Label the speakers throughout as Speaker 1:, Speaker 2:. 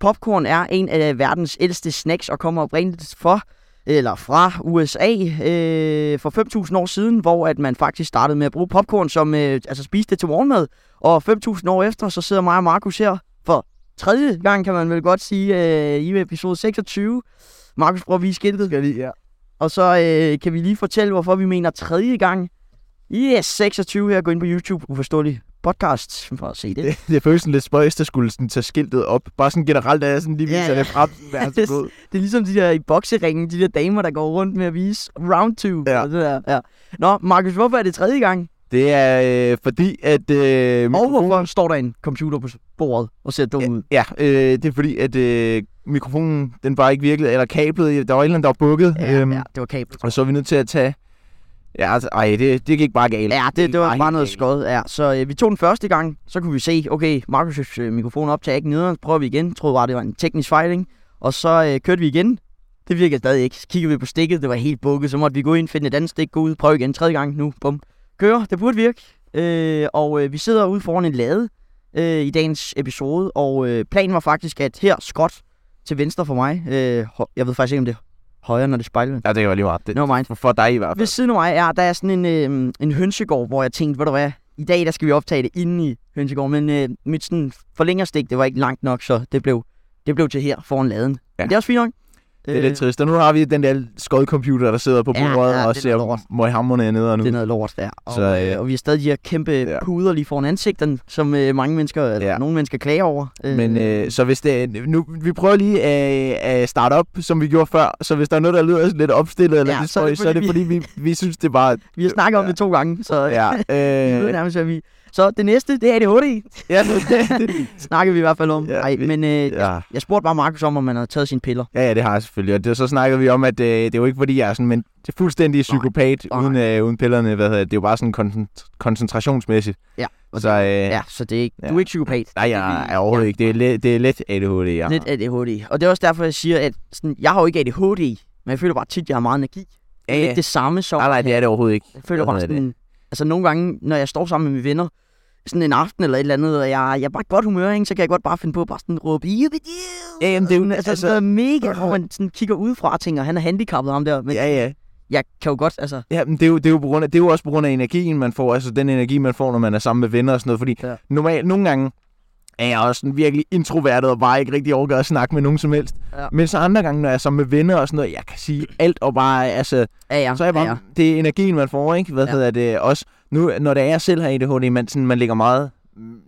Speaker 1: Popcorn er en af verdens ældste snacks og kommer oprindeligt for eller fra USA øh, for 5.000 år siden, hvor at man faktisk startede med at bruge popcorn, som øh, altså spiste det til morgenmad. Og 5.000 år efter, så sidder mig og Markus her for tredje gang, kan man vel godt sige, øh, i episode 26. Markus, prøv at vise skiltet.
Speaker 2: Skal lige, ja.
Speaker 1: Og så øh, kan vi lige fortælle, hvorfor vi mener tredje gang. Yes, 26 her. Gå ind på YouTube. Uforståelig podcast for at se det.
Speaker 2: Det, det føles sådan lidt spøjst, at skulle sådan tage skiltet op. Bare sådan generelt, at jeg sådan lige
Speaker 1: Ja,
Speaker 2: viser
Speaker 1: ja.
Speaker 2: det frem. Vær
Speaker 1: Det er
Speaker 2: så god.
Speaker 1: Det er ligesom de der i bokseringen, de der damer, der går rundt med at vise round two.
Speaker 2: Ja.
Speaker 1: Og det der. Ja. Nå, Markus, hvorfor er det tredje gang?
Speaker 2: Det er øh, fordi, at... Øh,
Speaker 1: Og hvorfor står der en computer på bordet og ser dum ud?
Speaker 2: Ja, øh, det er fordi, at øh, mikrofonen, den bare ikke virkede, eller kablet, der var et eller andet, der var bukket. øhm,
Speaker 1: ja, det var kablet.
Speaker 2: Og så er vi nødt til at tage... Ja, altså, ej, det, det gik bare galt.
Speaker 1: Ja, det, det var
Speaker 2: helt
Speaker 1: bare noget
Speaker 2: galt.
Speaker 1: skod. Ja. Så øh, vi tog den første gang, så kunne vi se, okay, Markus' øh, mikrofon optager ikke nederen, prøver vi igen, troede bare, det var en teknisk fejl, ikke? Og så øh, kørte vi igen, det virkede stadig ikke. Så kiggede vi på stikket, det var helt bukket, så måtte vi gå ind, finde et andet stik, gå ud, prøve igen tredje gang nu, bum. Kører, det burde virke. Øh, og øh, vi sidder ude foran en lade øh, i dagens episode, og øh, planen var faktisk, at her, Scott til venstre for mig, øh, hø- jeg ved faktisk ikke, om det er højre, når det spejler.
Speaker 2: Ja, det var lige meget. Det,
Speaker 1: No mind.
Speaker 2: for, for dig i hvert fald.
Speaker 1: Ved siden af mig er, der er sådan en, øh, en hønsegård, hvor jeg tænkte, ved du hvad, i dag der skal vi optage det inde i hønsegården, men øh, mit sådan forlængerstik, det var ikke langt nok, så det blev, det blev til her foran laden. Ja.
Speaker 2: Ja.
Speaker 1: Men det er også fint nok. Øh,
Speaker 2: Det er lidt trist. Og nu har vi den der skodcomputer, der sidder på
Speaker 1: Ja,
Speaker 2: bordet
Speaker 1: ja,
Speaker 2: og
Speaker 1: det er noget
Speaker 2: ser
Speaker 1: lort.
Speaker 2: møghamrende ned nu.
Speaker 1: Det er noget lort der. Og,
Speaker 2: Så,
Speaker 1: så,
Speaker 2: øh,
Speaker 1: øh, og vi har stadig de her kæmpe
Speaker 2: ja.
Speaker 1: ja. puder lige foran ansigten, som øh, mange mennesker, eller
Speaker 2: Ja.
Speaker 1: nogle mennesker klager over. Øh,
Speaker 2: Men øh, så hvis det er- nu, vi prøver lige at, at starte op, som vi gjorde før. Så hvis der er noget, der lyder sådan lidt opstillet eller
Speaker 1: Ja,
Speaker 2: lidt spøjs, så er det fordi, vi, vi synes, det er bare...
Speaker 1: vi har snakket om
Speaker 2: ja.
Speaker 1: det to gange, så ja.
Speaker 2: Ja,
Speaker 1: øh,
Speaker 2: øh,
Speaker 1: nærmest, hvad vi... Så det næste, det er ADHD,
Speaker 2: ja, det-
Speaker 1: snakker vi i hvert fald om.
Speaker 2: Ja,
Speaker 1: Nej,
Speaker 2: vi-
Speaker 1: men øh, ja.
Speaker 2: ja.
Speaker 1: jeg spurgte bare Markus om, om han havde taget sine piller.
Speaker 2: ja, ja, det har jeg selvfølgelig. Og det, så snakkede vi om, at øh, det er jo ikke fordi, jeg er sådan, men det er fuldstændig psykopat
Speaker 1: nej.
Speaker 2: uden, øh, uden pillerne. Hvad hedder det? det er jo bare sådan koncent- koncentrationsmæssigt.
Speaker 1: Ja, og
Speaker 2: Så øh,
Speaker 1: Ja,
Speaker 2: ja.
Speaker 1: ja så det er ikke,
Speaker 2: Ja.
Speaker 1: du er ikke psykopat.
Speaker 2: nej, jeg er overhovedet ikke. Det er, let, det er let ADHD, jeg har.
Speaker 1: Lidt ADHD. Og det er også derfor, jeg siger, at sådan, jeg har jo ikke ADHD, men jeg føler bare tit, at jeg har meget energi. Det er
Speaker 2: Ja,
Speaker 1: lidt det samme som...
Speaker 2: Nej, nej, det er det overhovedet ikke.
Speaker 1: jeg føler
Speaker 2: hvad
Speaker 1: bare
Speaker 2: hedder
Speaker 1: sådan... Altså nogle gange, når jeg står sammen med mine venner, sådan en aften eller et eller andet, og jeg, jeg er bare i godt humør, ikke, så kan jeg godt bare finde på at bare sådan råbe, "Yippee-dee!"
Speaker 2: Ja, jamen, det er jo...
Speaker 1: altså, altså, sådan noget mega, hvor man sådan kigger udefra og tænker, han er handicappet ham der, men
Speaker 2: ja, ja.
Speaker 1: jeg kan jo godt, altså,
Speaker 2: Ja, men det er, jo, det, er jo på grund af, det er jo også på grund af energien, man får. Altså den energi, man får, når man er sammen med venner og sådan noget. Fordi
Speaker 1: Ja.
Speaker 2: ja. normalt, nogle gange er jeg også sådan virkelig introvertet og bare ikke rigtig overgør at snakke med nogen som helst.
Speaker 1: Ja.
Speaker 2: Ja. Men så andre gange, når jeg er sammen med venner og sådan noget, jeg kan sige alt og bare, altså,
Speaker 1: ja, ja,
Speaker 2: så er jeg bare,
Speaker 1: ja, ja.
Speaker 2: det er energien, man får, ikke? Hvad
Speaker 1: Ja.
Speaker 2: ja. hedder det også? Nu, når det er jeg selv har ADHD, man, sådan, man ligger meget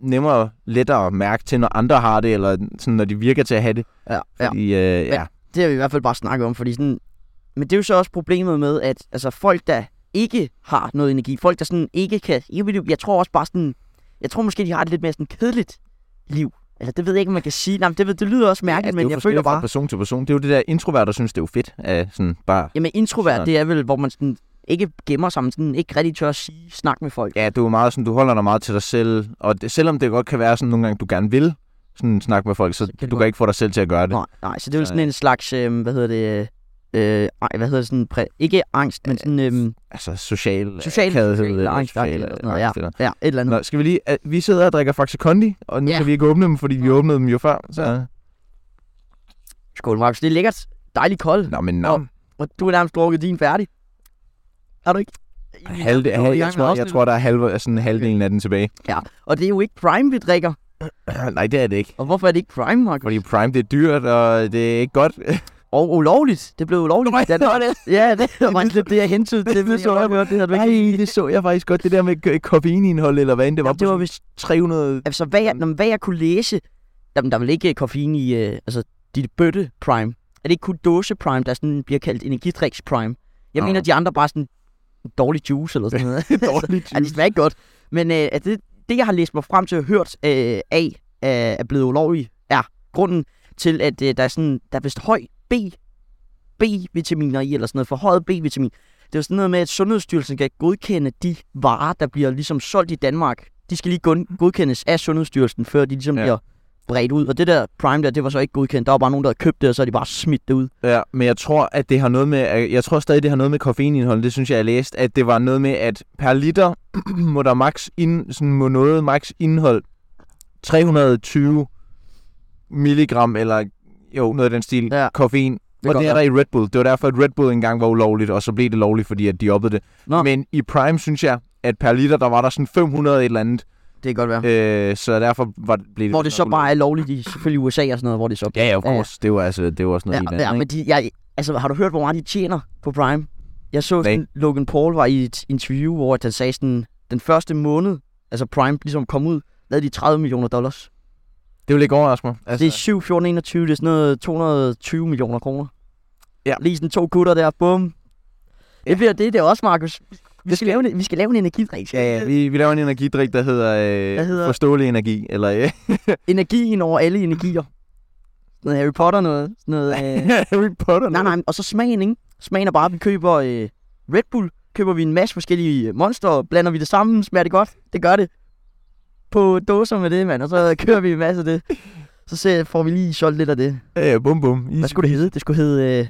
Speaker 2: nemmere, lettere at mærke til, når andre har det, eller sådan, når de virker til at have det.
Speaker 1: ja, ja.
Speaker 2: Fordi, ja. Øh, ja.
Speaker 1: Det har vi i hvert fald bare snakket om, fordi sådan... Men det er jo så også problemet med, at altså, folk, der ikke har noget energi, folk, der sådan ikke kan... Jeg tror også bare sådan... Jeg tror måske, de har et lidt mere sådan kedeligt liv. Eller det ved jeg ikke, om man kan sige. Nej, men det, ved- det lyder også mærkeligt,
Speaker 2: Altså,
Speaker 1: men
Speaker 2: det
Speaker 1: jeg
Speaker 2: er jo
Speaker 1: føler
Speaker 2: forskelligt fra
Speaker 1: bare...
Speaker 2: person til person. Det er jo det der introvert, der synes, det er jo fedt. At sådan bare
Speaker 1: Jamen introvert,
Speaker 2: Sådan.
Speaker 1: det er vel, hvor man sådan ikke gemmer sig, men sådan ikke rigtig tør at sige, snakke med folk.
Speaker 2: Ja, du er meget sådan, du holder dig meget til dig selv, og det, selvom det godt kan være sådan nogle gange, du gerne vil sådan snakke med folk, så,
Speaker 1: kan
Speaker 2: kan
Speaker 1: du
Speaker 2: du kan ikke få dig selv til at gøre det.
Speaker 1: Nej, nej, så det er vel
Speaker 2: Så,
Speaker 1: sådan en slags, øh, hvad hedder det, øh, ej, hvad hedder det sådan, præ- ikke angst, men sådan, øh,
Speaker 2: Altså social...
Speaker 1: social,
Speaker 2: akavethed,
Speaker 1: social
Speaker 2: eller
Speaker 1: angst,
Speaker 2: social
Speaker 1: eller sådan noget, ja,
Speaker 2: angst, eller-
Speaker 1: ja, et eller andet.
Speaker 2: Nå, skal vi lige... øh, Vi sidder og drikker Faxe Kondi, og nu
Speaker 1: Ja.
Speaker 2: kan vi ikke åbne dem, fordi vi åbnede dem jo før. Så...
Speaker 1: Skål, Markus, det er lækkert, dejligt koldt.
Speaker 2: Nå, men nå.
Speaker 1: Og du har nærmest drukket din færdig. Er du ikke?
Speaker 2: Halvde,
Speaker 1: er i
Speaker 2: halv, jeg,
Speaker 1: gang med
Speaker 2: tror, jeg
Speaker 1: afsnittet.
Speaker 2: tror, der er halv, øh, sådan halvdelen af den tilbage.
Speaker 1: Og det er jo ikke Prime, vi drikker.
Speaker 2: Nej, det er det ikke.
Speaker 1: Og hvorfor er det ikke Prime, Markus?
Speaker 2: Fordi Prime, det er dyrt, og det er ikke godt.
Speaker 1: Og ulovligt. Det blev ulovligt. i Danmark.
Speaker 2: det.
Speaker 1: Ja, det var faktisk lidt det, jeg hentede til.
Speaker 2: Det
Speaker 1: men
Speaker 2: så
Speaker 1: var
Speaker 2: jeg
Speaker 1: godt, det havde du
Speaker 2: Nej,
Speaker 1: ikke.
Speaker 2: det så jeg faktisk godt. Det der med k- koffeinindhold, eller hvad end det var.
Speaker 1: Jamen, det var
Speaker 2: på
Speaker 1: vist...
Speaker 2: 300...
Speaker 1: Altså, hvad jeg, jamen, hvad jeg kunne læse... Jamen, der er vel ikke øh, koffein i... Øh, altså, dit bøtte Prime. Er det ikke kun dåse Prime, der sådan bliver kaldt energidriks Prime? Jeg
Speaker 2: Nå.
Speaker 1: mener, de andre bare sådan... Dårlig juice eller sådan noget.
Speaker 2: Dårligt.
Speaker 1: Ja, det smager ikke godt. Men øh, at det, det, jeg har læst mig frem til og hørt øh, af, øh, er blevet ulovlig, er grunden til, at øh, der er sådan, der er vist høj B, B-vitaminer i, eller sådan noget, forhøjet B-vitamin. Det er jo sådan noget med, at Sundhedsstyrelsen kan godkende de varer, der bliver ligesom solgt i Danmark. De skal lige gun- godkendes af Sundhedsstyrelsen, før de ligesom ja.
Speaker 2: Ja.
Speaker 1: bliver bredt ud. Og det der Prime der, det var så ikke godkendt. Der var bare nogen, der havde købt det, og så har de bare smidt det ud.
Speaker 2: Ja, men jeg tror, at det har noget med, jeg tror stadig, det har noget med koffeinindhold. Det synes jeg, jeg læste, at det var noget med, at per liter må der max ind, sådan må noget max indhold 320 milligram eller jo, noget af den stil,
Speaker 1: Ja.
Speaker 2: ja. koffein.
Speaker 1: kan
Speaker 2: Det og
Speaker 1: godt
Speaker 2: det er der i Red Bull. Det var derfor, at Red Bull engang var ulovligt, og så blev det lovligt, fordi at de oppede det.
Speaker 1: Nå.
Speaker 2: Men i Prime, synes jeg, at per liter, der var der sådan 500 et eller andet.
Speaker 1: Det kan godt være.
Speaker 2: Øh, så derfor var, blev det...
Speaker 1: Hvor det så bare er lovligt i selvfølgelig USA og sådan noget, hvor det så...
Speaker 2: Ja, ja, of
Speaker 1: Ja, ja.
Speaker 2: course. Det var altså det var også noget helt
Speaker 1: ja,
Speaker 2: andet.
Speaker 1: ja, men de, jeg, altså, har du hørt, hvor meget de tjener på Prime? Jeg så,
Speaker 2: Nej.
Speaker 1: sådan, Logan Paul var i et interview, hvor han sagde sådan, den første måned, altså Prime ligesom kom ud, lavede de 30 millioner dollars.
Speaker 2: Det ville ikke overraske mig.
Speaker 1: Altså, det er 7, 14, 21, det er sådan noget 220 millioner kroner.
Speaker 2: Ja.
Speaker 1: Lige sådan to gutter der, bum. Det bliver det, det er også, Markus. Vi skal, lave en, vi skal lave en energidrik.
Speaker 2: Ja, ja, vi, vi laver en energidrik, der hedder, øh,
Speaker 1: Hvad hedder-
Speaker 2: Forståelig Energi. Eller, øh,
Speaker 1: Energien over alle energier. Noget Harry Potter noget. Sådan noget øh,
Speaker 2: Harry Potter.
Speaker 1: Nej, nej, og så smagen, ikke? Smagen er bare, at vi køber øh, Red Bull, køber vi en masse forskellige øh, monster, blander vi det sammen, smager det godt, det gør det. På dåser med det, mand, og så kører vi en masse af det. Så ser, får vi lige solgt lidt af det.
Speaker 2: Øh, bum, bum. I
Speaker 1: Hvad skulle det hedde? Det skulle hedde, øh, det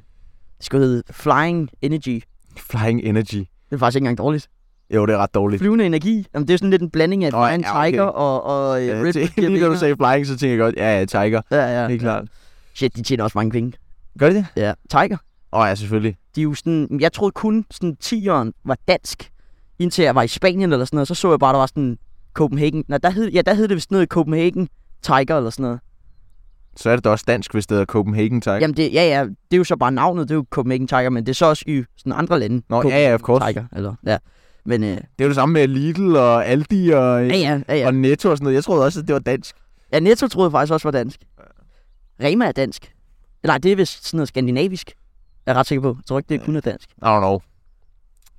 Speaker 1: skulle hedde Flying Energy.
Speaker 2: Flying Energy.
Speaker 1: Det er faktisk ikke engang dårligt.
Speaker 2: Jo, det er ret dårligt.
Speaker 1: Flyvende energi. Jamen, det er sådan lidt en blanding af
Speaker 2: Nå, ja,
Speaker 1: Flying
Speaker 2: okay.
Speaker 1: Tiger og, og øh,
Speaker 2: Ja,
Speaker 1: Red
Speaker 2: til-
Speaker 1: Bull.
Speaker 2: lige da du sagde flying, så tænkte jeg godt, ja, ja, Tiger.
Speaker 1: Ja, ja.
Speaker 2: Helt klart.
Speaker 1: Shit, de tjener også mange penge.
Speaker 2: Gør de det?
Speaker 1: Ja, Tiger.
Speaker 2: Åh, oh, ja, selvfølgelig.
Speaker 1: de er jo sådan, jeg troede kun sådan 10'eren var dansk, indtil jeg var i Spanien eller sådan noget, så så jeg bare, der var sådan Copenhagen, nej, der hed, ja, der hed det vist noget Copenhagen Tiger eller sådan noget.
Speaker 2: Så er det da også dansk, hvis det hedder Copenhagen Tiger.
Speaker 1: Jamen det, ja, ja, det er jo så bare navnet, det er jo Copenhagen Tiger, men det er så også i sådan andre lande.
Speaker 2: Nå,
Speaker 1: Copenhagen
Speaker 2: ja, ja, of course.
Speaker 1: Tiger, eller, ja. Men øh,
Speaker 2: Det er jo det samme med Lidl og Aldi og,
Speaker 1: ja, ja, ja, ja.
Speaker 2: og Netto og sådan noget. Jeg troede også, at det var dansk.
Speaker 1: ja, Netto troede jeg faktisk også var dansk. Rema er dansk. Nej, det er vist sådan noget skandinavisk. Jeg er ret sikker på. Jeg tror ikke, det kun er dansk.
Speaker 2: I don't know.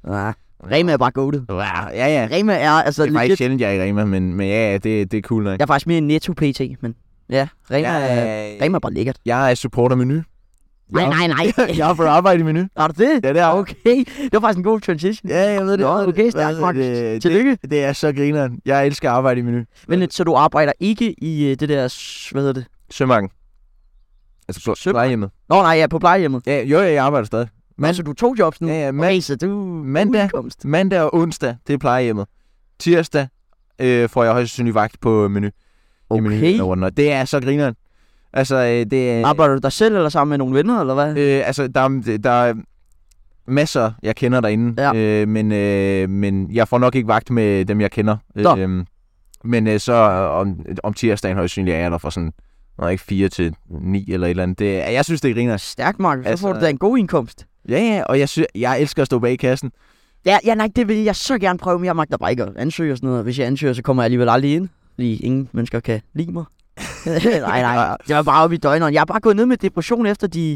Speaker 1: Nej. Rema er bare goated.
Speaker 2: Ja, ja. ja.
Speaker 1: Rema er altså
Speaker 2: Det er
Speaker 1: legit
Speaker 2: faktisk sjældent, jeg er i Rema, men, men ja, ja, det, det er cool nok.
Speaker 1: Jeg er faktisk mere en netto PT, men ja, Rema, ja, ja, ja.
Speaker 2: jeg,
Speaker 1: Rema er bare lækkert.
Speaker 2: jeg er supporter menu.
Speaker 1: Nej,
Speaker 2: Ja.
Speaker 1: nej, nej.
Speaker 2: Jeg har fået arbejde i menu.
Speaker 1: Har du det?
Speaker 2: Ja, det er okay.
Speaker 1: Okay, det var faktisk en god transition.
Speaker 2: Ja, jeg ved det.
Speaker 1: Nå,
Speaker 2: Jeg ved
Speaker 1: okay,
Speaker 2: det.
Speaker 1: stærkt,
Speaker 2: Hvad-
Speaker 1: Markus.
Speaker 2: det,
Speaker 1: Tillykke.
Speaker 2: det, det er så grineren. Jeg elsker at arbejde i menu.
Speaker 1: Men øh, så du arbejder ikke i øh, det der, s- hvad hedder det?
Speaker 2: Sømangen. Altså på
Speaker 1: Sømangen?
Speaker 2: plejehjemmet.
Speaker 1: Nå nej, jeg er på plejehjemmet.
Speaker 2: Ja, jo, ja, jeg arbejder stadig.
Speaker 1: Men så du er to jobs nu.
Speaker 2: Ja, ja,
Speaker 1: Okay,
Speaker 2: mand,
Speaker 1: så du
Speaker 2: mandag.
Speaker 1: udkomst.
Speaker 2: mandag og onsdag, det er plejehjemmet. Tirsdag øh, får jeg højst sandsynlig vagt på menu. i menu
Speaker 1: Okay.
Speaker 2: eller whatnot. Det er så grineren. Altså, øh, det er...
Speaker 1: Arbejder du dig selv eller sammen med nogle venner, eller hvad?
Speaker 2: Øh, altså, der, er- der er masser, jeg kender derinde,
Speaker 1: Ja.
Speaker 2: øh, men, øh, men jeg får nok ikke vagt med dem, jeg kender.
Speaker 1: Nå.
Speaker 2: Øh, men øh, så øh, om, om tirsdagen højst sandsynligt er jeg der fra sådan, når ikke 4 til 9 eller et eller andet. Det, er- jeg synes, det er griner.
Speaker 1: Stærkt, Mark. Så
Speaker 2: Altså,
Speaker 1: får du da en god indkomst.
Speaker 2: Ja, ja, og jeg, synes, jeg elsker at stå bag kassen.
Speaker 1: Ja, ja, nej, det vil jeg så gerne prøve, men jeg magter bare ikke at ansøge og sådan noget. Hvis jeg ansøger, så kommer jeg alligevel aldrig ind. Fordi ingen mennesker kan lide mig. nej, nej, jeg var bare oppe i døgneren. Jeg er bare gået ned med depression, efter de,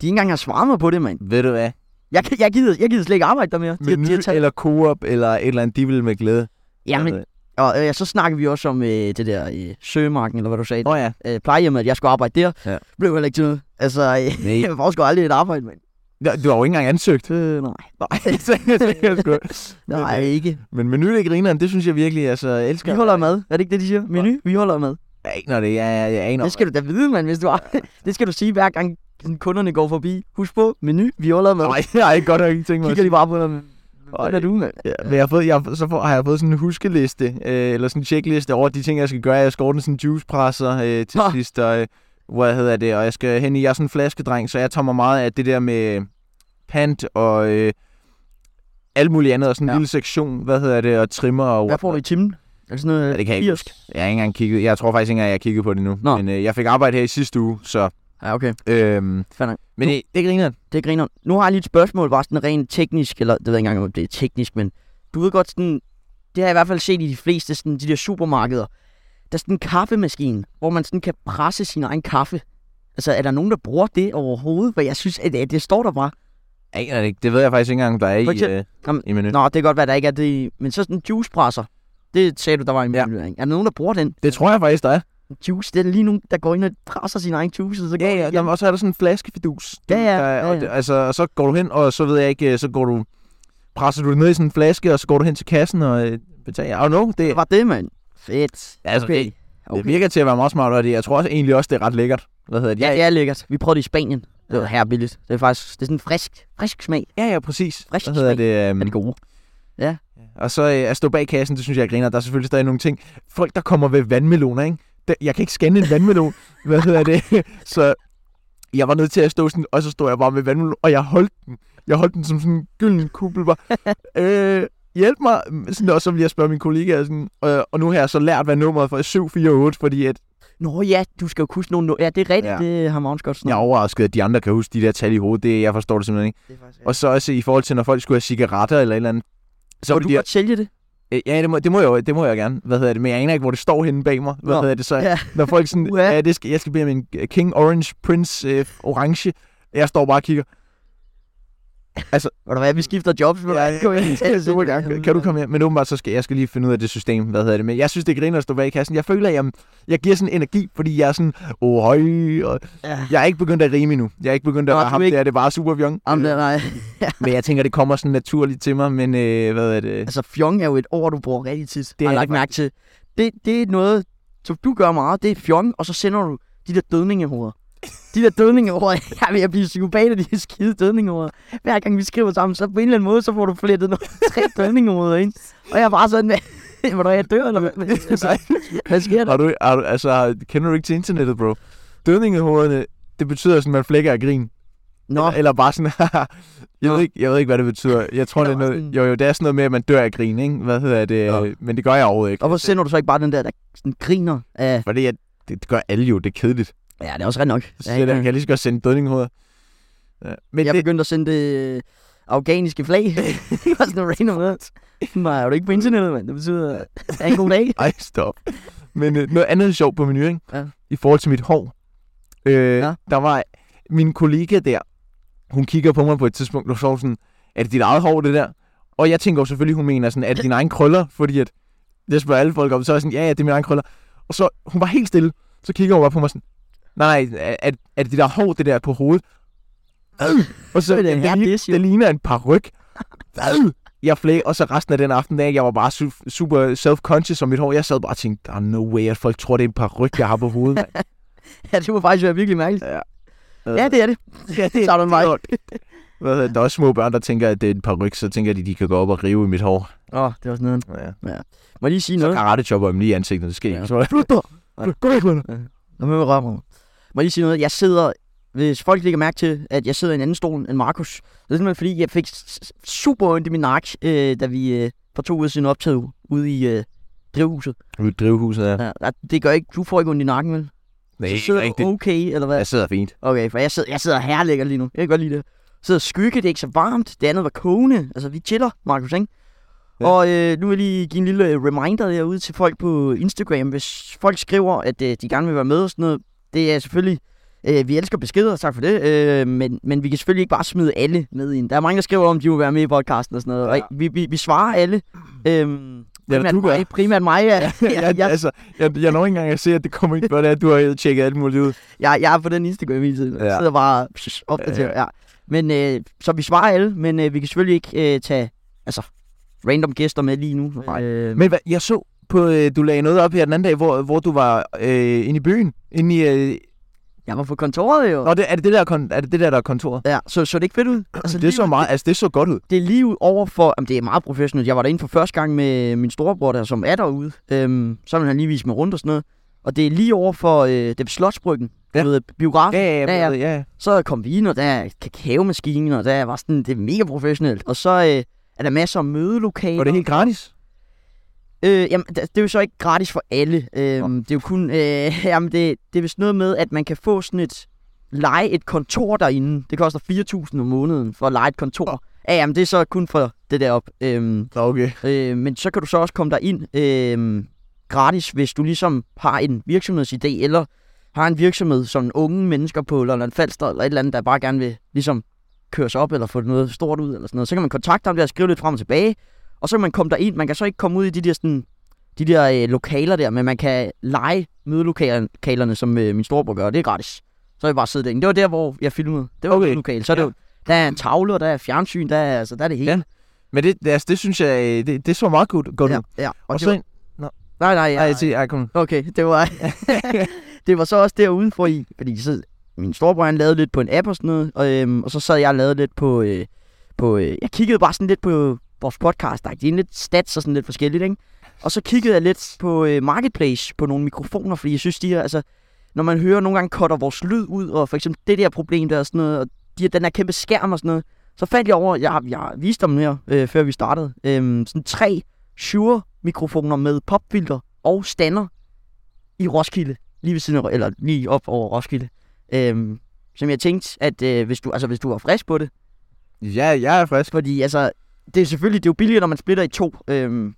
Speaker 1: de ikke engang har svaret mig på det, mand.
Speaker 2: Ved du hvad?
Speaker 1: Jeg, kan- jeg, gider, jeg gider slet ikke arbejde der mere. De, de har
Speaker 2: Menu
Speaker 1: taget,
Speaker 2: eller Coop eller et eller andet, de vil med glæde. Altså,
Speaker 1: jamen, og øh, så snakker vi også om øh, det der øh, søgemarken, eller hvad du sagde.
Speaker 2: Nå ja.
Speaker 1: Øh, plejehjemmet, at jeg skulle arbejde der.
Speaker 2: Ja.
Speaker 1: Blev heller ikke til noget. Altså, øh,
Speaker 2: Nej.
Speaker 1: jeg får sgu aldrig et arbejde, mand.
Speaker 2: Nå, Du har jo ikke engang ansøgt.
Speaker 1: Øh, nej,
Speaker 2: Nej, det er sgu-
Speaker 1: nej,
Speaker 2: øh,
Speaker 1: ikke.
Speaker 2: Men menu det grineren, det synes jeg virkelig, altså, jeg
Speaker 1: Vi
Speaker 2: elsker.
Speaker 1: holder mad. Er det ikke det, de siger? Menu, vi holder mad.
Speaker 2: Jeg aner det, jeg, jeg, jeg aner
Speaker 1: Det skal du da vide, mand, hvis du har. Det skal du sige hver gang sådan, kunderne går forbi. Husk på, menu, vi holder med.
Speaker 2: Nej, jeg har ikke godt nok ikke tænkt mig. at
Speaker 1: Kigger de bare på dig. men Hvad
Speaker 2: Ej.
Speaker 1: er du, mand?
Speaker 2: Ja, men jeg har fået, jeg, har- så får, har jeg fået sådan en huskeliste, øh, eller sådan en checkliste over de ting, jeg skal gøre. Jeg skal ordne sådan en juicepresser øh, til
Speaker 1: Nå.
Speaker 2: sidst, og øh, hvad hedder det, og jeg skal hen i, jeg er sådan en flaskedreng, så jeg tager mig meget af det der med pant og øh, alt muligt andet, og sådan en
Speaker 1: Ja.
Speaker 2: ja. lille sektion, hvad hedder det, og trimmer og...
Speaker 1: Hvad får du i timen? Er det sådan noget
Speaker 2: Ja, det kan jeg ikke
Speaker 1: 80?
Speaker 2: huske. Jeg har ikke engang kigget, jeg tror faktisk ikke engang, jeg har kigget på det nu,
Speaker 1: Nå.
Speaker 2: men øh, jeg fik arbejde her i sidste uge, så...
Speaker 1: Ja, okay.
Speaker 2: Øh,
Speaker 1: Fair nok.
Speaker 2: men det, det griner
Speaker 1: Det griner. Nu har jeg lige et spørgsmål, bare sådan rent teknisk, eller det ved jeg ikke engang, om det er teknisk, men du ved godt sådan, det har jeg i hvert fald set i de fleste sådan, de der supermarkeder. Der er sådan en kaffemaskine, hvor man sådan kan presse sin egen kaffe. Altså, er der nogen, der bruger det overhovedet? For jeg synes, at at det står der bare.
Speaker 2: Jeg aner det ikke. Det ved jeg faktisk ikke engang, om der er
Speaker 1: For
Speaker 2: i,
Speaker 1: eksempel-
Speaker 2: øh,
Speaker 1: Jamen,
Speaker 2: i menu.
Speaker 1: Nå, det kan godt være, der ikke er det. i- Men så sådan en juicepresser. Det sagde du, der var en ja.
Speaker 2: Ja.
Speaker 1: Er der nogen, der bruger den?
Speaker 2: Det tror jeg faktisk, der er.
Speaker 1: Juice, det er lige nogen, der går ind og presser sin egen juice, og så går
Speaker 2: Ja,
Speaker 1: den
Speaker 2: ja,
Speaker 1: igennem.
Speaker 2: jamen, og så er der sådan en flaskefidus.
Speaker 1: Ja, ja,
Speaker 2: Der,
Speaker 1: ja,
Speaker 2: er- og
Speaker 1: ja.
Speaker 2: det- altså, og så går du hen, og så ved jeg ikke, øh, så går du, presser du det ned i sådan en flaske, og så går du hen til kassen og øh, betaler. I don't know, det,
Speaker 1: Hvad var det, mand? Fedt.
Speaker 2: altså,
Speaker 1: Okay.
Speaker 2: det,
Speaker 1: okay.
Speaker 2: det virker til at være meget smart, og det, jeg tror også, egentlig også, det er ret lækkert. Hvad hedder det?
Speaker 1: Ja,
Speaker 2: Jeg,
Speaker 1: det er lækkert. Vi prøvede det i Spanien. Det var her billigt. Det er faktisk det er sådan en frisk, frisk smag.
Speaker 2: ja, ja, præcis.
Speaker 1: Frisk
Speaker 2: Hvad hedder det?
Speaker 1: Mm. Er
Speaker 2: øhm,
Speaker 1: det gode?
Speaker 2: og så øh, at stå bag kassen, det synes jeg er griner. Der er selvfølgelig stadig nogle ting. Folk, der kommer ved vandmeloner, ikke? den- jeg kan ikke scanne en vandmelon. Hvad hedder det? Så jeg var nødt til at stå sådan, og så stod jeg bare med vandmelon, og jeg holdt den. Jeg holdt den som sådan en gylden kuppel. Bare, øh, hjælp mig. Sådan, og så ville jeg spørge min kollega, sådan, øh, og nu har jeg så lært, hvad nummeret for er 748, fordi at
Speaker 1: Nå ja, du skal jo kunne nogle... Ja, det er rigtigt,
Speaker 2: Ja.
Speaker 1: ja. det har Magnus godt
Speaker 2: jeg er
Speaker 1: sådan
Speaker 2: overrasket, at de andre kan huske de der tal i hovedet. Det, jeg forstår det simpelthen ikke. Og så også i forhold til, når folk skulle have cigaretter eller et eller andet. Så
Speaker 1: Må du
Speaker 2: ville de-
Speaker 1: godt sælge det?
Speaker 2: Øh, Ja, det må, det, må jeg, jo- det må jeg gerne. Hvad hedder det? Men jeg aner ikke, hvor det står henne bag mig. Hvad
Speaker 1: Nå.
Speaker 2: hedder det så?
Speaker 1: Ja.
Speaker 2: Når folk sådan,
Speaker 1: Uha.
Speaker 2: ja, det skal, jeg skal bede om en King Orange Prince øh, Orange. Jeg står bare og kigger.
Speaker 1: Ved du hvad, vi skifter jobs med dig. Kom ind.
Speaker 2: du må gerne. Kan du komme her? Men åbenbart, så skal jeg skal lige finde ud af det system. Hvad hedder det? Men jeg synes, det griner at stå bag i kassen. Jeg føler, at jeg, jeg giver sådan energi, fordi jeg er sådan, åh, høj. Og
Speaker 1: Ja.
Speaker 2: jeg er ikke begyndt at rime endnu. Jeg er ikke begyndt at
Speaker 1: Nå,
Speaker 2: være
Speaker 1: du
Speaker 2: ham
Speaker 1: er ikke-
Speaker 2: der. Det er bare super fjong.
Speaker 1: Jamen, det er- nej.
Speaker 2: Men jeg tænker, det kommer sådan naturligt til mig. Men øh, hvad er det?
Speaker 1: Altså, fjong er jo et ord, du bruger rigtig tit. Det
Speaker 2: er
Speaker 1: har jeg
Speaker 2: det
Speaker 1: lagt mærke til. Det, det er noget, som du gør meget, det er fjong, og så sender du de der dødningehoveder. De der dødningehoveder, jeg er ved at blive psykopat af de skide dødningehoveder. Hver gang vi skriver sammen, så på en eller anden måde, så får du flettet nogle tre dødningehoveder ind. Og jeg er bare sådan, hvad, hvor jeg dør, eller hvad, hvad, hvad sker der?
Speaker 2: Har du, har du, altså, kender du ikke til internettet, bro? Dødningehovederne, det betyder sådan, at man flækker af grin.
Speaker 1: Nå,
Speaker 2: Eller bare sådan, jeg, ved ikke, jeg ved ikke, hvad det betyder. Jeg tror, det er
Speaker 1: Eller bare
Speaker 2: noget,
Speaker 1: sådan-
Speaker 2: jo, jo, det er sådan noget med, at man dør af grin, ikke? Hvad hedder det?
Speaker 1: Ja.
Speaker 2: Men det gør jeg overhovedet ikke.
Speaker 1: og hvor sender du så ikke bare den der, der sådan griner af...
Speaker 2: Fordi jeg, det, det gør alle jo, det er kedeligt.
Speaker 1: Ja, det er også ret nok.
Speaker 2: Så ja, kan jeg lige så godt sende dødningehoveder. Ja. Men
Speaker 1: Jeg
Speaker 2: det,
Speaker 1: begyndte at sende det øh, afghaniske flag. det var sådan noget random noget. Nej, er du ikke på internettet, mand? Det betyder, at en god dag.
Speaker 2: ej, stop. Men øh, noget andet sjovt på menu, ikke?
Speaker 1: Ja.
Speaker 2: I forhold til mit hår. Øh,
Speaker 1: Ja.
Speaker 2: Der var min kollega der, hun kigger på mig på et tidspunkt, og så var hun sådan, er det dit eget hår, det der? Og jeg tænker jo selvfølgelig, hun mener sådan, er det dine egne krøller? Fordi at, det spørger alle folk om, så er jeg sådan, ja, ja, det er mine egne krøller. Og så, hun var helt stille, så kigger hun bare på mig sådan, nej, nej, er, er- er det dit eget hår, det der på hovedet? Øh, og så,
Speaker 1: Det er da en
Speaker 2: det,
Speaker 1: hard
Speaker 2: det,
Speaker 1: dish, jo."
Speaker 2: det ligner en par ryg. Jeg flæk, og så resten af den aften af, jeg var bare su- super self-conscious om mit hår. Jeg sad bare og tænkte, der er no way, at folk tror, det er en par ryg, jeg har på hovedet. mand."
Speaker 1: Ja, det må faktisk være virkelig mærkeligt.
Speaker 2: Ja.
Speaker 1: Ja, det er det.
Speaker 2: ja,
Speaker 1: Så er du en vej.
Speaker 2: Hvad hedder det? Der er også små børn, der tænker, at det er et par ryg, så tænker de, de kan gå op og rive i mit hår.
Speaker 1: Åh, oh, det var sådan noget.
Speaker 2: Ja.
Speaker 1: Må jeg lige sige noget?
Speaker 2: Karate chopper dem lige i ansigtet, det sker
Speaker 1: Ja.
Speaker 2: ikke. Så-
Speaker 1: Slut dig!
Speaker 2: Gå- Gå væk med dig.
Speaker 1: Nå, men rør mig. Må jeg lige sige noget? Jeg sidder... Hvis folk lægger mærke til, at jeg sidder i en anden stol end Markus, så er det simpelthen fordi, jeg fik s- s- super ondt i min nak, øh, da vi øh, for to uger siden optog ude i øh, drivhuset.
Speaker 2: Ude i drivhuset, ja.
Speaker 1: Ja. ja, Det gør ikke, du får ikke ondt i nakken, vel?
Speaker 2: Nej,
Speaker 1: Så
Speaker 2: ikke
Speaker 1: sidder du
Speaker 2: rigtigt.
Speaker 1: okay, eller hvad?
Speaker 2: Jeg sidder fint.
Speaker 1: Okay, for jeg sidder, jeg sidder her lækker lige nu. Jeg kan godt lide det. Jeg sidder skygge, det er ikke så varmt. Det andet var kogende. Altså, vi chiller, Markus, ikke?
Speaker 2: Ja.
Speaker 1: Ja. Og øh, nu vil jeg lige give en lille reminder derude til folk på Instagram. Hvis folk skriver, at øh, de gerne vil være med og sådan noget, det er selvfølgelig... Øh, vi elsker beskeder, tak for det, øh, men, men vi kan selvfølgelig ikke bare smide alle med ind. Der er mange, der skriver om, de vil være med i podcasten og sådan noget.
Speaker 2: Ja.
Speaker 1: Ja. Og vi, vi, vi svarer alle. Øhm,
Speaker 2: Ja,
Speaker 1: primært
Speaker 2: du gør.
Speaker 1: mig, primært mig. Ja.
Speaker 2: jeg, jeg, altså, jeg, jeg når ikke engang at se, at det kommer ind før det er, at du har tjekket alt muligt ud.
Speaker 1: Jeg, jeg er på den Instagram hele tiden.
Speaker 2: Ja.
Speaker 1: Ja. Sidder bare psh, opdateret. Ja. Men øh, så vi svarer alle, men øh, vi kan selvfølgelig ikke øh, tage altså, random gæster med lige nu.
Speaker 2: Nej.
Speaker 1: Øh,
Speaker 2: Men hvad, jeg så på, øh, du lagde noget op her den anden dag, hvor, hvor du var øh, inde i byen. Inde i, øh,
Speaker 1: jeg var på kontoret jo.
Speaker 2: nå, det, er, det det der, kon- er det det der, der er kontoret?
Speaker 1: Ja, så, så det ikke fedt ud. Altså,
Speaker 2: Det så,
Speaker 1: lige,
Speaker 2: meget, altså, det så godt ud.
Speaker 1: det er lige ud over for... Jamen, det er meget professionelt. Jeg var derinde for første gang med min storebror, der som er derude. Øhm, så vil han lige vise mig rundt og sådan noget. Og det er lige over for øh, det er ved Slotsbryggen.
Speaker 2: Ja.
Speaker 1: Ja. Du ved, biografen.
Speaker 2: Ja,
Speaker 1: Ja,
Speaker 2: ja,
Speaker 1: ja.
Speaker 2: ja. ja.
Speaker 1: Så kom vi ind, og der er kakaomaskinen, og der var sådan... Det er mega professionelt. Og så øh, er der masser af mødelokaler.
Speaker 2: Var det helt gratis?
Speaker 1: Øh, jamen, det, det er jo så ikke gratis for alle. Øhm, det er jo kun... Øh, jamen, det, det er vist noget med, at man kan få sådan et... Lege et kontor derinde. Det koster 4.000 om måneden for at lege et kontor. Ja, jamen, det er så kun for det deroppe. Øhm,
Speaker 2: Nå, okay.
Speaker 1: øh, men så kan du så også komme derind øh, gratis, hvis du ligesom har en virksomhedsidé, eller har en virksomhed, som unge mennesker på Lolland Falster, eller et eller andet, der bare gerne vil ligesom køre sig op, eller få noget stort ud, eller sådan noget. Så kan man kontakte ham der og skrive lidt frem og tilbage, og så kan man komme derind. Man kan så ikke komme ud i de der, sådan, de der øh, lokaler der, men man kan lege mødelokalerne, som øh, min storebror gør, og det er gratis. Så er vi bare sidde derinde. Det var der, hvor jeg filmede. Det var
Speaker 2: Okay.
Speaker 1: okay. lokal. Så er det
Speaker 2: Ja.
Speaker 1: jo, der er en tavle, og der er fjernsyn, der er, altså, der er det hele.
Speaker 2: Ja, Men det, det, altså, det synes jeg, øh, det, det så meget godt, godt ud.
Speaker 1: ja, ja. Og,
Speaker 2: Og
Speaker 1: det
Speaker 2: så
Speaker 1: var,
Speaker 2: ind...
Speaker 1: nej, nej,
Speaker 2: Ej,
Speaker 1: ja,
Speaker 2: jeg siger, ej, kom. nu.
Speaker 1: Okay, det var, det var så også der udenfor i, fordi så, min storebror han lavede lidt på en app og sådan noget, og, øhm, og så sad jeg og lavede lidt på, øh, på øh, jeg kiggede bare sådan lidt på vores podcast, der er lidt stats og sådan lidt forskelligt, ikke? Og så kiggede jeg lidt på øh, Marketplace, på nogle mikrofoner, fordi jeg synes, de her, altså, når man hører nogle gange cutter vores lyd ud, og for eksempel det der problem der og sådan noget, og de, her- den her kæmpe skærm og sådan noget, så fandt jeg over, jeg, jeg viste dem her, øh, før vi startede, øh, sådan tre Shure mikrofoner med popfilter og stander i Roskilde, lige ved siden af, eller lige op over Roskilde. Øh, som jeg tænkte, at øh, hvis, du, altså, hvis du var frisk på det,
Speaker 2: Ja, jeg er frisk.
Speaker 1: fordi altså, det er selvfølgelig, det er jo billigere, når man splitter i to. Øhm,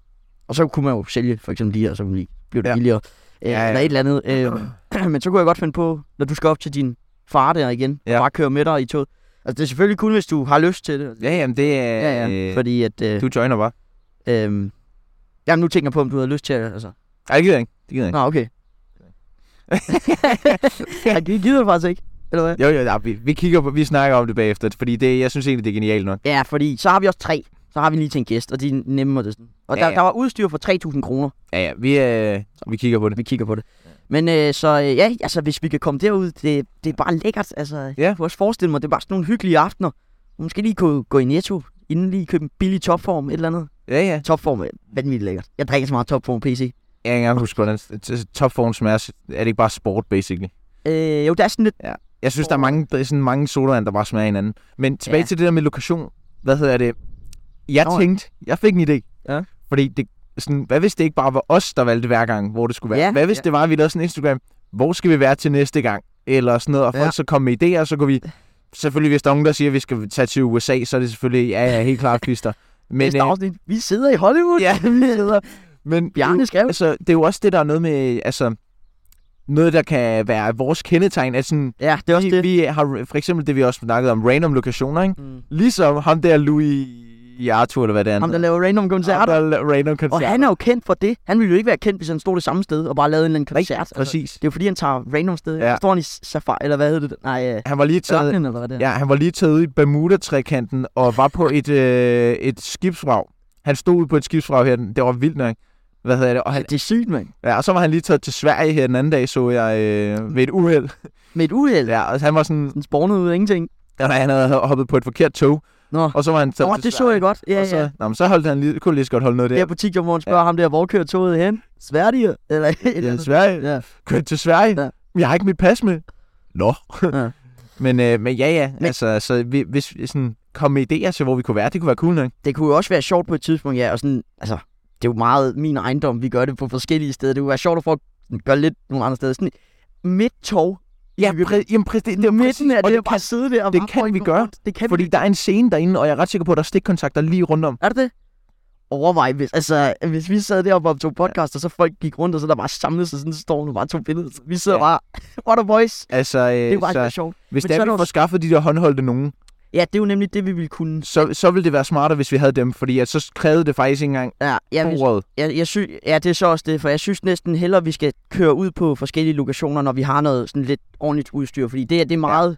Speaker 1: og så kunne man jo sælge for eksempel de her, så lige blev det
Speaker 2: Ja.
Speaker 1: billigere. Øh,
Speaker 2: Ja, ja.
Speaker 1: Eller et eller andet. Øh, men så kunne jeg godt finde på, når du skal op til din far der igen, ja.
Speaker 2: Ja.
Speaker 1: og bare køre med dig i toget. Altså, det er selvfølgelig kun, hvis du har lyst til det.
Speaker 2: Ja, jamen det er...
Speaker 1: Ja, ja.
Speaker 2: øh,
Speaker 1: Fordi at... Øh,
Speaker 2: Du joiner bare.
Speaker 1: øhm, jamen, nu tænker jeg på, om du har lyst til det. Altså.
Speaker 2: Ej, det gider jeg ikke. Det gider jeg ikke.
Speaker 1: Nå, okay. Jeg gider det faktisk ikke, eller hvad?
Speaker 2: Jo, jo, ja, vi, vi, kigger på, vi snakker om det bagefter, fordi det, jeg synes egentlig, det er genialt nok.
Speaker 1: Ja, fordi så har vi også tre. Så har vi lige til en gæst, og de er nemme og det er sådan. Og
Speaker 2: Ja,
Speaker 1: der,
Speaker 2: ja.
Speaker 1: der var udstyr for 3.000 kroner.
Speaker 2: Ja, ja, vi, øh, vi kigger på det.
Speaker 1: vi kigger på det. Men øh, så øh, ja, altså hvis vi kan komme derud, det, det er bare lækkert. Altså, ja. Jeg kunne også forestille mig, det er bare sådan nogle hyggelige aftener. Måske lige kunne gå i Netto, inden lige købe en billig topform, et eller andet.
Speaker 2: Ja, ja.
Speaker 1: Topform er vanvittigt lækkert. Jeg drikker så meget topform PC.
Speaker 2: Jeg kan ikke engang huske, hvordan topform smager. Er det ikke bare sport, basically?
Speaker 1: Øh, jo, det er sådan lidt...
Speaker 2: Jeg synes, der er mange, der er sådan mange sodavand, der bare smager af hinanden. Men tilbage
Speaker 1: Ja.
Speaker 2: ja. til det der med lokation. Hvad hedder det? Jeg
Speaker 1: Nå, ja.
Speaker 2: Nå, tænkte, jeg fik en idé.
Speaker 1: Ja.
Speaker 2: Fordi det, sådan, hvad hvis det ikke bare var os, der valgte hver gang, hvor det skulle være?
Speaker 1: Ja,
Speaker 2: Hvad hvis
Speaker 1: ja.
Speaker 2: det var, at vi lavede sådan en Instagram? Hvor skal vi være til næste gang? Eller sådan noget. Og folk
Speaker 1: Ja.
Speaker 2: ja. så kom med idéer, og så kunne vi... Selvfølgelig, hvis der er nogen, der siger, at vi skal tage til USA, så er det selvfølgelig, ja, ja, helt klart, fister. Men,
Speaker 1: Men,
Speaker 2: øh,
Speaker 1: afsnit. Vi sidder i Hollywood.
Speaker 2: Ja.
Speaker 1: vi sidder...
Speaker 2: men
Speaker 1: Bjarne skrev.
Speaker 2: altså, det er jo også det, der er noget med, altså, noget, der kan være vores kendetegn, at sådan,
Speaker 1: Ja, det er også
Speaker 2: vi,
Speaker 1: det.
Speaker 2: vi har for eksempel det, vi også snakkede om, random lokationer, ikke?
Speaker 1: Mm.
Speaker 2: Ligesom ham der Louis Arthur, eller hvad det er.
Speaker 1: Ham, der laver random
Speaker 2: Ham,
Speaker 1: koncerter.
Speaker 2: der laver random koncerter.
Speaker 1: Og han er jo kendt for det. Han ville jo ikke være kendt, hvis han stod det samme sted og bare lavede en eller anden
Speaker 2: Nej,
Speaker 1: koncert. Altså,
Speaker 2: præcis.
Speaker 1: det er jo fordi, han tager random sted.
Speaker 2: Ja.
Speaker 1: Ja. Står han i Safari, eller hvad hedder det? Nej, øh,
Speaker 2: Han var lige taget,
Speaker 1: Ørkenen, eller hvad det er.
Speaker 2: ja, han var lige taget ud i Bermuda-trekanten og var på et, øh, et skibsvrag. Han stod ude på et skibsvrag her. Det var vildt nok. Hvad hedder det? Og, han,
Speaker 1: Det er sygt, mand.
Speaker 2: ja, og så var han lige taget til Sverige her den anden dag, så jeg øh, ved et uheld.
Speaker 1: Med et uheld. Ja.
Speaker 2: Ja, og han var sådan,
Speaker 1: Den spornede ud af ingenting.
Speaker 2: eller han havde hoppet på et forkert tog,
Speaker 1: Nå,
Speaker 2: og så var han taget
Speaker 1: Nå
Speaker 2: til
Speaker 1: det så
Speaker 2: Sverige.
Speaker 1: jeg godt. Ja,
Speaker 2: Og så,
Speaker 1: ja.
Speaker 2: nå, men så holdt han lige, kunne lige så godt holde noget der.
Speaker 1: Der på TikTok, hvor han spørger ja. ham der, hvor kører toget hen? Sverige? Eller et eller
Speaker 2: Ja,
Speaker 1: andet.
Speaker 2: Sverige.
Speaker 1: Ja.
Speaker 2: kørte til Sverige.
Speaker 1: Ja.
Speaker 2: Ja. Jeg har ikke mit pas med. Nå.
Speaker 1: Ja.
Speaker 2: Ja. men, øh, men ja, ja.
Speaker 1: Men-
Speaker 2: Men... Altså, så vi, hvis vi sådan kom med idéer til, hvor vi kunne være, det kunne være cool nok.
Speaker 1: Det kunne jo også være sjovt på et tidspunkt, ja. Og sådan, altså, det er jo meget min ejendom, vi gør det på forskellige steder. Det kunne være sjovt at få at gøre lidt nogle andre steder. Sådan midt tog.
Speaker 2: Ja, præ- jamen, præ- det, det er
Speaker 1: Midten af
Speaker 2: og
Speaker 1: det,
Speaker 2: det,
Speaker 1: det bare sidde der. og
Speaker 2: det
Speaker 1: bare
Speaker 2: kan
Speaker 1: folk
Speaker 2: vi
Speaker 1: går
Speaker 2: gøre,
Speaker 1: rundt. Det kan
Speaker 2: fordi
Speaker 1: vi.
Speaker 2: der er en scene derinde, og jeg er ret sikker på, at der er stikkontakter lige rundt om.
Speaker 1: Er det det? Overvej, hvis, altså, hvis vi sad deroppe og tog podcast, og så folk gik rundt, og så der bare samlede sig sådan en storm, og bare tog billeder. Vi sidder ja.
Speaker 2: Ja.
Speaker 1: bare, what a voice.
Speaker 2: Altså, øh,
Speaker 1: Det er jo bare
Speaker 2: så,
Speaker 1: så... sjovt.
Speaker 2: hvis
Speaker 1: men så
Speaker 2: det er,
Speaker 1: er
Speaker 2: vi
Speaker 1: der jo-
Speaker 2: får skaffet de der håndholdte nogen,
Speaker 1: Ja, det er jo nemlig det, vi ville kunne.
Speaker 2: så, så ville det være smartere, hvis vi havde dem, fordi at så krævede det faktisk ikke engang
Speaker 1: Ja, ja, hvis,
Speaker 2: bordet.
Speaker 1: jeg, jeg sy- ja, det er så også det, for jeg synes næsten hellere, at vi skal køre ud på forskellige lokationer, når vi har noget sådan lidt ordentligt udstyr, fordi det, her, det er meget...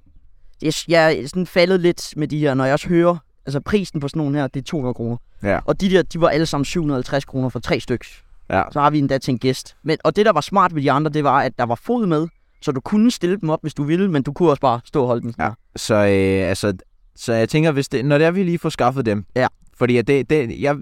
Speaker 1: Ja. Jeg, jeg er sådan faldet lidt med de her, når jeg også hører, altså prisen på sådan nogle her, det er 200 kroner.
Speaker 2: Ja.
Speaker 1: Og de der, de var alle sammen 750 kroner for tre styks.
Speaker 2: Ja.
Speaker 1: Så har vi endda til en gæst. Men, og det, der var smart ved de andre, det var, at der var fod med, så du kunne stille dem op, hvis du ville, men du kunne også bare stå og holde dem.
Speaker 2: Ja. Så, øh, altså, så jeg tænker, hvis det, når det er, vi lige får skaffet dem.
Speaker 1: Ja.
Speaker 2: Fordi at det, det, jeg,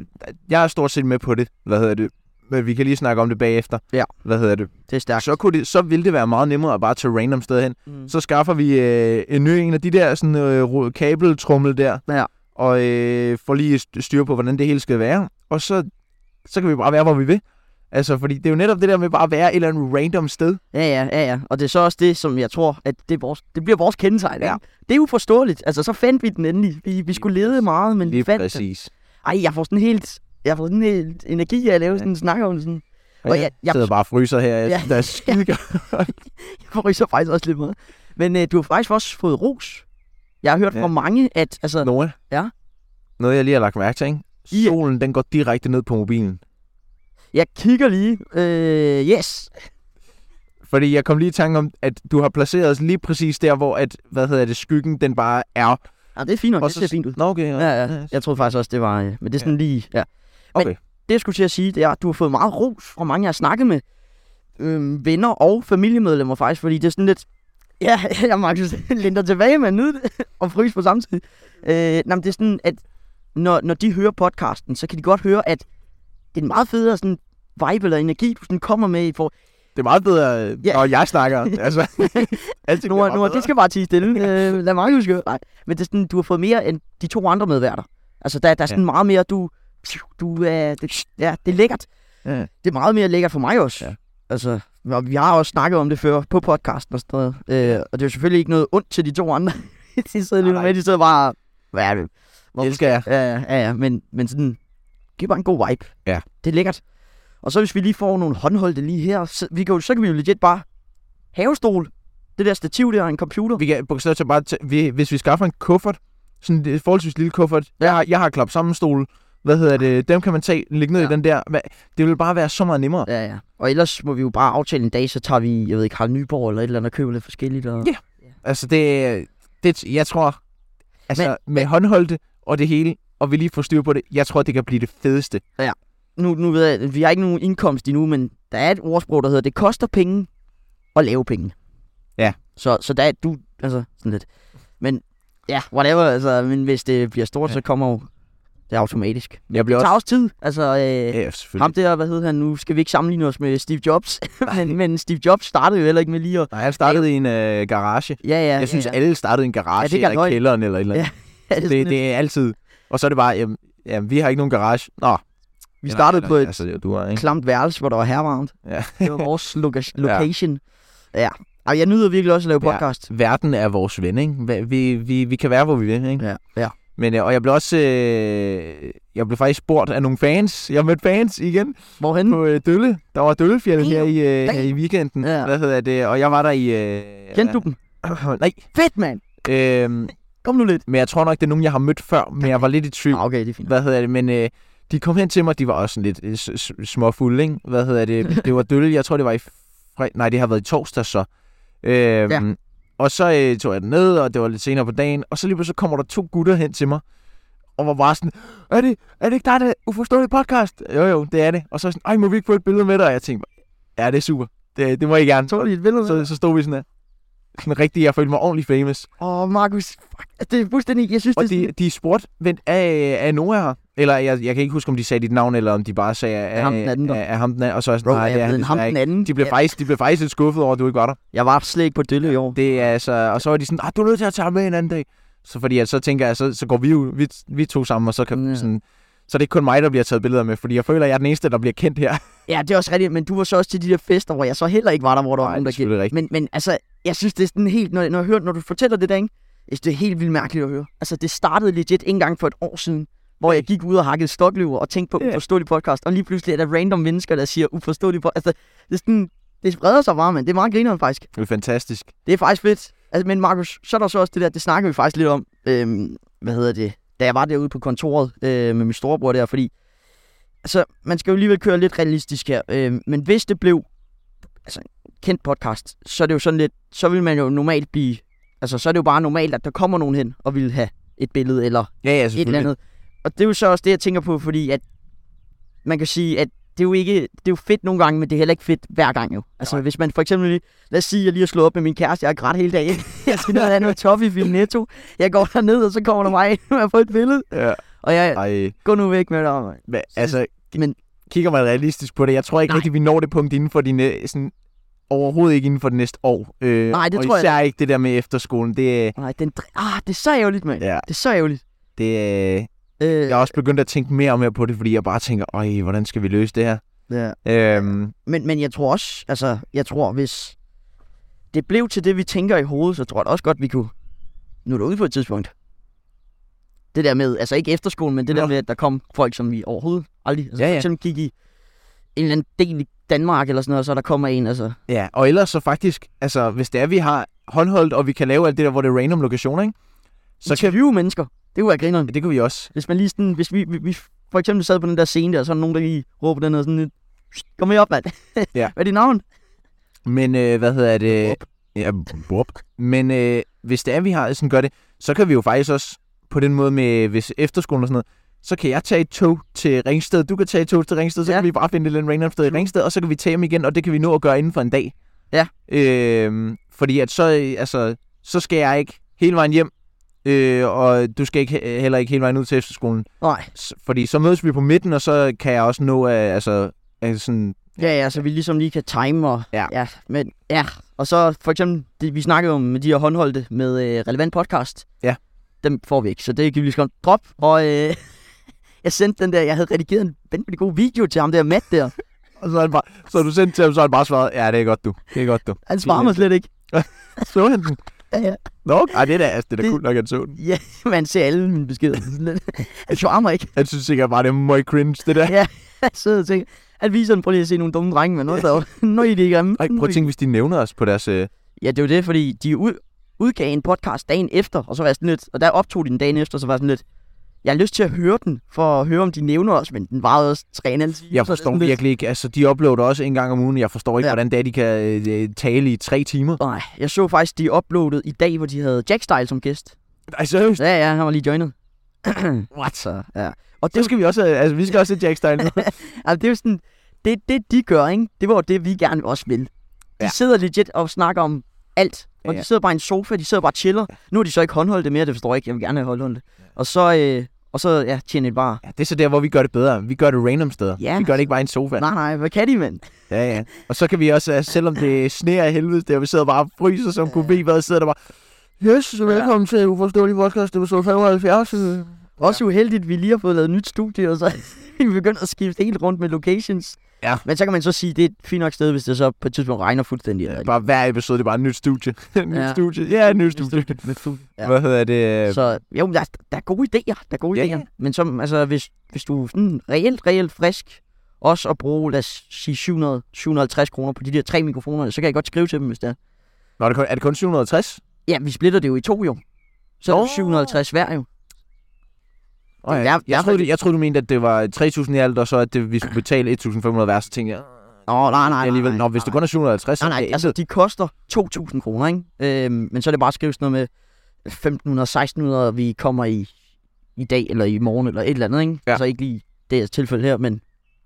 Speaker 2: jeg er stort set med på det. Hvad hedder det? Men vi kan lige snakke om det bagefter.
Speaker 1: Ja.
Speaker 2: Hvad hedder det?
Speaker 1: Det er stærkt.
Speaker 2: Så, kunne det, så ville det være meget nemmere at bare tage random sted hen.
Speaker 1: Mm.
Speaker 2: Så skaffer vi øh, en ny en af de der sådan, øh, ro- kabeltrummel der.
Speaker 1: Ja.
Speaker 2: Og øh, får lige st- styr på, hvordan det hele skal være. Og så, så kan vi bare være, hvor vi vil. Altså, fordi det er jo netop det der med bare at være et eller andet random sted.
Speaker 1: Ja, ja, ja, ja. Og det er så også det, som jeg tror, at det, er vores, det bliver vores kendetegn. Ja.
Speaker 2: Ja.
Speaker 1: Ikke? Det er uforståeligt. Altså, så fandt vi den endelig. Vi, vi skulle lede meget, men vi fandt den.
Speaker 2: præcis.
Speaker 1: Ej, jeg får sådan helt... Jeg får sådan helt energi af at lave
Speaker 2: Ja.
Speaker 1: sådan en snak om det, sådan.
Speaker 2: Og jeg, jeg sidder bare og fryser her.
Speaker 1: Ja.
Speaker 2: Ja. Der er skide
Speaker 1: Jeg ryser faktisk også lidt med. Men øh, du har faktisk også fået ros. Jeg har hørt ja.
Speaker 2: Ja.
Speaker 1: fra mange, at... Altså,
Speaker 2: Noah?
Speaker 1: Ja?
Speaker 2: Noget, jeg lige har lagt mærke til, ikke?
Speaker 1: Ja.
Speaker 2: Solen, den går direkte ned på mobilen.
Speaker 1: jeg kigger lige. Øh, yes.
Speaker 2: Fordi jeg kom lige i tanke om, at du har placeret os lige præcis der, hvor at, hvad hedder det, skyggen, den bare er.
Speaker 1: Ja, det er fint nok.
Speaker 2: Og
Speaker 1: Det ser fint ud.
Speaker 2: Nå, okay. Ja.
Speaker 1: Ja, ja. Jeg troede faktisk også, det var... Øh, men det er sådan ja. lige... Ja. Men
Speaker 2: Okay.
Speaker 1: det, jeg skulle til at sige, det er, at du har fået meget ros fra mange, jeg har snakket med. Øhm, venner og familiemedlemmer faktisk, fordi det er sådan lidt... Ja, jeg Markus linder tilbage med at nyde det, og fryse på samme tid. Øh, nej, men det er sådan, at når, når de hører podcasten, så kan de godt høre, at det er en meget federe sådan vibe eller energi, du sådan kommer med i for...
Speaker 2: Det er meget bedre, øh,
Speaker 1: Ja.
Speaker 2: når jeg snakker. altså, altid
Speaker 1: Nu er, nu er, det skal bare tige stille. øh, lad mig huske. Nej, men det er sådan, du har fået mere end de to andre medværter. Altså, der, der er sådan ja. meget mere, du... Du er... Det, ja, det er lækkert.
Speaker 2: Ja.
Speaker 1: Det er meget mere lækkert for mig også.
Speaker 2: Ja.
Speaker 1: Ja. Altså, og vi har også snakket om det før på podcasten og sådan noget. Øh, og det er jo selvfølgelig ikke noget ondt til de to andre. de sidder lige nu
Speaker 2: Nej,
Speaker 1: med, de sidder bare... Hvad er det? Hvor-
Speaker 2: elsker jeg.
Speaker 1: Ja, ja, ja, ja, men, men sådan, giv bare en god vibe.
Speaker 2: Ja.
Speaker 1: Det er lækkert. Og så hvis vi lige får nogle håndholdte lige her, så, vi kan jo, så kan vi jo legit bare havestol, det der stativ der og en computer.
Speaker 2: Vi kan bogstaveligt talt bare tage, vi, hvis vi skaffer en kuffert, sådan en forholdsvis lille kuffert. Jeg har, jeg har klap sammenstol. Hvad hedder det? Dem kan man tage, lægge ned ja.
Speaker 1: Ja.
Speaker 2: i den der. Hvad- Det vil bare være så meget nemmere.
Speaker 1: Ja, ja. Og ellers må vi jo bare aftale en dag, så tager vi, jeg ved ikke, Harald Nyborg eller et eller andet og køber lidt forskelligt. Og...
Speaker 2: Ja. Altså, det, det jeg tror, altså men, med håndholdte og det hele, og vi lige får styr på det, jeg tror, det kan blive det fedeste.
Speaker 1: Nu, nu ved jeg, at vi har ikke nogen indkomst endnu, men der er et ordsprog, der hedder, det koster penge at lave penge.
Speaker 2: Ja.
Speaker 1: Så, så der er du, altså sådan lidt. Men ja, whatever, altså, men hvis det bliver stort, ja.
Speaker 2: Ja.
Speaker 1: så kommer jo det automatisk.
Speaker 2: Jeg bliver
Speaker 1: Det
Speaker 2: også...
Speaker 1: tager også tid. Altså, øh,
Speaker 2: Ja, selvfølgelig.
Speaker 1: ham der, hvad hed han nu? Skal vi ikke sammenligne os med Steve Jobs? men, men Steve Jobs startede jo heller ikke med lige at...
Speaker 2: Nej, han startede i en øh, garage.
Speaker 1: Ja, ja,
Speaker 2: Jeg synes,
Speaker 1: ja, ja.
Speaker 2: alle startede i en
Speaker 1: Ja,
Speaker 2: garage
Speaker 1: det kan
Speaker 2: ja, eller i
Speaker 1: løgn.
Speaker 2: kælderen eller et eller andet.
Speaker 1: Ja, Ja, det, er
Speaker 2: Ja,
Speaker 1: sådan
Speaker 2: det,
Speaker 1: lidt-
Speaker 2: det er altid. Og så er det bare, jamen, jamen vi har ikke nogen garage. Nå,
Speaker 1: vi startede på et
Speaker 2: Altså, det er du har, ikke?
Speaker 1: klamt værelse, hvor der var hervarmt.
Speaker 2: Ja.
Speaker 1: Det var vores loca- location. Ja. ja. Og jeg nyder virkelig også at lave
Speaker 2: Ja.
Speaker 1: podcast.
Speaker 2: Verden er vores ven, ikke? Hva- Vi, vi, vi kan være, hvor vi vil, ikke?
Speaker 1: Ja, ja.
Speaker 2: Men, øh, og jeg blev også, øh, jeg blev faktisk spurgt af nogle fans. Jeg mødte fans igen
Speaker 1: Hvorhen?
Speaker 2: på øh, Dølle. Der var Døllefjældet her i, øh,
Speaker 1: Damn.
Speaker 2: her i weekenden.
Speaker 1: Ja.
Speaker 2: Hvad hedder det? Og jeg var der i... Øh,
Speaker 1: Kendte du dem?
Speaker 2: Nej.
Speaker 1: Fedt, mand!
Speaker 2: Øh,
Speaker 1: Kom nu lidt.
Speaker 2: men jeg tror nok, det er nogen, jeg har mødt før, men jeg var lidt i tvivl.
Speaker 1: Ah, okay, det er fint.
Speaker 2: Hvad hedder det? Men øh, de kom hen til mig, de var også sådan lidt øh, s- s- småfulde, ikke? Hvad hedder det? Det var Dølle, jeg tror, det var i fred... Nej, det har været i torsdag så. Øh, ja. Og så øh, tog jeg den ned, og det var lidt senere på dagen, og så lige pludselig så kommer der to gutter hen til mig, og var bare sådan, er det, er det ikke dig, der er uforståelig podcast? Jo, jo, det er det. Og så sådan, ej, må vi ikke få et billede med dig? Og jeg tænkte, bare, ja, det er super. Det, det må I gerne.
Speaker 1: Tog de et billede?
Speaker 2: Så, så stod vi sådan her. Sådan rigtig, jeg følte mig ordentligt famous.
Speaker 1: Åh, oh, Markus. Fuck. Det er fuldstændig... Jeg synes, det er
Speaker 2: Og
Speaker 1: sådan...
Speaker 2: de, de spurgte, vent, er, er Noah her? Eller jeg, jeg kan ikke huske, om de sagde dit navn, eller om de bare sagde, er,
Speaker 1: ham den anden, der?"
Speaker 2: er, er ham den anden. Og så er jeg sådan,
Speaker 1: Bro,
Speaker 2: nej,
Speaker 1: jeg
Speaker 2: det er
Speaker 1: er blevet
Speaker 2: han
Speaker 1: en ham
Speaker 2: desværre
Speaker 1: den
Speaker 2: ikke."
Speaker 1: anden.
Speaker 2: De blev, faktisk, de blev faktisk lidt skuffet over, at du ikke var der.
Speaker 1: Jeg var slet ikke på Dølle i år.
Speaker 2: Det er altså, og så var de sådan, ah, du er nødt til at tage ham med en anden dag. Så fordi jeg så tænker, jeg, så, så går vi jo, vi, vi to sammen, og så kan
Speaker 1: Ja.
Speaker 2: sådan, så er det ikke kun mig, der bliver taget billeder med, fordi jeg føler, at jeg er den eneste, der bliver kendt her.
Speaker 1: Ja, det er også rigtigt, men du var så også til de der fester, hvor jeg så heller ikke var der, hvor der var
Speaker 2: Nej,
Speaker 1: nogen,
Speaker 2: det
Speaker 1: der
Speaker 2: er
Speaker 1: gik.
Speaker 2: selvfølgelig rigtigt.
Speaker 1: Men, men altså, jeg synes, det er sådan helt, når, når, jeg hører, når du fortæller det der, ikke? Jeg synes, det er helt vildt mærkeligt at høre. Altså, det startede legit ikke engang for et år siden, hvor jeg gik ud og hakkede stokløver og tænkte på
Speaker 2: Ja.
Speaker 1: yeah. uforståelig podcast, og lige pludselig er der random mennesker, der siger uforståelig podcast. Altså, det er sådan, det spreder sig bare, men det er meget grineren faktisk.
Speaker 2: Det er fantastisk.
Speaker 1: Det er faktisk fedt. Altså, men Markus, så er der så også det der, det snakker vi faktisk lidt om, øhm, hvad hedder det, da jeg var derude på kontoret øh, med min storebror der, fordi altså, man skal jo alligevel køre lidt realistisk her, øh, men hvis det blev altså, en kendt podcast, så er det jo sådan lidt, så vil man jo normalt blive, altså så er det jo bare normalt, at der kommer nogen hen og vil have et billede eller
Speaker 2: Ja, ja,
Speaker 1: et eller
Speaker 2: selvfølgelig.
Speaker 1: andet. Og det er jo så også det, jeg tænker på, fordi at man kan sige, at det er jo ikke, det er jo fedt nogle gange, men det er heller ikke fedt hver gang jo. Altså Nej. hvis man for eksempel, lige- lad os sige, at jeg lige har slået op med min kæreste, jeg har grædt hele dagen. jeg skal ned og have noget toffee i Netto. Jeg går derned, og så kommer der mig ind, og jeg får et billede.
Speaker 2: Ja.
Speaker 1: Og jeg,
Speaker 2: Ej,
Speaker 1: går nu væk med dig, mand.
Speaker 2: hva- altså,
Speaker 1: Men-
Speaker 2: men, kigger man realistisk på det, jeg tror ikke
Speaker 1: Nej.
Speaker 2: rigtig, vi når det punkt inden for de næ- sådan, overhovedet ikke inden for det næste år. Øh,
Speaker 1: Nej, det
Speaker 2: og
Speaker 1: tror jeg
Speaker 2: især jeg ikke det der med efterskolen. Det, øh,
Speaker 1: Nej, den, dr- ah, det er så ærgerligt, mand.
Speaker 2: ja,
Speaker 1: Det er så ærgerligt.
Speaker 2: det, øh,
Speaker 1: Øh,
Speaker 2: jeg er også begyndt at tænke mere og mere på det, fordi jeg bare tænker, øj, hvordan skal vi løse det her?
Speaker 1: ja.
Speaker 2: Øhm,
Speaker 1: Men, men jeg tror også, altså, jeg tror, hvis det blev til det, vi tænker i hovedet, så tror jeg da også godt, vi kunne nå det ud på et tidspunkt. Det der med, altså ikke efterskolen, men det
Speaker 2: Nå.
Speaker 1: der med, at der kom folk, som vi overhovedet aldrig, altså
Speaker 2: Ja,
Speaker 1: ja, ja.
Speaker 2: ja.
Speaker 1: for eksempel gik i en eller anden del i Danmark eller sådan noget, og så der kommer en, altså.
Speaker 2: ja, og ellers så faktisk, altså, hvis det er, vi har håndholdt, og vi kan lave alt det der, hvor det er random lokationer, ikke? Så kan vi,
Speaker 1: Interview mennesker, det kunne være grineren.
Speaker 2: det kunne vi også.
Speaker 1: Hvis man lige sådan, hvis vi, vi, vi for eksempel sad på den der scene der, så er der nogen, der lige råber den og sådan lidt, kom med op, mand.
Speaker 2: Ja.
Speaker 1: Hvad er dit navn?
Speaker 2: Men øh, hvad hedder det?
Speaker 1: Bup.
Speaker 2: Ja, bup. Men øh, hvis det er, vi har sådan gør det, så kan vi jo faktisk også på den måde med hvis efterskolen og sådan noget, så kan jeg tage et tog til Ringsted, du kan tage et tog til Ringsted, så ja.
Speaker 1: Ja.
Speaker 2: kan vi bare finde et eller andet random sted i Ringsted, og så kan vi tage dem igen, og det kan vi nå at gøre inden for en dag.
Speaker 1: Ja.
Speaker 2: Øh, fordi at så, øh, altså, så skal jeg ikke hele vejen hjem, øh, og du skal ikke, he- heller ikke hele vejen ud til efterskolen.
Speaker 1: Nej,
Speaker 2: S- Fordi så mødes vi på midten, og så kan jeg også nå at altså, øh, sådan,
Speaker 1: Ja, ja, så vi ligesom lige kan time og...
Speaker 2: Ja.
Speaker 1: ja men, ja. Og så for eksempel, det, vi snakkede om med de her håndholdte med øh, relevant podcast.
Speaker 2: Ja.
Speaker 1: Dem får vi ikke, så det kan vi lige så godt drop. Og øh, jeg sendte den der, jeg havde redigeret en vanvittig god video til ham der, Matt der.
Speaker 2: og så er han bare, så er du sendt til ham, så har han bare svaret, ja, det er godt du, det er godt du.
Speaker 1: Han svarer mig slet ikke.
Speaker 2: Så han den.
Speaker 1: Ja, ja.
Speaker 2: Nå, okay. Ej, det er da, altså, det er da
Speaker 1: Det-
Speaker 2: cool nok, at han så den.
Speaker 1: Ja, man ser alle mine beskeder. Sådan lidt. Han svarer mig ikke.
Speaker 2: Han synes sikkert bare, det er møg cringe, det der.
Speaker 1: Jeg sidder og tænker, han viser den, prøv lige at se nogle dumme drenge, men noget der Nå, I er de ikke grimme.
Speaker 2: Ej, prøv at tænke, hvis de nævner os på deres... Øh,
Speaker 1: Ja, det er jo det, fordi de ud, udgav en podcast dagen efter, og så var jeg sådan lidt, og der optog de den dagen efter, så var jeg sådan lidt, jeg har lyst til at høre den, for at høre, om de nævner os, men den varede også 3,5 timer. så er
Speaker 2: jeg
Speaker 1: det
Speaker 2: forstår
Speaker 1: sådan lidt-
Speaker 2: virkelig ikke. Altså, de uploader også en gang om ugen. Jeg forstår ikke,
Speaker 1: Ja.
Speaker 2: ja. hvordan det er, de kan øh, øh, tale i tre timer.
Speaker 1: Nej, jeg så faktisk, de uploadede i dag, hvor de havde Jack Style som gæst.
Speaker 2: Ej, seriøst?
Speaker 1: Ja, ja, han var lige joinet.
Speaker 2: What?
Speaker 1: Så, ja. Og det,
Speaker 2: Det skal vi også have. Altså, vi skal også have Jack Stein nu.
Speaker 1: altså, det er jo sådan, det, det de gør, ikke? det var jo det, vi gerne også vil. De
Speaker 2: Ja.
Speaker 1: sidder legit og snakker om alt. Og
Speaker 2: Ja, ja.
Speaker 1: de sidder bare i en sofa, de sidder bare og chiller. Nu har de så ikke håndholdt det mere, det forstår jeg ikke. Jeg vil gerne have håndholdt det. Og så, øh, og så ja, tjener de bare
Speaker 2: Ja, det er så der, hvor vi gør det bedre. Vi gør det random steder.
Speaker 1: Ja.
Speaker 2: Vi gør det ikke bare i en sofa.
Speaker 1: Nej, nej, hvad kan de, mand?
Speaker 2: Ja, ja. Og så kan vi også, øh, selvom det sneer af helvede, der vi sidder bare og fryser som kunne blive, hvad sidder der bare... Yes, velkommen til Uforståelig Podcast, episode 75. øh.
Speaker 1: Også uheldigt, vi lige har fået lavet et nyt studie, og så vi begynder at skifte helt rundt med locations.
Speaker 2: Ja.
Speaker 1: Men så kan man så sige, det er et fint nok sted, hvis det så på et tidspunkt regner fuldstændig.
Speaker 2: Ja,
Speaker 1: eller-
Speaker 2: bare hver episode, det er bare et nyt studie. et nyt
Speaker 1: Ja.
Speaker 2: studie. Ja, et nyt studie.
Speaker 1: Ja.
Speaker 2: Hvad hedder det? øh,
Speaker 1: Så jo, men der, er- der er gode idéer, der er gode
Speaker 2: Ja,
Speaker 1: idéer.
Speaker 2: ja.
Speaker 1: Men som, altså, hvis, hvis du er sådan reelt, reelt frisk, også at bruge, lad os sige, 700, 750 kroner på de der tre mikrofoner, så kan jeg godt skrive til dem, hvis det er.
Speaker 2: Nå, er det kun, er det kun 760?
Speaker 1: Ja, vi splitter det jo i to jo. Så er det
Speaker 2: Nå.
Speaker 1: 750 hver jo.
Speaker 2: Oh, ja.
Speaker 1: Jeg-
Speaker 2: jeg,
Speaker 1: jeg-
Speaker 2: jeg, troede, du- jeg troede, du mente, at det var 3.000 i alt, og så at det, vi skulle betale 1.500 hver, så tænkte jeg,
Speaker 1: Nå, nej, nej,
Speaker 2: alligevel,
Speaker 1: nej,
Speaker 2: nå, hvis
Speaker 1: nej,
Speaker 2: det kun er 750, så
Speaker 1: Nej,
Speaker 2: er
Speaker 1: nej,
Speaker 2: det
Speaker 1: altså
Speaker 2: intet.
Speaker 1: de koster 2.000 kroner, ikke? Øhm, men så er det bare at skrive sådan noget med 1.500-1.600, og vi kommer i, i dag eller i morgen eller et eller andet, ikke?
Speaker 2: Ja.
Speaker 1: Altså ikke lige det her tilfælde her, men...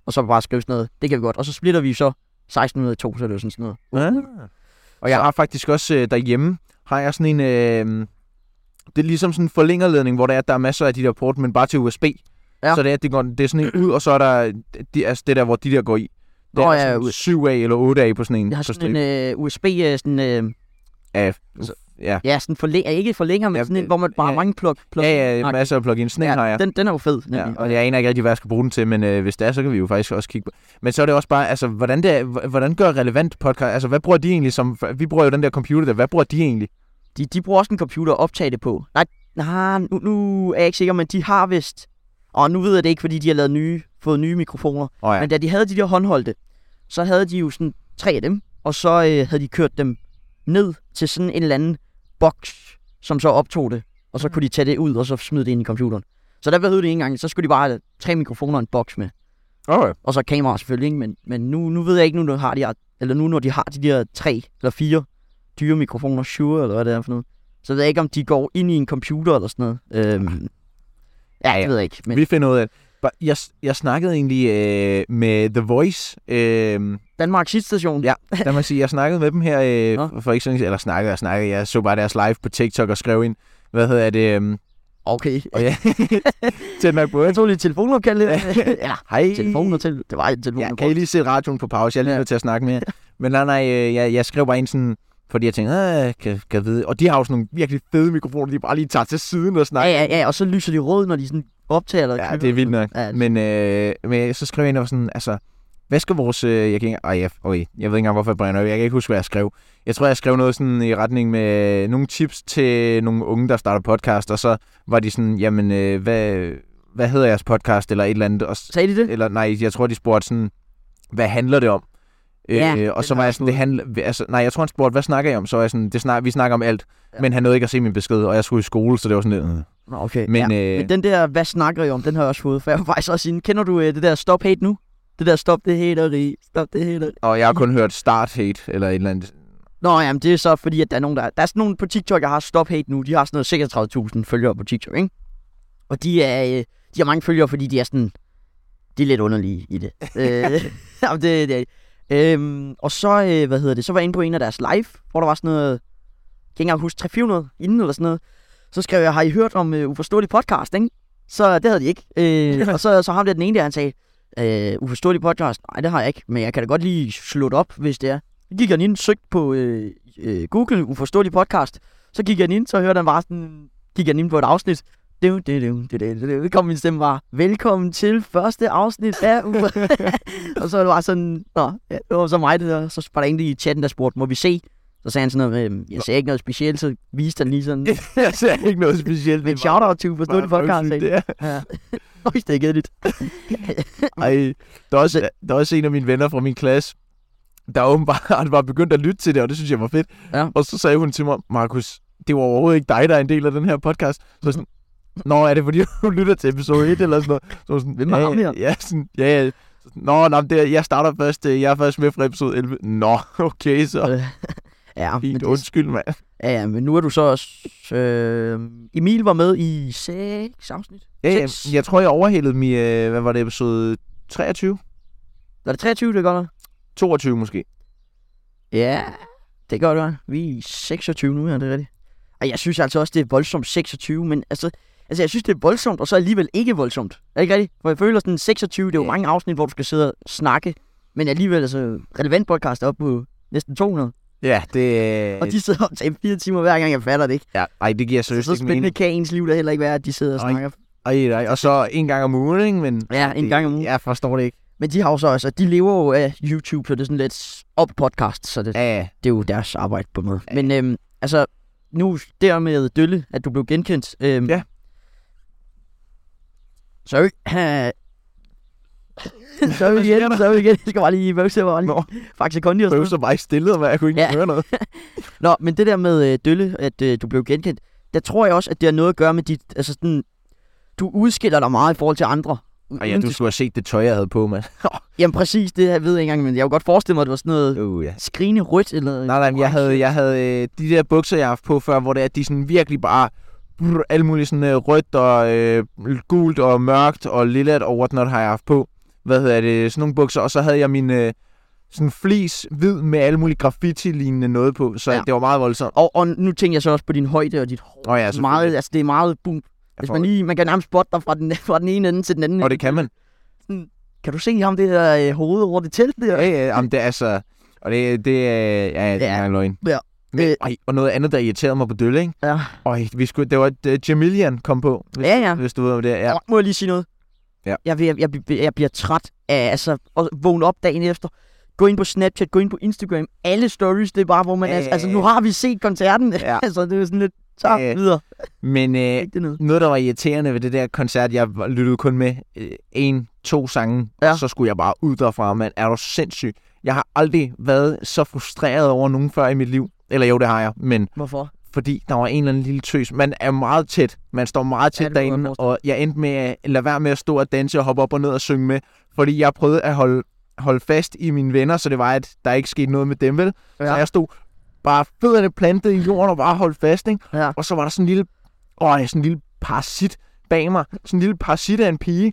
Speaker 1: Og så bare skrive sådan noget, det kan vi godt. Og så splitter vi så 1.600 i to, så er det jo sådan sådan noget.
Speaker 2: Ah. Og jeg
Speaker 1: Så-
Speaker 2: har faktisk også øh, derhjemme, har jeg sådan en, øh, det er ligesom sådan en forlængerledning, hvor der er, at der er masser af de der port, men bare til USB.
Speaker 1: Ja.
Speaker 2: Så det er, at det, går, det er sådan en ud, og så er der de, altså det der, hvor de der går i. Det
Speaker 1: Nå,
Speaker 2: er
Speaker 1: ja,
Speaker 2: sådan
Speaker 1: ud.
Speaker 2: syv af eller otte af på sådan en.
Speaker 1: Jeg har
Speaker 2: på
Speaker 1: sådan
Speaker 2: strip.
Speaker 1: en øh, USB, øh, sådan, øh,
Speaker 2: af,
Speaker 1: så-
Speaker 2: ja.
Speaker 1: ja, sådan forlænger, ikke forlænger, men
Speaker 2: Ja,
Speaker 1: sådan en, hvor man bare
Speaker 2: ja.
Speaker 1: mange plug, plug
Speaker 2: Ja, ja,
Speaker 1: Nej,
Speaker 2: masser af plugins. Sådan en har jeg.
Speaker 1: den, den er jo fed,
Speaker 2: Ja,
Speaker 1: nemlig.
Speaker 2: og jeg aner ikke rigtig, hvad jeg skal bruge den til, men øh, hvis det er, så kan vi jo faktisk også kigge på. Men så er det også bare, altså, hvordan, det er, h- hvordan gør relevant podcast, altså, hvad bruger de egentlig som, vi bruger jo den der computer der, hvad bruger de egentlig?
Speaker 1: De, de bruger også en computer at optage det på. Nej, nej nu, nu er jeg ikke sikker, men de har vist... Og nu ved jeg det ikke, fordi de har lavet nye, fået nye mikrofoner.
Speaker 2: Åh oh,
Speaker 1: Ja.
Speaker 2: ja,
Speaker 1: Men da de havde de der håndholdte, så havde de jo sådan tre af dem. Og så øh, havde de kørt dem ned til sådan en eller anden boks, som så optog det. Og så kunne de tage det ud, og så smide det ind i computeren. Så der behøvede det ikke engang. Så skulle de bare have tre mikrofoner og en boks med.
Speaker 2: oh, ja.
Speaker 1: Og så kamera selvfølgelig, ikke? Men, men nu, nu ved jeg ikke, nu, når, har de, eller nu når de har de der tre eller fire dyre mikrofoner, Shure eller hvad det er for noget, så ved jeg ikke, om de går ind i en computer eller sådan noget. Øhm, ja, det ved jeg ikke. Men
Speaker 2: vi finder ud af det. Bare- Jeg, jeg snakkede egentlig øh, med The Voice, øh,
Speaker 1: Danmarks hitstation.
Speaker 2: Ja. der må jeg sige, jeg snakkede med dem her øh,
Speaker 1: Nå.
Speaker 2: for ikke sådan, eller snakkede og snakkede, jeg så bare deres live på TikTok og skrev ind, hvad hedder det, øh,
Speaker 1: Okay.
Speaker 2: og ja, tæt nok på,
Speaker 1: Jeg
Speaker 2: ikke?
Speaker 1: tog lige telefonopkald. lidt. ja,
Speaker 2: Hej.
Speaker 1: telefoner til. Det var et telefoner.
Speaker 2: Ja, kan I lige sætte radioen på pause? Jeg er lige
Speaker 1: Ja.
Speaker 2: nødt til at snakke med jer. Men nej, nej, øh, jeg, jeg skrev bare ind sådan, fordi jeg tænkte, "Ah, kan, kan jeg vide. Og de har jo sådan nogle virkelig fede mikrofoner, de bare lige tager til siden og snakker.
Speaker 1: ja, ja, ja, og så lyser de rød, når de sådan optager. Eller
Speaker 2: Ja,
Speaker 1: klipper.
Speaker 2: det er vildt nok.
Speaker 1: Ja,
Speaker 2: Men, øh, men så skrev jeg ind og var sådan, altså, hvad skal vores... Øh, jeg, kan ikke, engang- ej, jeg, okay, jeg ved ikke engang, hvorfor jeg brænder op. Jeg kan ikke huske, hvad jeg skrev. Jeg tror, jeg skrev noget sådan i retning med øh, nogle tips til nogle unge, der starter podcast. Og så var de sådan, jamen, øh, hvad, hvad hedder jeres podcast? Eller et eller andet. Og, s-
Speaker 1: Sagde de det?
Speaker 2: eller nej, jeg tror, de spurgte sådan, hvad handler det om?
Speaker 1: Ja,
Speaker 2: øh, og
Speaker 1: den
Speaker 2: så
Speaker 1: har
Speaker 2: var
Speaker 1: jeg
Speaker 2: jeg sådan, det handler, altså, nej, jeg tror, han spurgte, hvad snakker I om? Så var jeg sådan, det snak, vi snakker om alt.
Speaker 1: Ja.
Speaker 2: Ja. Men han nåede ikke at se min besked, og jeg skulle i skole, så det var sådan lidt. Øh.
Speaker 1: Nå, okay.
Speaker 2: Men,
Speaker 1: ja.
Speaker 2: øh,
Speaker 1: Men den der, hvad snakker I om, den har jeg også fået. For jeg var faktisk også inde. Kender du øh, det der stop hate nu? Det der stop det hateri, stop det hateri.
Speaker 2: Og jeg har kun hørt start hate, eller et eller andet.
Speaker 1: Nå, jamen det er så fordi, at der er nogen, der... Der er sådan nogen på TikTok, der har stop hate nu. De har sådan noget 36.000 følgere på TikTok, ikke? Og de er... Øh, de har mange følgere, fordi de er sådan... De er lidt underlige i det. øh, jamen, det, det er de. øhm, og så, øh, hvad hedder det, så var jeg inde på en af deres live, hvor der var sådan noget, jeg kan ikke engang huske, 300 inden eller sådan noget. Så skrev jeg, har I hørt om øh, uforståelig podcast, ikke? Så det havde de ikke. Øh, og så, så ham der den ene der, han sagde, Øh, uforståelig podcast? Nej, det har jeg ikke, men jeg kan da godt lige slå det op, hvis det er. Så gik jeg ind, søgte på øh, øh, Google, uforståelig podcast. Så gik jeg ind, så hørte han bare sådan, gik jeg ind på et afsnit. Du, du, du, du, du, du, du. kom min stemme bare, velkommen til første afsnit af Ufor- Og så var det bare sådan, nå, ja, det var så mig det der. Så var der en i chatten, der spurgte, må vi se? Så sagde han sådan noget, med, jeg sagde ikke noget specielt, så viste han lige sådan,
Speaker 2: Altså, jeg ser ikke noget specielt.
Speaker 1: men shout-out til uforståelig podcast.
Speaker 2: Det er.
Speaker 1: Ja. Øj, det er kedeligt.
Speaker 2: Ej, der er, også, der er også en af mine venner fra min klasse, der åbenbart var begyndt at lytte til det, og det synes jeg var fedt.
Speaker 1: Ja.
Speaker 2: Og så sagde hun til mig, Markus, det var overhovedet ikke dig, der er en del af den her podcast. Så jeg sådan, Nå, er det fordi, du lytter til episode 1 eller sådan noget? Så var jeg sådan,
Speaker 1: Hvem er
Speaker 2: ja,
Speaker 1: ham her?
Speaker 2: Ja, sådan, ja, ja. Så sådan, Nå, nå, men det, er- jeg starter først, øh, jeg er først med fra episode 11. Nå, okay, så
Speaker 1: Ja, men
Speaker 2: fint,
Speaker 1: det,
Speaker 2: undskyld, mand.
Speaker 1: Ja, ja, men nu er du så også... Øh, Emil var med i seks afsnit.
Speaker 2: Ja, jeg,
Speaker 1: Seks.
Speaker 2: jeg tror, jeg overhældede min, øh, hvad var det, episode 23?
Speaker 1: Var det 23, det gør der?
Speaker 2: 22 måske.
Speaker 1: Ja, det gør det. Vi er i 26 nu, ja, det er rigtigt. Og jeg synes altså også, det er voldsomt 26, men altså... Altså, jeg synes, det er voldsomt, og så alligevel ikke voldsomt. Er det ikke rigtigt? For jeg føler sådan 26, det er jo
Speaker 2: Ja.
Speaker 1: mange afsnit, hvor du skal sidde og snakke. Men alligevel, altså, relevant podcast er oppe på næsten 200.
Speaker 2: Ja, det...
Speaker 1: Og de sidder og tager fire timer hver gang, jeg fatter det ikke.
Speaker 2: Ja, ej, det giver seriøst
Speaker 1: Så
Speaker 2: ikke mening.
Speaker 1: spændende kan ens liv da heller ikke være, at de sidder og
Speaker 2: Nej.
Speaker 1: snakker.
Speaker 2: Ej, nej, og så en gang om ugen, ikke? Men
Speaker 1: Ja, en
Speaker 2: det-
Speaker 1: gang om ugen.
Speaker 2: Jeg forstår det ikke.
Speaker 1: Men de har jo så også, de lever jo af YouTube, så det er sådan lidt op podcast, så det, ja.
Speaker 2: Ja,
Speaker 1: det er jo deres arbejde på en måde. Men øhm, altså, nu der med Dølle, at du blev genkendt. Øhm,
Speaker 2: Ja.
Speaker 1: Sorry. sorry igen, sorry igen. Jeg skal bare lige bøvse, jeg var
Speaker 2: Nå.
Speaker 1: lige faktisk kondi og sådan
Speaker 2: prøv så bare ikke stillet, og jeg kunne ikke
Speaker 1: Ja.
Speaker 2: ja. høre noget.
Speaker 1: Nå, men det der med øh, Dølle, at øh, du blev genkendt, der tror jeg også, at det har noget at gøre med dit, altså sådan, du udskiller dig meget i forhold til andre.
Speaker 2: Og ja, du skulle have set det tøj, jeg havde på, mand.
Speaker 1: Jamen præcis, det her ved jeg ikke engang, men jeg kunne godt forestille mig, at det var sådan noget
Speaker 2: Uh, ja.
Speaker 1: skrigende rødt eller...
Speaker 2: Nej, nej, men jeg havde, jeg havde øh, de der bukser, jeg har haft på før, hvor det er, at de sådan virkelig bare brr, alt muligt sådan øh, rødt og øh, gult og mørkt og lillet og whatnot har jeg haft på. Hvad hedder det? Sådan nogle bukser. Og så havde jeg min øh, sådan flis hvid med alle mulige graffiti-lignende noget på, så
Speaker 1: Ja.
Speaker 2: ja. det var meget voldsomt.
Speaker 1: Og, og nu tænker jeg så også på din højde og dit hår.
Speaker 2: Åh, ja,
Speaker 1: altså,
Speaker 2: selvfølgelig.
Speaker 1: meget, altså, det er meget boom. Hvis
Speaker 2: får-
Speaker 1: man, lige, man kan nærmest spotte dig fra den, fra den ene ende til den anden.
Speaker 2: Og det kan man.
Speaker 1: Kan du se ham det der øh, hoved over det telt der?
Speaker 2: Ja, ja, jamen, det er altså... Og det, det er... Ja, ja, det
Speaker 1: Ja.
Speaker 2: er en løgn.
Speaker 1: Ja. Øh.
Speaker 2: Men, ej, og noget andet, der irriterede mig på Dølle, ikke?
Speaker 1: Ja.
Speaker 2: Øj, vi skulle, det var, at uh, Jamilian kom på, hvis,
Speaker 1: Ja, ja.
Speaker 2: hvis du ved, hvad det er. Ja.
Speaker 1: Nå, Må jeg lige sige noget?
Speaker 2: Ja.
Speaker 1: Jeg, jeg, jeg, jeg, jeg bliver træt af altså, at vågne op dagen efter. Gå ind på Snapchat, gå ind på Instagram. Alle stories, det er bare, hvor man...
Speaker 2: Ja,
Speaker 1: Altså,
Speaker 2: ja,
Speaker 1: altså,
Speaker 2: ja.
Speaker 1: nu har vi set koncerten.
Speaker 2: Ja.
Speaker 1: altså, det er jo sådan lidt... Så
Speaker 2: Ja, ja.
Speaker 1: videre.
Speaker 2: Men øh,
Speaker 1: Ikke det ned.
Speaker 2: noget, der var irriterende ved det der koncert, jeg var- lyttede kun med øh, en, to sange,
Speaker 1: Ja.
Speaker 2: så skulle jeg bare ud derfra, mand. Er du sindssyg? Jeg har aldrig været så frustreret over nogen før i mit liv. Eller jo, det har jeg, men
Speaker 1: Hvorfor?
Speaker 2: fordi der var en eller anden lille tøs. Man er meget tæt. Man står meget
Speaker 1: Ja,
Speaker 2: tæt
Speaker 1: det kunne
Speaker 2: ja,
Speaker 1: jeg
Speaker 2: derinde,
Speaker 1: forestille
Speaker 2: og jeg endte med at lade være med at stå og danse og hoppe op og ned og synge med, fordi jeg prøvede at holde, holde fast i mine venner, så det var, at der ikke skete noget med dem, vel? Ja. Så
Speaker 1: Ja.
Speaker 2: jeg stod bare fødderne plantet i jorden og bare holdt fast, ikke?
Speaker 1: Ja.
Speaker 2: Og så var der sådan en lille, åh, sådan en lille parasit bag mig. Sådan en lille parasit af en pige,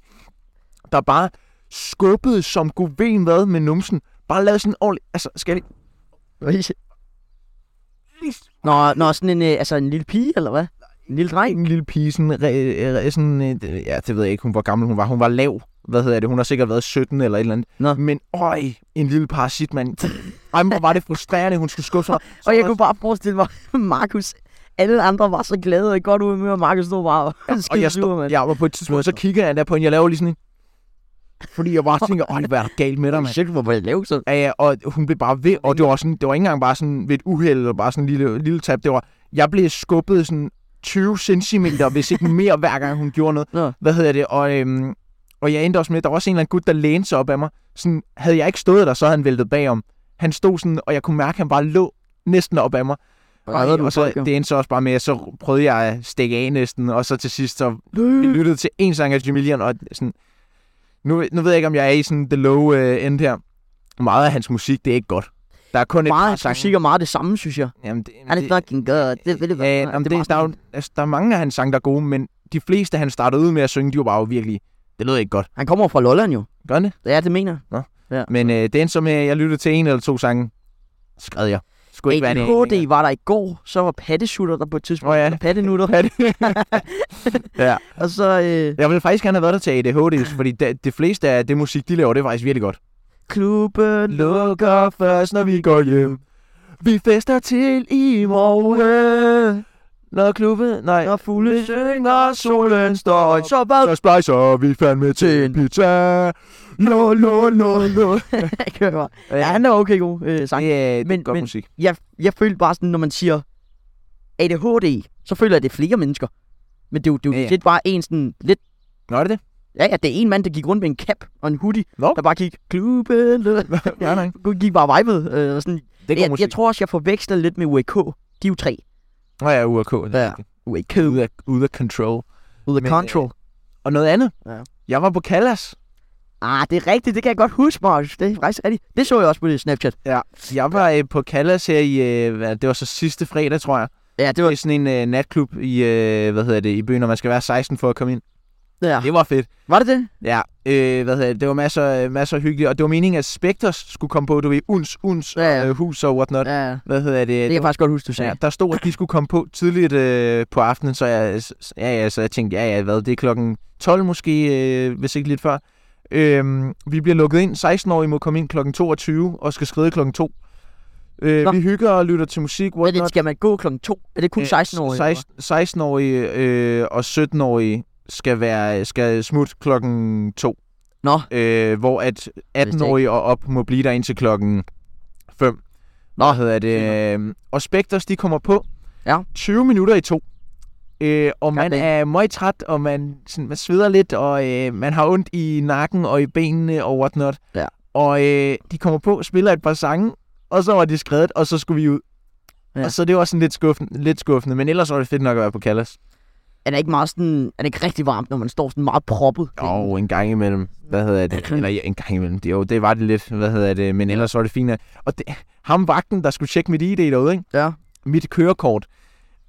Speaker 2: der bare skubbede som guven hvad med numsen. Bare lavede sådan en ordentlig... Altså, skal jeg lige...
Speaker 1: Nå, nå sådan en, øh, altså, en lille pige, eller hvad? En lille dreng?
Speaker 2: en lille pige, sådan, re, re, sådan øh, det- ja, det ved jeg ikke, hun, hvor gammel hun var. Hun var lav, hvad hedder det, hun har sikkert været 17 eller et eller andet.
Speaker 1: Nå.
Speaker 2: Men øj, en lille parasit, mand. Ej, hvor var det frustrerende, hun skulle skuffe sig. Så
Speaker 1: Og jeg
Speaker 2: var-
Speaker 1: kunne bare forestille mig, Markus, alle andre var så glade og i godt humør, og Markus stod bare og
Speaker 2: og
Speaker 1: skide
Speaker 2: jeg,
Speaker 1: sur,
Speaker 2: stod,
Speaker 1: mand.
Speaker 2: jeg var på et tidspunkt, så kigger jeg der på hende, jeg laver lige sådan en... Fordi jeg bare tænker, øj, hvad er der galt med dig, mand?
Speaker 1: Shit, hvor var det lavt, så?
Speaker 2: Ja, ja, og hun blev bare ved, og det var, sådan, det var ikke engang bare sådan ved et uheld, eller bare sådan en lille, lille tab. Det var, jeg blev skubbet sådan 20 cm, hvis ikke mere, hver gang hun gjorde noget.
Speaker 1: Nå.
Speaker 2: Hvad hedder det? Og, øhm, og jeg endte også med, der var også en eller anden gut, der lænede sig op af mig. Sådan, havde jeg ikke stået der, så havde han væltet bagom. Han stod sådan, og jeg kunne mærke, at han bare lå næsten op af mig. Ej, og så, det endte så også bare med, at så prøvede jeg at stikke af næsten, og så til sidst, så vi
Speaker 1: Mm.
Speaker 2: lyttede til en sang af Jamilian, og sådan, nu, nu ved jeg ikke, om jeg er i sådan the low uh, end her. Meget af hans musik, det er ikke godt. Der er kun
Speaker 1: Meget
Speaker 2: et
Speaker 1: hans
Speaker 2: par
Speaker 1: musik er meget det samme, synes jeg.
Speaker 2: Jamen, det,
Speaker 1: Er det fucking godt? Det vil det
Speaker 2: ja,
Speaker 1: være.
Speaker 2: jamen,
Speaker 1: er bare
Speaker 2: det, der, er, jo- altså, der er mange af hans sange, der er gode, men de fleste, han startede ud med at synge, de var bare virkelig, det lød ikke godt.
Speaker 1: sådan- Han kommer fra Lolland jo.
Speaker 2: Gør det?
Speaker 1: Ja, det mener jeg.
Speaker 2: Men øh, det endte så med, at jeg lyttede til en eller to sange, skred jeg. Skulle ikke være det.
Speaker 1: ADHD var der i går, så var pattesutter der på et tidspunkt.
Speaker 2: Åh ja.
Speaker 1: og Pattenutter.
Speaker 2: ja.
Speaker 1: Og så øh,
Speaker 2: Jeg ville faktisk gerne have været der til ADHD, fordi det, det fleste af det musik, de laver, det er faktisk virkelig godt.
Speaker 1: klubben.
Speaker 2: Lukker først, når vi går hjem. Vi fester til i morgen. Når klubben... Nej.
Speaker 1: Når fugle
Speaker 2: synger, solen står
Speaker 1: Og så bare
Speaker 2: Så splejser vi fandme til en pizza. Lo, lo, lo, lo.
Speaker 1: kører. Ja, han er okay god øh, sang.
Speaker 2: Ja, det
Speaker 1: Men-
Speaker 2: er godt
Speaker 1: men-
Speaker 2: musik.
Speaker 1: Jeg, jeg følte bare sådan, når man siger ADHD, så føler jeg, at det er flere mennesker. Men det er jo, det er jo
Speaker 2: Ja, ja.
Speaker 1: lidt bare en sådan lidt...
Speaker 2: Nå, er det det?
Speaker 1: Ja, ja, det er en mand, der gik rundt med en cap og en hoodie,
Speaker 2: Nå.
Speaker 1: der bare gik klubben.
Speaker 2: Nej, nej.
Speaker 1: gik bare vibet. Øh, og sådan.
Speaker 2: Det er god
Speaker 1: Jeg,
Speaker 2: musik.
Speaker 1: jeg, tror også, jeg forveksler lidt med UAK. De er jo tre.
Speaker 2: Nå, ja, URK.
Speaker 1: Ja.
Speaker 2: Ja.
Speaker 1: UAK.
Speaker 2: Ude af, ude af control.
Speaker 1: Ud af
Speaker 2: Men, øh,
Speaker 1: control.
Speaker 2: Og noget andet.
Speaker 1: Ja.
Speaker 2: Jeg var på Callas.
Speaker 1: Ah, det er rigtigt. Det kan jeg godt huske, Marius. Det er faktisk rigtigt. Det så jeg også på det Snapchat.
Speaker 2: Jeg var øh, på Callas her i... Øh, hvad- det var så sidste fredag, tror jeg.
Speaker 1: Ja, det
Speaker 2: Det
Speaker 1: var...
Speaker 2: er sådan en øh, natklub i, øh, hvad hedder det, i byen, og man skal være 16 for at komme ind.
Speaker 1: Ja.
Speaker 2: Det var fedt.
Speaker 1: Var det det?
Speaker 2: Ja, øh, hvad hedder det, det var masser, øh, masser af hyggeligt, og det var meningen, at Spectres skulle komme på, du ved, uns, uns,
Speaker 1: Ja, ja.
Speaker 2: øh, hus og whatnot.
Speaker 1: Ja, ja.
Speaker 2: Hvad hedder det?
Speaker 1: det kan jeg faktisk godt huske, du sagde.
Speaker 2: ja, der stod, at de skulle komme på tidligt øh, på aftenen, så jeg, s- ja, ja, så jeg tænkte, ja, ja, hvad, det er klokken 12 måske, øh, hvis ikke lidt før. Øhm, vi bliver lukket ind, 16-årige må komme ind klokken 22 og skal skride klokken 2.
Speaker 1: Nå.
Speaker 2: Øh, vi hygger og lytter til musik,
Speaker 1: Hvad er
Speaker 2: whatnot.
Speaker 1: det, skal man gå klokken to? Er det kun
Speaker 2: Øh,
Speaker 1: 16-årige?
Speaker 2: 16 16-årige øh, og 17-årige skal, være, skal smutte klokken 2.
Speaker 1: Nå.
Speaker 2: Øh, hvor at 18-årige og op må blive der indtil klokken 5.
Speaker 1: Nå,
Speaker 2: Hvad hedder det? Øh, og Spectres, de kommer på
Speaker 1: Ja.
Speaker 2: 20 minutter i to. Øh, og man
Speaker 1: Goddag.
Speaker 2: er meget træt, og man, sådan, man sveder lidt, og øh, man har ondt i nakken og i benene og whatnot.
Speaker 1: Ja.
Speaker 2: Og øh, de kommer på, spiller et par sange, og så var de skrevet, og så skulle vi ud.
Speaker 1: Ja.
Speaker 2: Ja. Og så det var sådan lidt skuffende, lidt skuffende, men ellers var det fedt nok at være på Callas.
Speaker 1: Er det ikke meget sådan... Er det ikke rigtig varmt, når man står sådan meget proppet?
Speaker 2: Jo, en gang imellem. Hvad hedder det? Eller ja, en gang imellem. Det, jo, det var det lidt. Hvad hedder det? Men ellers var det fint. at- Og det, ham vagten, der skulle tjekke mit ID derude, ikke?
Speaker 1: Ja.
Speaker 2: Mit kørekort.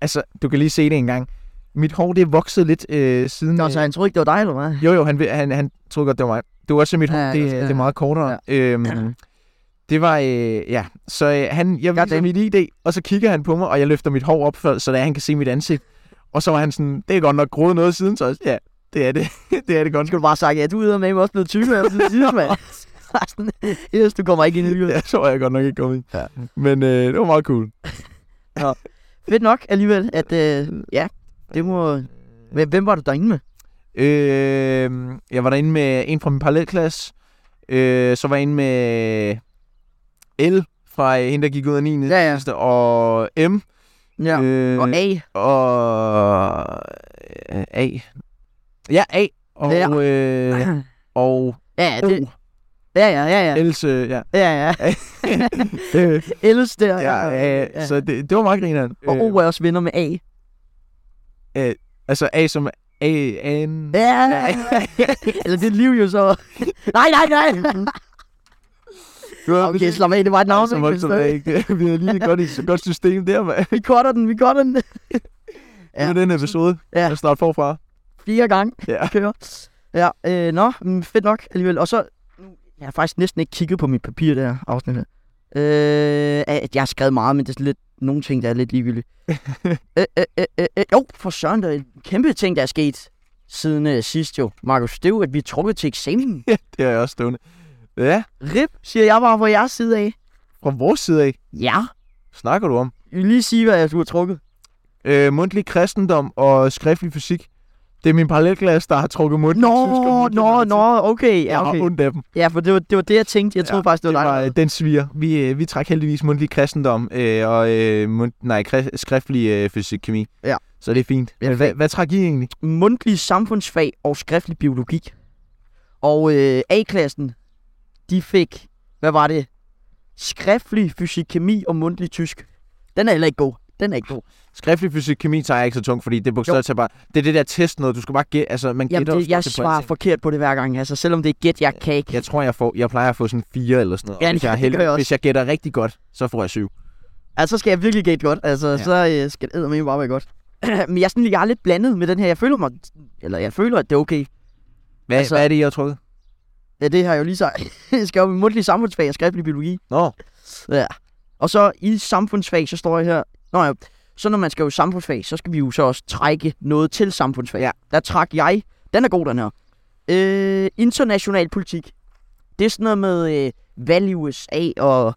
Speaker 2: Altså, du kan lige se det en gang. Mit hår, det er vokset lidt øh, siden...
Speaker 1: Nå, så han troede ikke, det var dig, eller hvad?
Speaker 2: Jo, jo, han, vil- han, han troede godt, det var mig. Du også mit hår,
Speaker 1: Ja,
Speaker 2: ja, det,
Speaker 1: det skal-
Speaker 2: det, er meget kortere. Ja. Øhm, det var, øh, ja, så øh, han, jeg viser
Speaker 1: Goddamn.
Speaker 2: mit ID, og så kigger han på mig, og jeg løfter mit hår op, for, så der han kan se mit ansigt. Og så var han sådan, det er godt nok groet noget siden, så jeg- ja, det er det. det er det godt.
Speaker 1: Skal du bare sige, ja, du er med også blevet tyk, eller sådan siden, mand. Sådan, Ellers du kommer ikke ind i livet.
Speaker 2: Ja, så var jeg godt nok ikke kommet ind.
Speaker 1: Ja.
Speaker 2: Men øh, det var meget cool.
Speaker 1: Fedt nok alligevel, at øh, ja, det må... Men hvem var du derinde med?
Speaker 2: Øh, jeg var derinde med en fra min parallelklasse. Øh, så var jeg inde med L fra øh, hende, der gik ud af 9.
Speaker 1: Ja, ja.
Speaker 2: Og M.
Speaker 1: Ja.
Speaker 2: Øh,
Speaker 1: Og A.
Speaker 2: og øh, A. Ja, A. Og,
Speaker 1: Ja.
Speaker 2: øh, og
Speaker 1: Ja, ja, det,
Speaker 2: O.
Speaker 1: ja, ja, ja, ja,
Speaker 2: Else, ja.
Speaker 1: ja, ja.
Speaker 2: Øh,
Speaker 1: Ellers der.
Speaker 2: ja, øh, så øh, det, det var meget grineren.
Speaker 1: Og O er også venner med A.
Speaker 2: altså A som A, An.
Speaker 1: Ja, eller det er liv jo så. nej, nej, nej. Okay, slap af, det var et navn.
Speaker 2: så
Speaker 1: ikke?
Speaker 2: voldsomt er jeg ikke. Vi har lige et godt, et godt system der, mand.
Speaker 1: Vi cutter den, vi cutter den.
Speaker 2: Ja. Med den episode.
Speaker 1: Ja.
Speaker 2: Ja. Jeg starter forfra.
Speaker 1: Fire gange
Speaker 2: Ja.
Speaker 1: kører. Ja, øh, nå, mm, fedt nok alligevel. Og så, nu- jeg har faktisk næsten ikke kigget på mit papir der afsnit her. Øh, at jeg har skrevet meget, men det er sådan lidt, nogle ting, der er lidt ligegyldige. øh, øh, øh, øh, øh, jo, for søren, der er en kæmpe ting, der er sket siden øh, sidst jo. Markus, det er jo, at vi er trukket til eksamen.
Speaker 2: Det er jeg også stående. Ja,
Speaker 1: Rip, siger jeg bare fra jeres side af.
Speaker 2: fra vores side af
Speaker 1: Ja.
Speaker 2: snakker du om.
Speaker 1: Jeg vil lige sige, hvad jeg du har trukket.
Speaker 2: Øh, mundtlig kristendom og skriftlig fysik. Det er min parallelklasse, der har trukket mundtlig
Speaker 1: Nå,
Speaker 2: tysk og mundtlig
Speaker 1: nå,
Speaker 2: matematik.
Speaker 1: nå, okay.
Speaker 2: Jeg
Speaker 1: Ja,
Speaker 2: har
Speaker 1: okay.
Speaker 2: ondt af dem.
Speaker 1: ja for det var, det var det, jeg tænkte. Jeg troede faktisk, det var dig.
Speaker 2: øh, den sviger. Vi, øh, vi trak heldigvis mundtlig kristendom øh, og øh, mund, nej, krist, skriftlig øh, fysik kemi.
Speaker 1: Ja.
Speaker 2: Så det er fint.
Speaker 1: Ja,
Speaker 2: Men hvad, hvad trak I egentlig?
Speaker 1: mundtlige samfundsfag og skriftlig biologi. Og øh, A-klassen, de fik, hvad var det? Skriftlig fysik, kemi og mundtlig tysk. Den er heller ikke god. Den er ikke god.
Speaker 2: Skriftlig fysik kemi tager jeg ikke så tungt, fordi det er bogstaveligt talt bare... Det er det der test noget, du skal bare gætte. Altså, man
Speaker 1: Jamen,
Speaker 2: gætter jo
Speaker 1: det, jeg
Speaker 2: stort set på alting.
Speaker 1: svarer forkert på det hver gang. Altså, selvom det er gæt, jeg kan ikke.
Speaker 2: Jeg tror, jeg, får, jeg plejer at få sådan fire eller sådan noget.
Speaker 1: Ja,
Speaker 2: Og hvis
Speaker 1: det
Speaker 2: jeg er
Speaker 1: gør jeg også.
Speaker 2: Hvis jeg gætter rigtig godt, så får jeg syv.
Speaker 1: Altså, så skal jeg virkelig gætte godt. Altså, ja. så øh, skal det eddermame bare være godt. Men jeg er, sådan, jeg er lidt blandet med den her. Jeg føler mig, eller jeg føler, at det er okay. Altså-
Speaker 2: Hvad, altså, hvad er det, jeg har trukket?
Speaker 1: Ja, det har jeg jo lige sagt. jeg skal jo i mundtlig samfundsfag og skriftlig biologi.
Speaker 2: Nå,
Speaker 1: Ja. Og så i samfundsfag, så står jeg her... Nå ja, så når man skal jo i samfundsfag, så skal vi jo så også trække noget til samfundsfag. Ja. Der trak jeg... Den er god, den her. Øh, international politik. Det er sådan noget med øh, valg i USA og...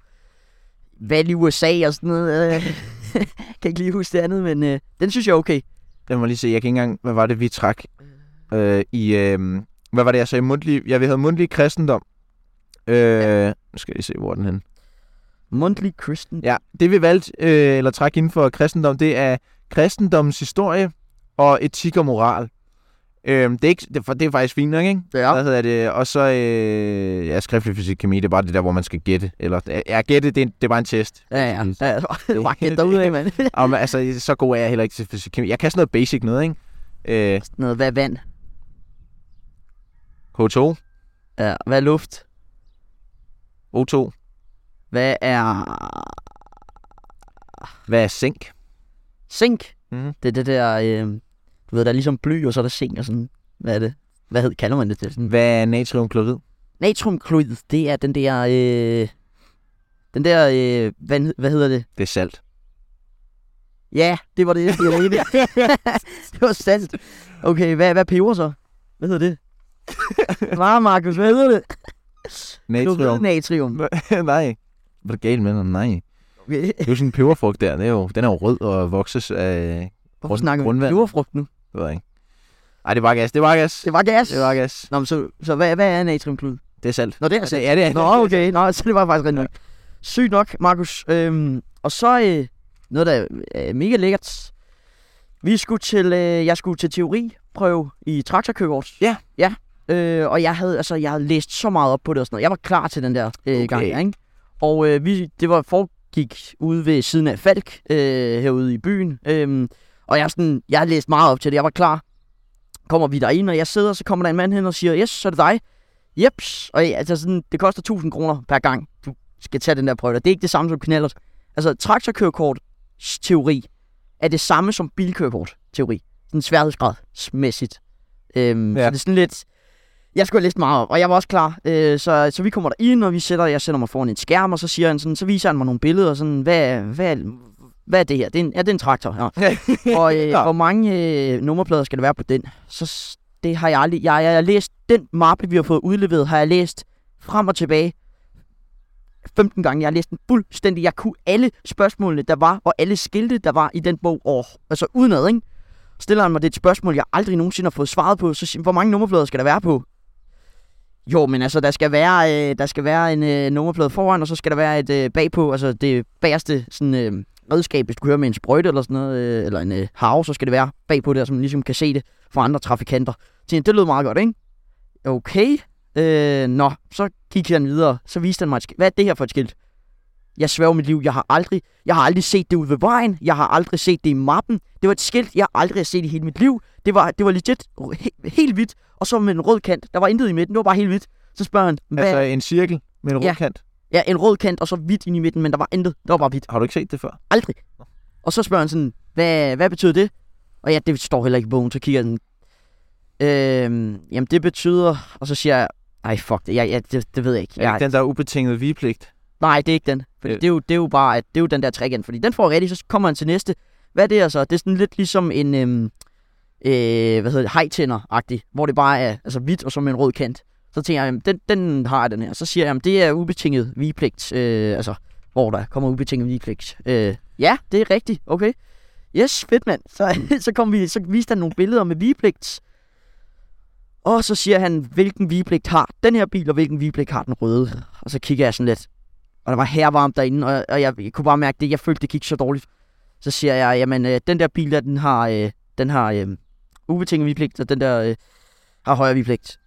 Speaker 1: Valg i USA og sådan noget. Øh, kan ikke lige huske det andet, men øh, den synes jeg er okay.
Speaker 2: Lad mig lige se, jeg kan ikke engang, hvad var det, vi trak øh, i, øh, hvad var det, jeg sagde, mundtlig, ja, vi havde mundtlig kristendom. Øh, nu skal jeg lige se, hvor er den hen.
Speaker 1: Mundtlig kristen.
Speaker 2: Ja, det vi valgte, øh, eller trak inden for kristendom, det er kristendommens historie og etik og moral. Øh, det, er ikke, det, for det er faktisk fint nok, ikke?
Speaker 1: Ja.
Speaker 2: Hvad hedder det? Og så, øh, ja, skriftlig fysik, kemi, det er bare det der, hvor man skal gætte. Eller, ja, gætte, det er, det er bare en test.
Speaker 1: Ja, ja. ja, ja. Raket derudad, mand.
Speaker 2: Og, men, altså, så god er jeg heller ikke til fysik, kemi. Jeg kan sådan noget basic noget, ikke? Øh,
Speaker 1: noget, hvad er vand?
Speaker 2: H2,
Speaker 1: Ja, hvad er luft?
Speaker 2: O2,
Speaker 1: Hvad er
Speaker 2: hvad er zink?
Speaker 1: zink?
Speaker 2: Mhm.
Speaker 1: Det er det der, øh, du ved, der er ligesom bly, og så er der zink og sådan. Hvad er det? Hvad hed, kalder man det til? Sådan.
Speaker 2: Hvad er natriumklorid?
Speaker 1: Natriumklorid, det er den der, øh, den der, øh, hvad, hed- hvad hedder det?
Speaker 2: Det er salt.
Speaker 1: Ja, det var det, jeg mente. det var sandt. Okay, hvad, hvad er peber så? Hvad hedder det? Hvad, Markus? Hvad hedder det? Klorid
Speaker 2: Natrium.
Speaker 1: Natrium.
Speaker 2: Nej. Hvad er det galt med den? Nej.
Speaker 1: Okay.
Speaker 2: Det er jo sådan en peberfrugt der. Det er jo, den er jo rød og vokses af...
Speaker 1: Hvorfor
Speaker 2: Grund-
Speaker 1: snakker vi om
Speaker 2: grundvand.
Speaker 1: peberfrugt nu?
Speaker 2: Det ved jeg ikke. Ej, det var gas. Det var gas.
Speaker 1: Det var gas.
Speaker 2: Det var gas.
Speaker 1: Nå, men så, så hvad, hvad er natriumklorid?
Speaker 2: Det er salt.
Speaker 1: Nå, det er
Speaker 2: Altså, ja, det er
Speaker 1: Nå, okay. Nå, så det var faktisk rigtig nok. Sygt nok, Markus. Øhm, og så øh, noget, der er øh, mega lækkert. Vi skulle til, øh, jeg skulle til teoriprøve i traktorkøkkeårs.
Speaker 2: Ja.
Speaker 1: Ja. Øh, og jeg havde, altså, jeg havde læst så meget op på det og sådan noget. Jeg var klar til den der øh, okay.
Speaker 2: Okay.
Speaker 1: gang, ikke? Og øh, vi, det var foregik ude ved siden af Falk, øh, herude i byen. Øhm, og jeg, er sådan, jeg har læst meget op til det. Jeg var klar. Kommer vi derind, og jeg sidder, så kommer der en mand hen og siger, yes, så er det dig. Jeps, og ja, altså sådan, det koster 1000 kroner per gang, du skal tage den der prøve. der. Det er ikke det samme som knallert. Altså, traktorkørekort teori er det samme som bilkørekort teori. Sådan sværhedsgradsmæssigt. Øhm, ja.
Speaker 2: Ja.
Speaker 1: Så det er sådan lidt... Jeg skulle have læst meget op, og jeg var også klar. Øh, så, så vi kommer derind, og vi sætter, jeg sætter mig foran en skærm, og så, siger han sådan, så viser han mig nogle billeder, og sådan, hvad, hvad, hvad er det her? Det er en, ja, det er en traktor. Ja og øh,
Speaker 2: Nå.
Speaker 1: hvor mange øh, nummerplader skal der være på den? Så s- det har jeg aldrig... Jeg, jeg har læst den mappe, vi har fået udleveret, har jeg læst frem og tilbage 15 gange. Jeg har læst den fuldstændig. Jeg kunne alle spørgsmålene, der var, og alle skilte, der var i den bog. Og, altså udenad, ikke? Stiller han mig det er et spørgsmål, jeg aldrig nogensinde har fået svaret på. Så siger han, hvor mange nummerplader skal der være på? Jo, men altså, der skal være, øh, der skal være en øh, nummerplade foran, og så skal der være et øh, bagpå. Altså, det bagerste sådan, øh, redskab, hvis du kører med en sprøjte eller sådan noget, øh, eller en øh, have, så skal det være bagpå der, så man ligesom kan se det fra andre trafikanter. Så det lød meget godt, ikke? Okay. Øh, nå, så gik han videre. Så viste han mig et skilt. Hvad er det her for et skilt? Jeg sværger mit liv. Jeg har aldrig, jeg har aldrig set det ude ved vejen. Jeg har aldrig set det i mappen. Det var et skilt, jeg aldrig har set i hele mit liv. Det var, det var legit he, helt hvidt, og så med en rød kant. Der var intet i midten, det var bare helt hvidt. Så spørger han, hvad?
Speaker 2: Altså
Speaker 1: Altså,
Speaker 2: en cirkel med en
Speaker 1: Ja.
Speaker 2: rund kant.
Speaker 1: ja, en rød kant, og så hvidt ind i midten, men der var intet. Det var bare hvidt.
Speaker 2: Har du ikke set det før?
Speaker 1: Aldrig. Og så spørger han sådan, hvad, hvad betyder det? Og ja, det står heller ikke i bogen, så kigger den. Øhm, jamen det betyder, og så siger jeg, nej fuck det, jeg, jeg, det, det ved jeg ikke.
Speaker 2: Ja.
Speaker 1: Jeg,
Speaker 2: Den der ubetingede vigepligt.
Speaker 1: nej, det er ikke den. For
Speaker 2: Øh.
Speaker 1: det, er jo, det er jo bare, at det er jo den der træk igen, fordi den får rigtig, så kommer han til næste. Hvad er det altså? Det er sådan lidt ligesom en, øhm, øh, hvad hedder det, hejtænder-agtig, hvor det bare er altså, hvidt og så med en rød kant. Så tænker jeg, jamen, den, den har jeg den her. Så siger jeg, jamen, det er ubetinget vigepligt, øh, altså hvor der kommer ubetinget vigepligt. Øh, ja, det er rigtigt, okay. Yes, fedt mand. Så, så, kom vi, så viste han nogle billeder med vigepligt. Og så siger han, hvilken vigepligt har den her bil, og hvilken vigepligt har den røde. Og så kigger jeg sådan lidt. Og der var hervarmt derinde, og, og jeg, jeg, kunne bare mærke det. Jeg følte, det gik så dårligt. Så siger jeg, jamen, øh, den der bil, der, den har, øh, den har øh, ubetinget vigepligt, og den der øh, har højere vigepligt.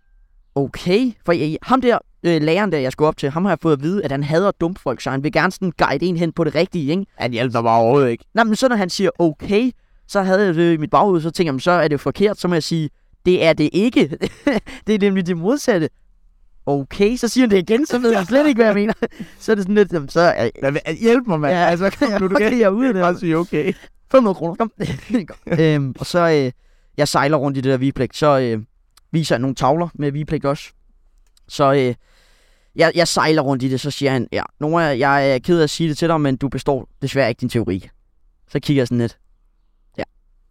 Speaker 1: Okay, for jeg, ham der, øh, læreren der, jeg skulle op til, ham har jeg fået at vide, at han hader dumpe folk, så han vil gerne sådan guide en hen på det rigtige, ikke?
Speaker 2: Han hjalp dig bare overhovedet ikke.
Speaker 1: Nej, men så når han siger okay, så havde jeg det i mit baghoved, så tænker jeg, "Men så er det jo forkert, så må jeg sige, det er det ikke. det er nemlig det modsatte. Okay, så siger han det igen, så ved jeg slet ikke, hvad jeg mener. så er det sådan lidt, "Jamen, så er
Speaker 2: Lad, være- hjælp mig, mand.
Speaker 1: Ja.
Speaker 2: Altså, kom nu, du kan
Speaker 1: jeg er ude af det. her."
Speaker 2: bare sige okay.
Speaker 1: 500 kroner, kom. Kom. øhm, og så, øh, jeg sejler rundt i det der vigepligt, så øh, viser jeg nogle tavler med vigepligt også. Så øh, jeg, jeg sejler rundt i det, så siger han, ja, Nora, jeg er ked af at sige det til dig, men du består desværre ikke din teori. Så kigger jeg sådan lidt. Ja,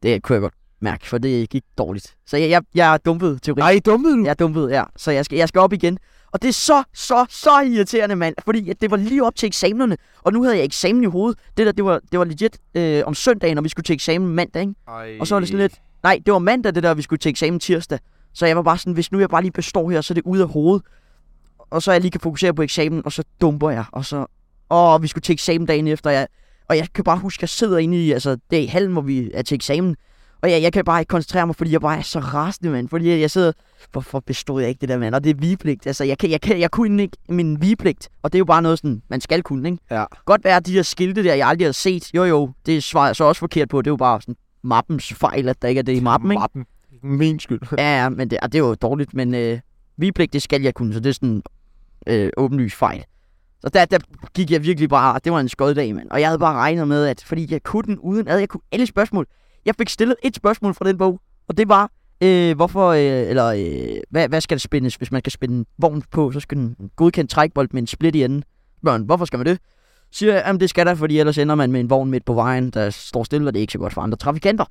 Speaker 1: det kunne jeg godt mærke, for det gik dårligt. Så jeg, jeg, jeg dumpede teori.
Speaker 2: Nej, dummede du?
Speaker 1: Jeg er dumpet, ja. Så jeg skal, jeg skal op igen. Og det er så, så, så irriterende, mand. Fordi at det var lige op til eksamenerne. Og nu havde jeg eksamen i hovedet. Det der, det var, det var legit øh, om søndagen, og vi skulle til eksamen mandag, ikke?
Speaker 2: Ej.
Speaker 1: Og så var det sådan lidt, nej, det var mandag det der, vi skulle til eksamen tirsdag. Så jeg var bare sådan, hvis nu jeg bare lige består her, så er det ude af hovedet. Og så jeg lige kan fokusere på eksamen, og så dumper jeg. Og så, åh, vi skulle til eksamen dagen efter. Jeg, og jeg kan bare huske, jeg sidder inde i, altså det er i hallen, hvor vi er til eksamen. Og jeg, jeg kan bare ikke koncentrere mig, fordi jeg bare er så rasende, mand. Fordi jeg, jeg sidder, hvorfor bestod jeg ikke det der, mand? Og det er vigepligt. Altså, jeg, kan, jeg, kan, jeg kunne ikke min vigepligt. Og det er jo bare noget sådan, man skal kunne, ikke?
Speaker 2: Ja.
Speaker 1: Godt være, at de der skilte der, jeg aldrig har set. Jo, jo, det svarer jeg så også forkert på. Det er jo bare sådan mappens fejl, at der ikke er det i mappen, ikke?
Speaker 2: Mappen. Min skyld.
Speaker 1: Ja, ja, men det, og det er jo dårligt, men øh, vigepligt, det skal jeg kunne, så det er sådan øh, åbenlyst fejl. Så der, der gik jeg virkelig bare, det var en skød dag, mand. Og jeg havde bare regnet med, at fordi jeg kunne den uden ad, jeg kunne alle spørgsmål. Jeg fik stillet et spørgsmål fra den bog, og det var, øh, hvorfor, øh, eller øh, hvad, hvad skal der spændes, hvis man skal spænde en vogn på, så skal den godkendt trækbold med en split i enden. Børn, hvorfor skal man det? Så Siger jeg, jamen det skal der, fordi ellers ender man med en vogn midt på vejen, der står stille, og det er ikke så godt for andre trafikanter.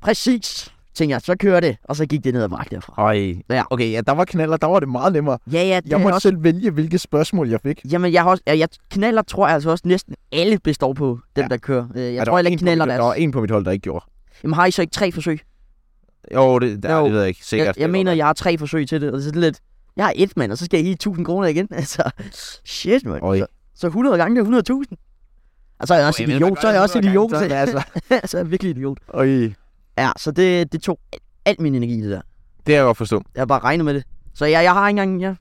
Speaker 1: Præcis, tænker jeg, så kører det, og så gik det ned ad bakke derfra.
Speaker 2: Ej.
Speaker 1: Ja.
Speaker 2: Okay, ja, der var knaller, der var det meget nemmere.
Speaker 1: Ja, ja, det
Speaker 2: Jeg
Speaker 1: er
Speaker 2: måtte
Speaker 1: også...
Speaker 2: selv vælge, hvilke spørgsmål jeg fik.
Speaker 1: Jamen, jeg, har også, jeg, jeg knaller, tror jeg altså også næsten alle består på dem,
Speaker 2: Ja.
Speaker 1: der kører. Øh,
Speaker 2: Ej,
Speaker 1: Jeg
Speaker 2: der
Speaker 1: tror
Speaker 2: var
Speaker 1: heller
Speaker 2: en
Speaker 1: ikke
Speaker 2: på mit-
Speaker 1: knaller
Speaker 2: Der var
Speaker 1: deres.
Speaker 2: en på mit hold, der ikke gjorde.
Speaker 1: Jamen, har I så ikke tre forsøg?
Speaker 2: Jo, det, der,
Speaker 1: Jo.
Speaker 2: det ved jeg ikke. Sikkert.
Speaker 1: Jeg, jeg
Speaker 2: Det
Speaker 1: mener,
Speaker 2: var der.
Speaker 1: jeg har tre forsøg til det, og det er sådan lidt... Jeg har et, mand, og så skal jeg give 1000 kroner igen. Altså, shit, mand.
Speaker 2: Oj.
Speaker 1: Så, så 100 gange, det er 100.000. Og så er jeg også
Speaker 2: Oj,
Speaker 1: et
Speaker 2: men man
Speaker 1: idiot,
Speaker 2: gør
Speaker 1: så er jeg
Speaker 2: det
Speaker 1: også et
Speaker 2: 100
Speaker 1: idiot.
Speaker 2: gange, så er det altså-
Speaker 1: så er jeg virkelig idiot.
Speaker 2: Oj.
Speaker 1: Ja, så det, det tog al, al min energi, det der.
Speaker 2: Det har jeg godt forstået.
Speaker 1: Jeg har bare regnet med det. Så jeg, jeg har ikke engang... Jeg,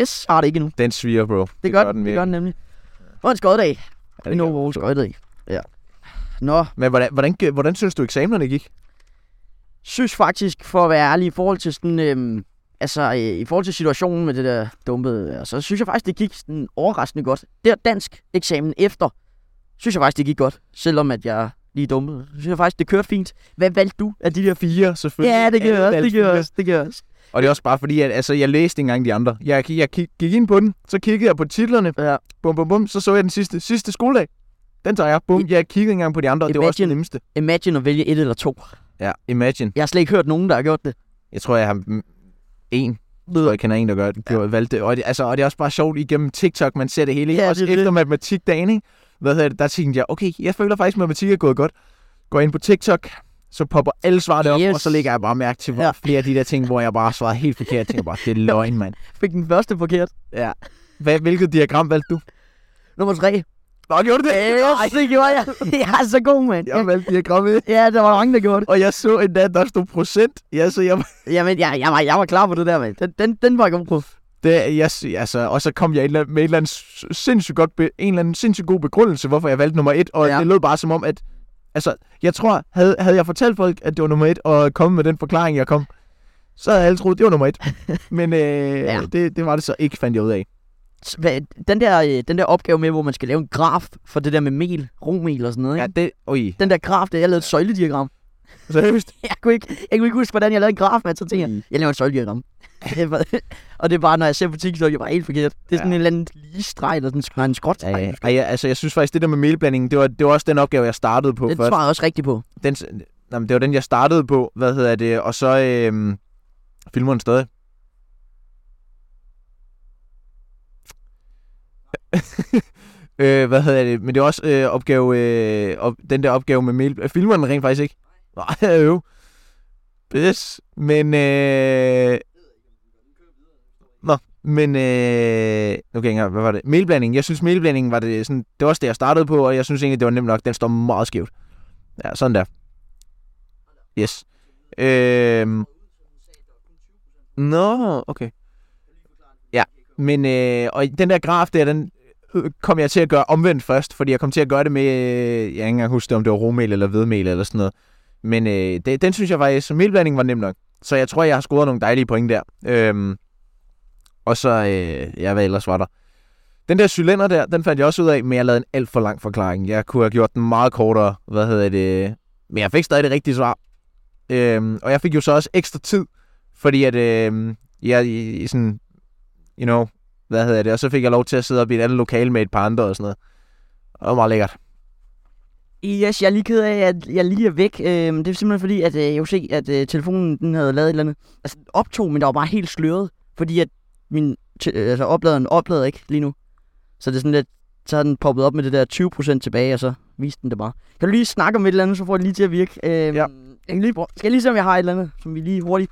Speaker 1: yes, har det ikke endnu. Det,
Speaker 2: Den sviger, bro. Det,
Speaker 1: det gør, den, det gør den nemlig. Det var en skoddag.
Speaker 2: Ja,
Speaker 1: Ja,
Speaker 2: det
Speaker 1: en
Speaker 2: gør
Speaker 1: overall skoddag. Ja. Nå,
Speaker 2: den. Men hvordan, hvordan, hvordan synes du, eksamenerne gik?
Speaker 1: synes faktisk, for at være ærlig, i forhold til sådan, øhm, altså øh, i forhold til situationen med det der dumpede, der, så synes jeg faktisk, det gik sådan overraskende godt. Der dansk eksamen efter, synes jeg faktisk, det gik godt, selvom at jeg lige dumpede. Så synes jeg faktisk, det kørte fint. Hvad valgte du af de der fire?
Speaker 2: Fire, selvfølgelig.
Speaker 1: Ja, det gør
Speaker 2: Alle
Speaker 1: jeg også,
Speaker 2: valgte
Speaker 1: det gør jeg
Speaker 2: fire.
Speaker 1: også, det gør jeg også.
Speaker 2: Og det er også bare fordi, at altså, jeg læste ikke engang de andre. Jeg, jeg, jeg gik gik ind på den, så kiggede jeg på titlerne.
Speaker 1: Ja.
Speaker 2: Bum, bum, bum. Så så jeg den sidste, sidste skoledag. Den tager jeg. Bum, jeg kiggede ikke engang på de andre, og det var også
Speaker 1: Imagine.
Speaker 2: det nemmeste.
Speaker 1: Imagine at vælge et eller to.
Speaker 2: Ja, imagine.
Speaker 1: Jeg har slet ikke hørt nogen, der har gjort det.
Speaker 2: Jeg tror, jeg har mm, en. Jeg tror, jeg kender en, der gør det. Ja. Valgte. det. Og, det, altså, og det er også bare sjovt igennem TikTok, man ser det hele.
Speaker 1: Ja,
Speaker 2: Ja, også
Speaker 1: det er
Speaker 2: det, efter matematikdagen, ikke? Hvad hedder det? Der tænkte jeg, okay, jeg føler faktisk, at matematik er gået godt. Går ind på TikTok, så popper alle svarene op,
Speaker 1: Yes.
Speaker 2: og så lægger jeg bare mærke til
Speaker 1: Ja.
Speaker 2: ja. flere af de der ting, hvor jeg bare svarer helt forkert. Jeg tænker bare, det er løgn, mand.
Speaker 1: Fik den første forkert.
Speaker 2: Ja. Hvad, hvilket diagram valgte du?
Speaker 1: Nummer tre.
Speaker 2: Nå, gjorde du det?
Speaker 1: Yes, det gjorde jeg. Jeg er så god, mand.
Speaker 2: Jeg valgte diagram 1,
Speaker 1: Ja, der var mange, der gjorde det.
Speaker 2: og jeg så endda, der stod procent. Jeg, så jeg,
Speaker 1: Jamen, jeg, jeg, var, jeg var klar på det der, mand. Den, den, den var jeg god på.
Speaker 2: det, jeg, altså, og så kom jeg et eller andet- med et eller andet s- sindssygt godt be, en eller anden sindssygt god begrundelse, hvorfor jeg valgte nummer 1, og
Speaker 1: Ja.
Speaker 2: ja. det lød bare som om, at altså, jeg tror, havde, havde jeg fortalt folk, at det var nummer 1, og kommet med den forklaring, jeg kom, så havde alle troet, det var nummer 1. Men øh,
Speaker 1: Ja.
Speaker 2: ja. det, det var det så ikke, fandt jeg ud af.
Speaker 1: S- hvad- den der, øh, den der opgave med, hvor man skal lave en graf for det der med mel, romel og sådan noget, ikke?
Speaker 2: Ja, det, oj,
Speaker 1: Mm. Den der graf, der jeg lavede et søjlediagram.
Speaker 2: seriøst.
Speaker 1: Jeg kunne, ikke, jeg kunne ikke huske, hvordan jeg lavede en graf, men så tænkte
Speaker 2: Mm.
Speaker 1: jeg, jeg laver et søjlediagram. Det var- og det er bare, når jeg ser på TikTok, jeg var helt forkert. Det er sådan
Speaker 2: Ja.
Speaker 1: en eller anden lige streg, eller sådan nej, en skråtstreg.
Speaker 2: Ej, ej, jeg- altså, jeg synes faktisk, det der med melblandingen, det var, det var også den opgave, jeg startede på
Speaker 1: Det
Speaker 2: først.
Speaker 1: svarer jeg også rigtigt på.
Speaker 2: den, jamen, det var den, jeg startede på, hvad hedder det, og så øhm, filmer den stadig. øh, hvad hedder det, men det er også øh, opgave, øh, op, den der opgave med mail, øh, filmer den rent faktisk ikke? Nej, jo. Yes, men øh, Nå, men øh, nu kan jeg ikke engang- hvad var det? Melblanding. Jeg synes, melblandingen var det sådan, det var også det, jeg startede på, og jeg synes egentlig, det var nemt nok. Den står meget skævt. Ja, sådan der. Yes. Øhm. Nå, okay. Ja, men øh, og den der graf der, den øh, kom jeg til at gøre omvendt først, fordi jeg kom til at gøre det med, øh, jeg kan ikke engang huske, om det var romel eller hvedemel eller sådan noget. Men øh, det, den synes jeg faktisk, som melblanding var nem nok. Så jeg tror, jeg har scoret nogle dejlige point der. Øhm, og så, øh, ja, hvad ellers var der? Den der cylinder der, den fandt jeg også ud af, men jeg lavede en alt for lang forklaring. Jeg kunne have gjort den meget kortere, hvad hedder det, men jeg fik stadig det rigtige svar. Øhm, og jeg fik jo så også ekstra tid, fordi at øhm, jeg i- i sådan, you know, hvad hedder det, og så fik jeg lov til at sidde op i et andet lokale med et par andre og sådan noget. Og det var meget lækkert.
Speaker 1: Yes, jeg er lige ked af, at jeg lige er væk. Øhm, det er simpelthen fordi, at øh, jeg kunne se, at øh, telefonen den havde lavet et eller andet. Altså, den optog, men der var bare helt sløret. Fordi at min te- øh, altså, opladeren oplader ikke lige nu. Så det er sådan lidt, så har den poppet op med det der 20% tilbage, og så viste den det bare. Kan du lige snakke om et eller andet, så får det lige til at virke? Øhm,
Speaker 2: Ja.
Speaker 1: Jeg kan lige prøve. Skal jeg lige se, om jeg har et eller andet, som vi lige hurtigt...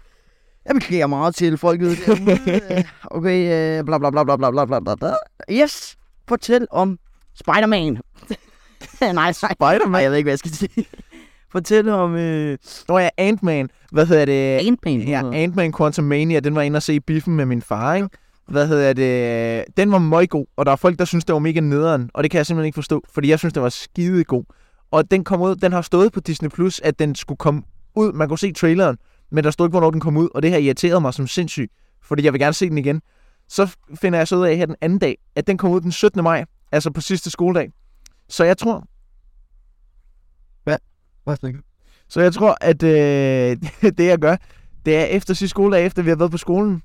Speaker 1: Jeg beklager meget til folket. derude. Øh, okay, øh, bla bla bla bla bla bla bla bla bla. Yes, fortæl om Spider-Man. nej, nej. Nej,
Speaker 2: Spider-Man?
Speaker 1: jeg ved ikke, hvad jeg skal sige. Fortæl om øh,
Speaker 2: Nå ja, Ant-Man. Hvad hedder det?
Speaker 1: Ant-Man.
Speaker 2: Ja, Ant-Man Quantumania, den var jeg inde og se i biffen med min far, ikke? Hvad hedder det? Den var møggod, og der er folk, der synes, det var mega nederen, og det kan jeg simpelthen ikke forstå, fordi jeg synes, det var skidegod. Og den kom ud, den har stået på Disney+, Plus, at den skulle komme ud. Man kunne se traileren, men der stod ikke, hvornår den kom ud, og det her irriterede mig som sindssygt, fordi jeg vil gerne se den igen. Så finder jeg så ud af her den anden dag, at den kom ud den 17. maj, altså på sidste skoledag. Så jeg tror, Så jeg tror, at øh, det jeg gør, det er efter sidste skoledag, efter vi har været på skolen,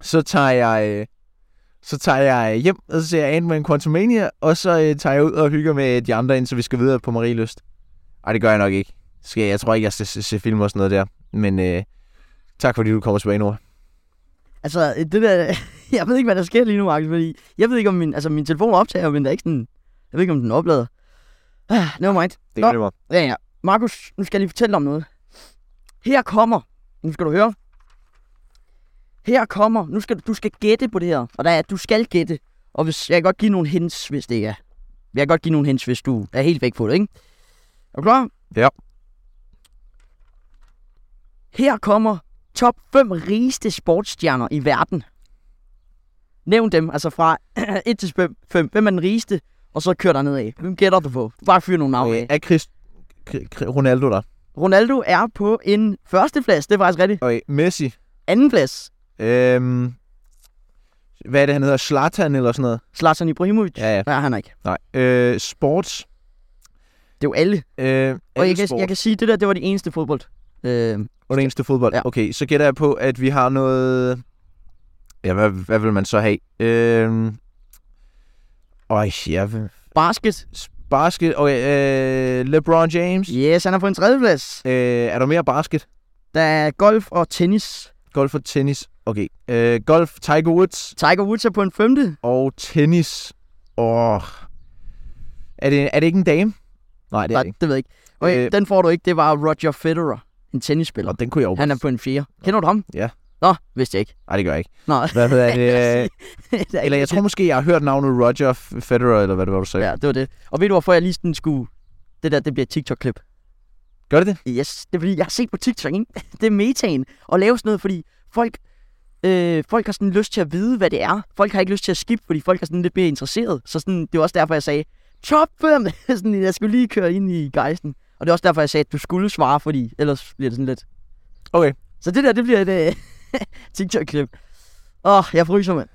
Speaker 2: så tager jeg, øh, så tager jeg hjem, og så ser jeg Ant-Man Quantumania, og så øh, tager jeg ud og hygger med de andre, indtil vi skal videre på Marielyst. Ej, det gør jeg nok ikke. Skal jeg, jeg tror ikke, jeg skal se, se film og sådan noget der. Men øh, tak fordi du kommer tilbage, Nora.
Speaker 1: Altså, øh, det der... Jeg ved ikke, hvad der sker lige nu, Markus, fordi... Jeg ved ikke, om min, altså, min telefon optager, men der er ikke sådan... Jeg ved ikke, om den oplader. Ah, never mind.
Speaker 2: Det
Speaker 1: Nå.
Speaker 2: gør det mig.
Speaker 1: Ja, ja. Markus, nu skal jeg lige fortælle dig om noget. Her kommer... Nu skal du høre. Her kommer... Nu skal du, du skal gætte på det her. Og der er, du skal gætte. Og hvis, jeg kan godt give nogle hints, hvis det ikke er. Jeg kan godt give nogle hints, hvis du er helt væk på det, ikke? Er du klar?
Speaker 2: Ja.
Speaker 1: Her kommer top 5 rigeste sportsstjerner i verden. Nævn dem, altså fra 1 til 5. 5. Hvem er den rigeste? Og så kører der nedad. Hvem gætter du på? Bare fyr nogle navne af.
Speaker 2: Okay. Øh, Er Chris, Kri- Kri- Ronaldo der?
Speaker 1: Ronaldo er på en førsteplads, det er faktisk rigtigt.
Speaker 2: Okay. Messi.
Speaker 1: Andenplads,
Speaker 2: Øhm, hvad er det, han hedder? Zlatan eller sådan noget?
Speaker 1: Zlatan Ibrahimovic.
Speaker 2: Ja, ja.
Speaker 1: Der er han ikke.
Speaker 2: Nej. Øh, sports.
Speaker 1: Det er jo alle.
Speaker 2: Øh,
Speaker 1: Og jeg
Speaker 2: alle
Speaker 1: kan, jeg kan sige, det der, det var det eneste fodbold. Øh,
Speaker 2: Og det eneste fodbold.
Speaker 1: Ja.
Speaker 2: Ja. Okay, så gætter jeg på, at vi har noget... Ja, hvad, hvad vil man så have? Øhm... Øj, jeg vil...
Speaker 1: basket.
Speaker 2: Basket... Okay, øh... LeBron James.
Speaker 1: Yes, han er på en tredjeplads.
Speaker 2: Øh, er der mere basket?
Speaker 1: Der er golf og tennis.
Speaker 2: Golf og tennis. Okay. Øh, golf, Tiger Woods
Speaker 1: Tiger Woods er på en femte.
Speaker 2: og tennis. Åh... Er det, er det ikke en dame? Nej, det er
Speaker 1: Nej,
Speaker 2: det ikke.
Speaker 1: det ved jeg ikke. Okay, øh,
Speaker 2: Øh,
Speaker 1: den får du ikke. Det var Roger Federer, en tennisspiller.
Speaker 2: Og den kunne jeg jo...
Speaker 1: Han er på en fjerde. Kender du ham?
Speaker 2: Ja.
Speaker 1: Nå, vidste jeg ikke.
Speaker 2: Nej, det gør jeg ikke.
Speaker 1: Nå,
Speaker 2: Hvad hedder det? Øh,
Speaker 1: det er
Speaker 2: eller jeg tror måske, jeg har hørt navnet Roger Federer, eller hvad det var, du sagde. Ja.
Speaker 1: Ja, det var det. Og ved du, hvorfor jeg lige sådan skulle... Det der, det bliver et TikTok-klip.
Speaker 2: Gør det det?
Speaker 1: Yes, det er fordi, jeg har set på TikTok, ikke? det er metaen at lave sådan noget, fordi folk, øh, folk har sådan lyst til at vide, hvad det er. Folk har ikke lyst til at skip, fordi folk er sådan lidt mere interesseret. Så sådan, det var også derfor, jeg sagde, top 5! sådan, jeg skulle lige køre ind i gejsten. Og det er også derfor, jeg sagde, at du skulle svare, fordi ellers bliver det sådan lidt...
Speaker 2: Okay.
Speaker 1: Så det der, det bliver et øh, TikTok-klip. Åh, oh, jeg fryser, mand.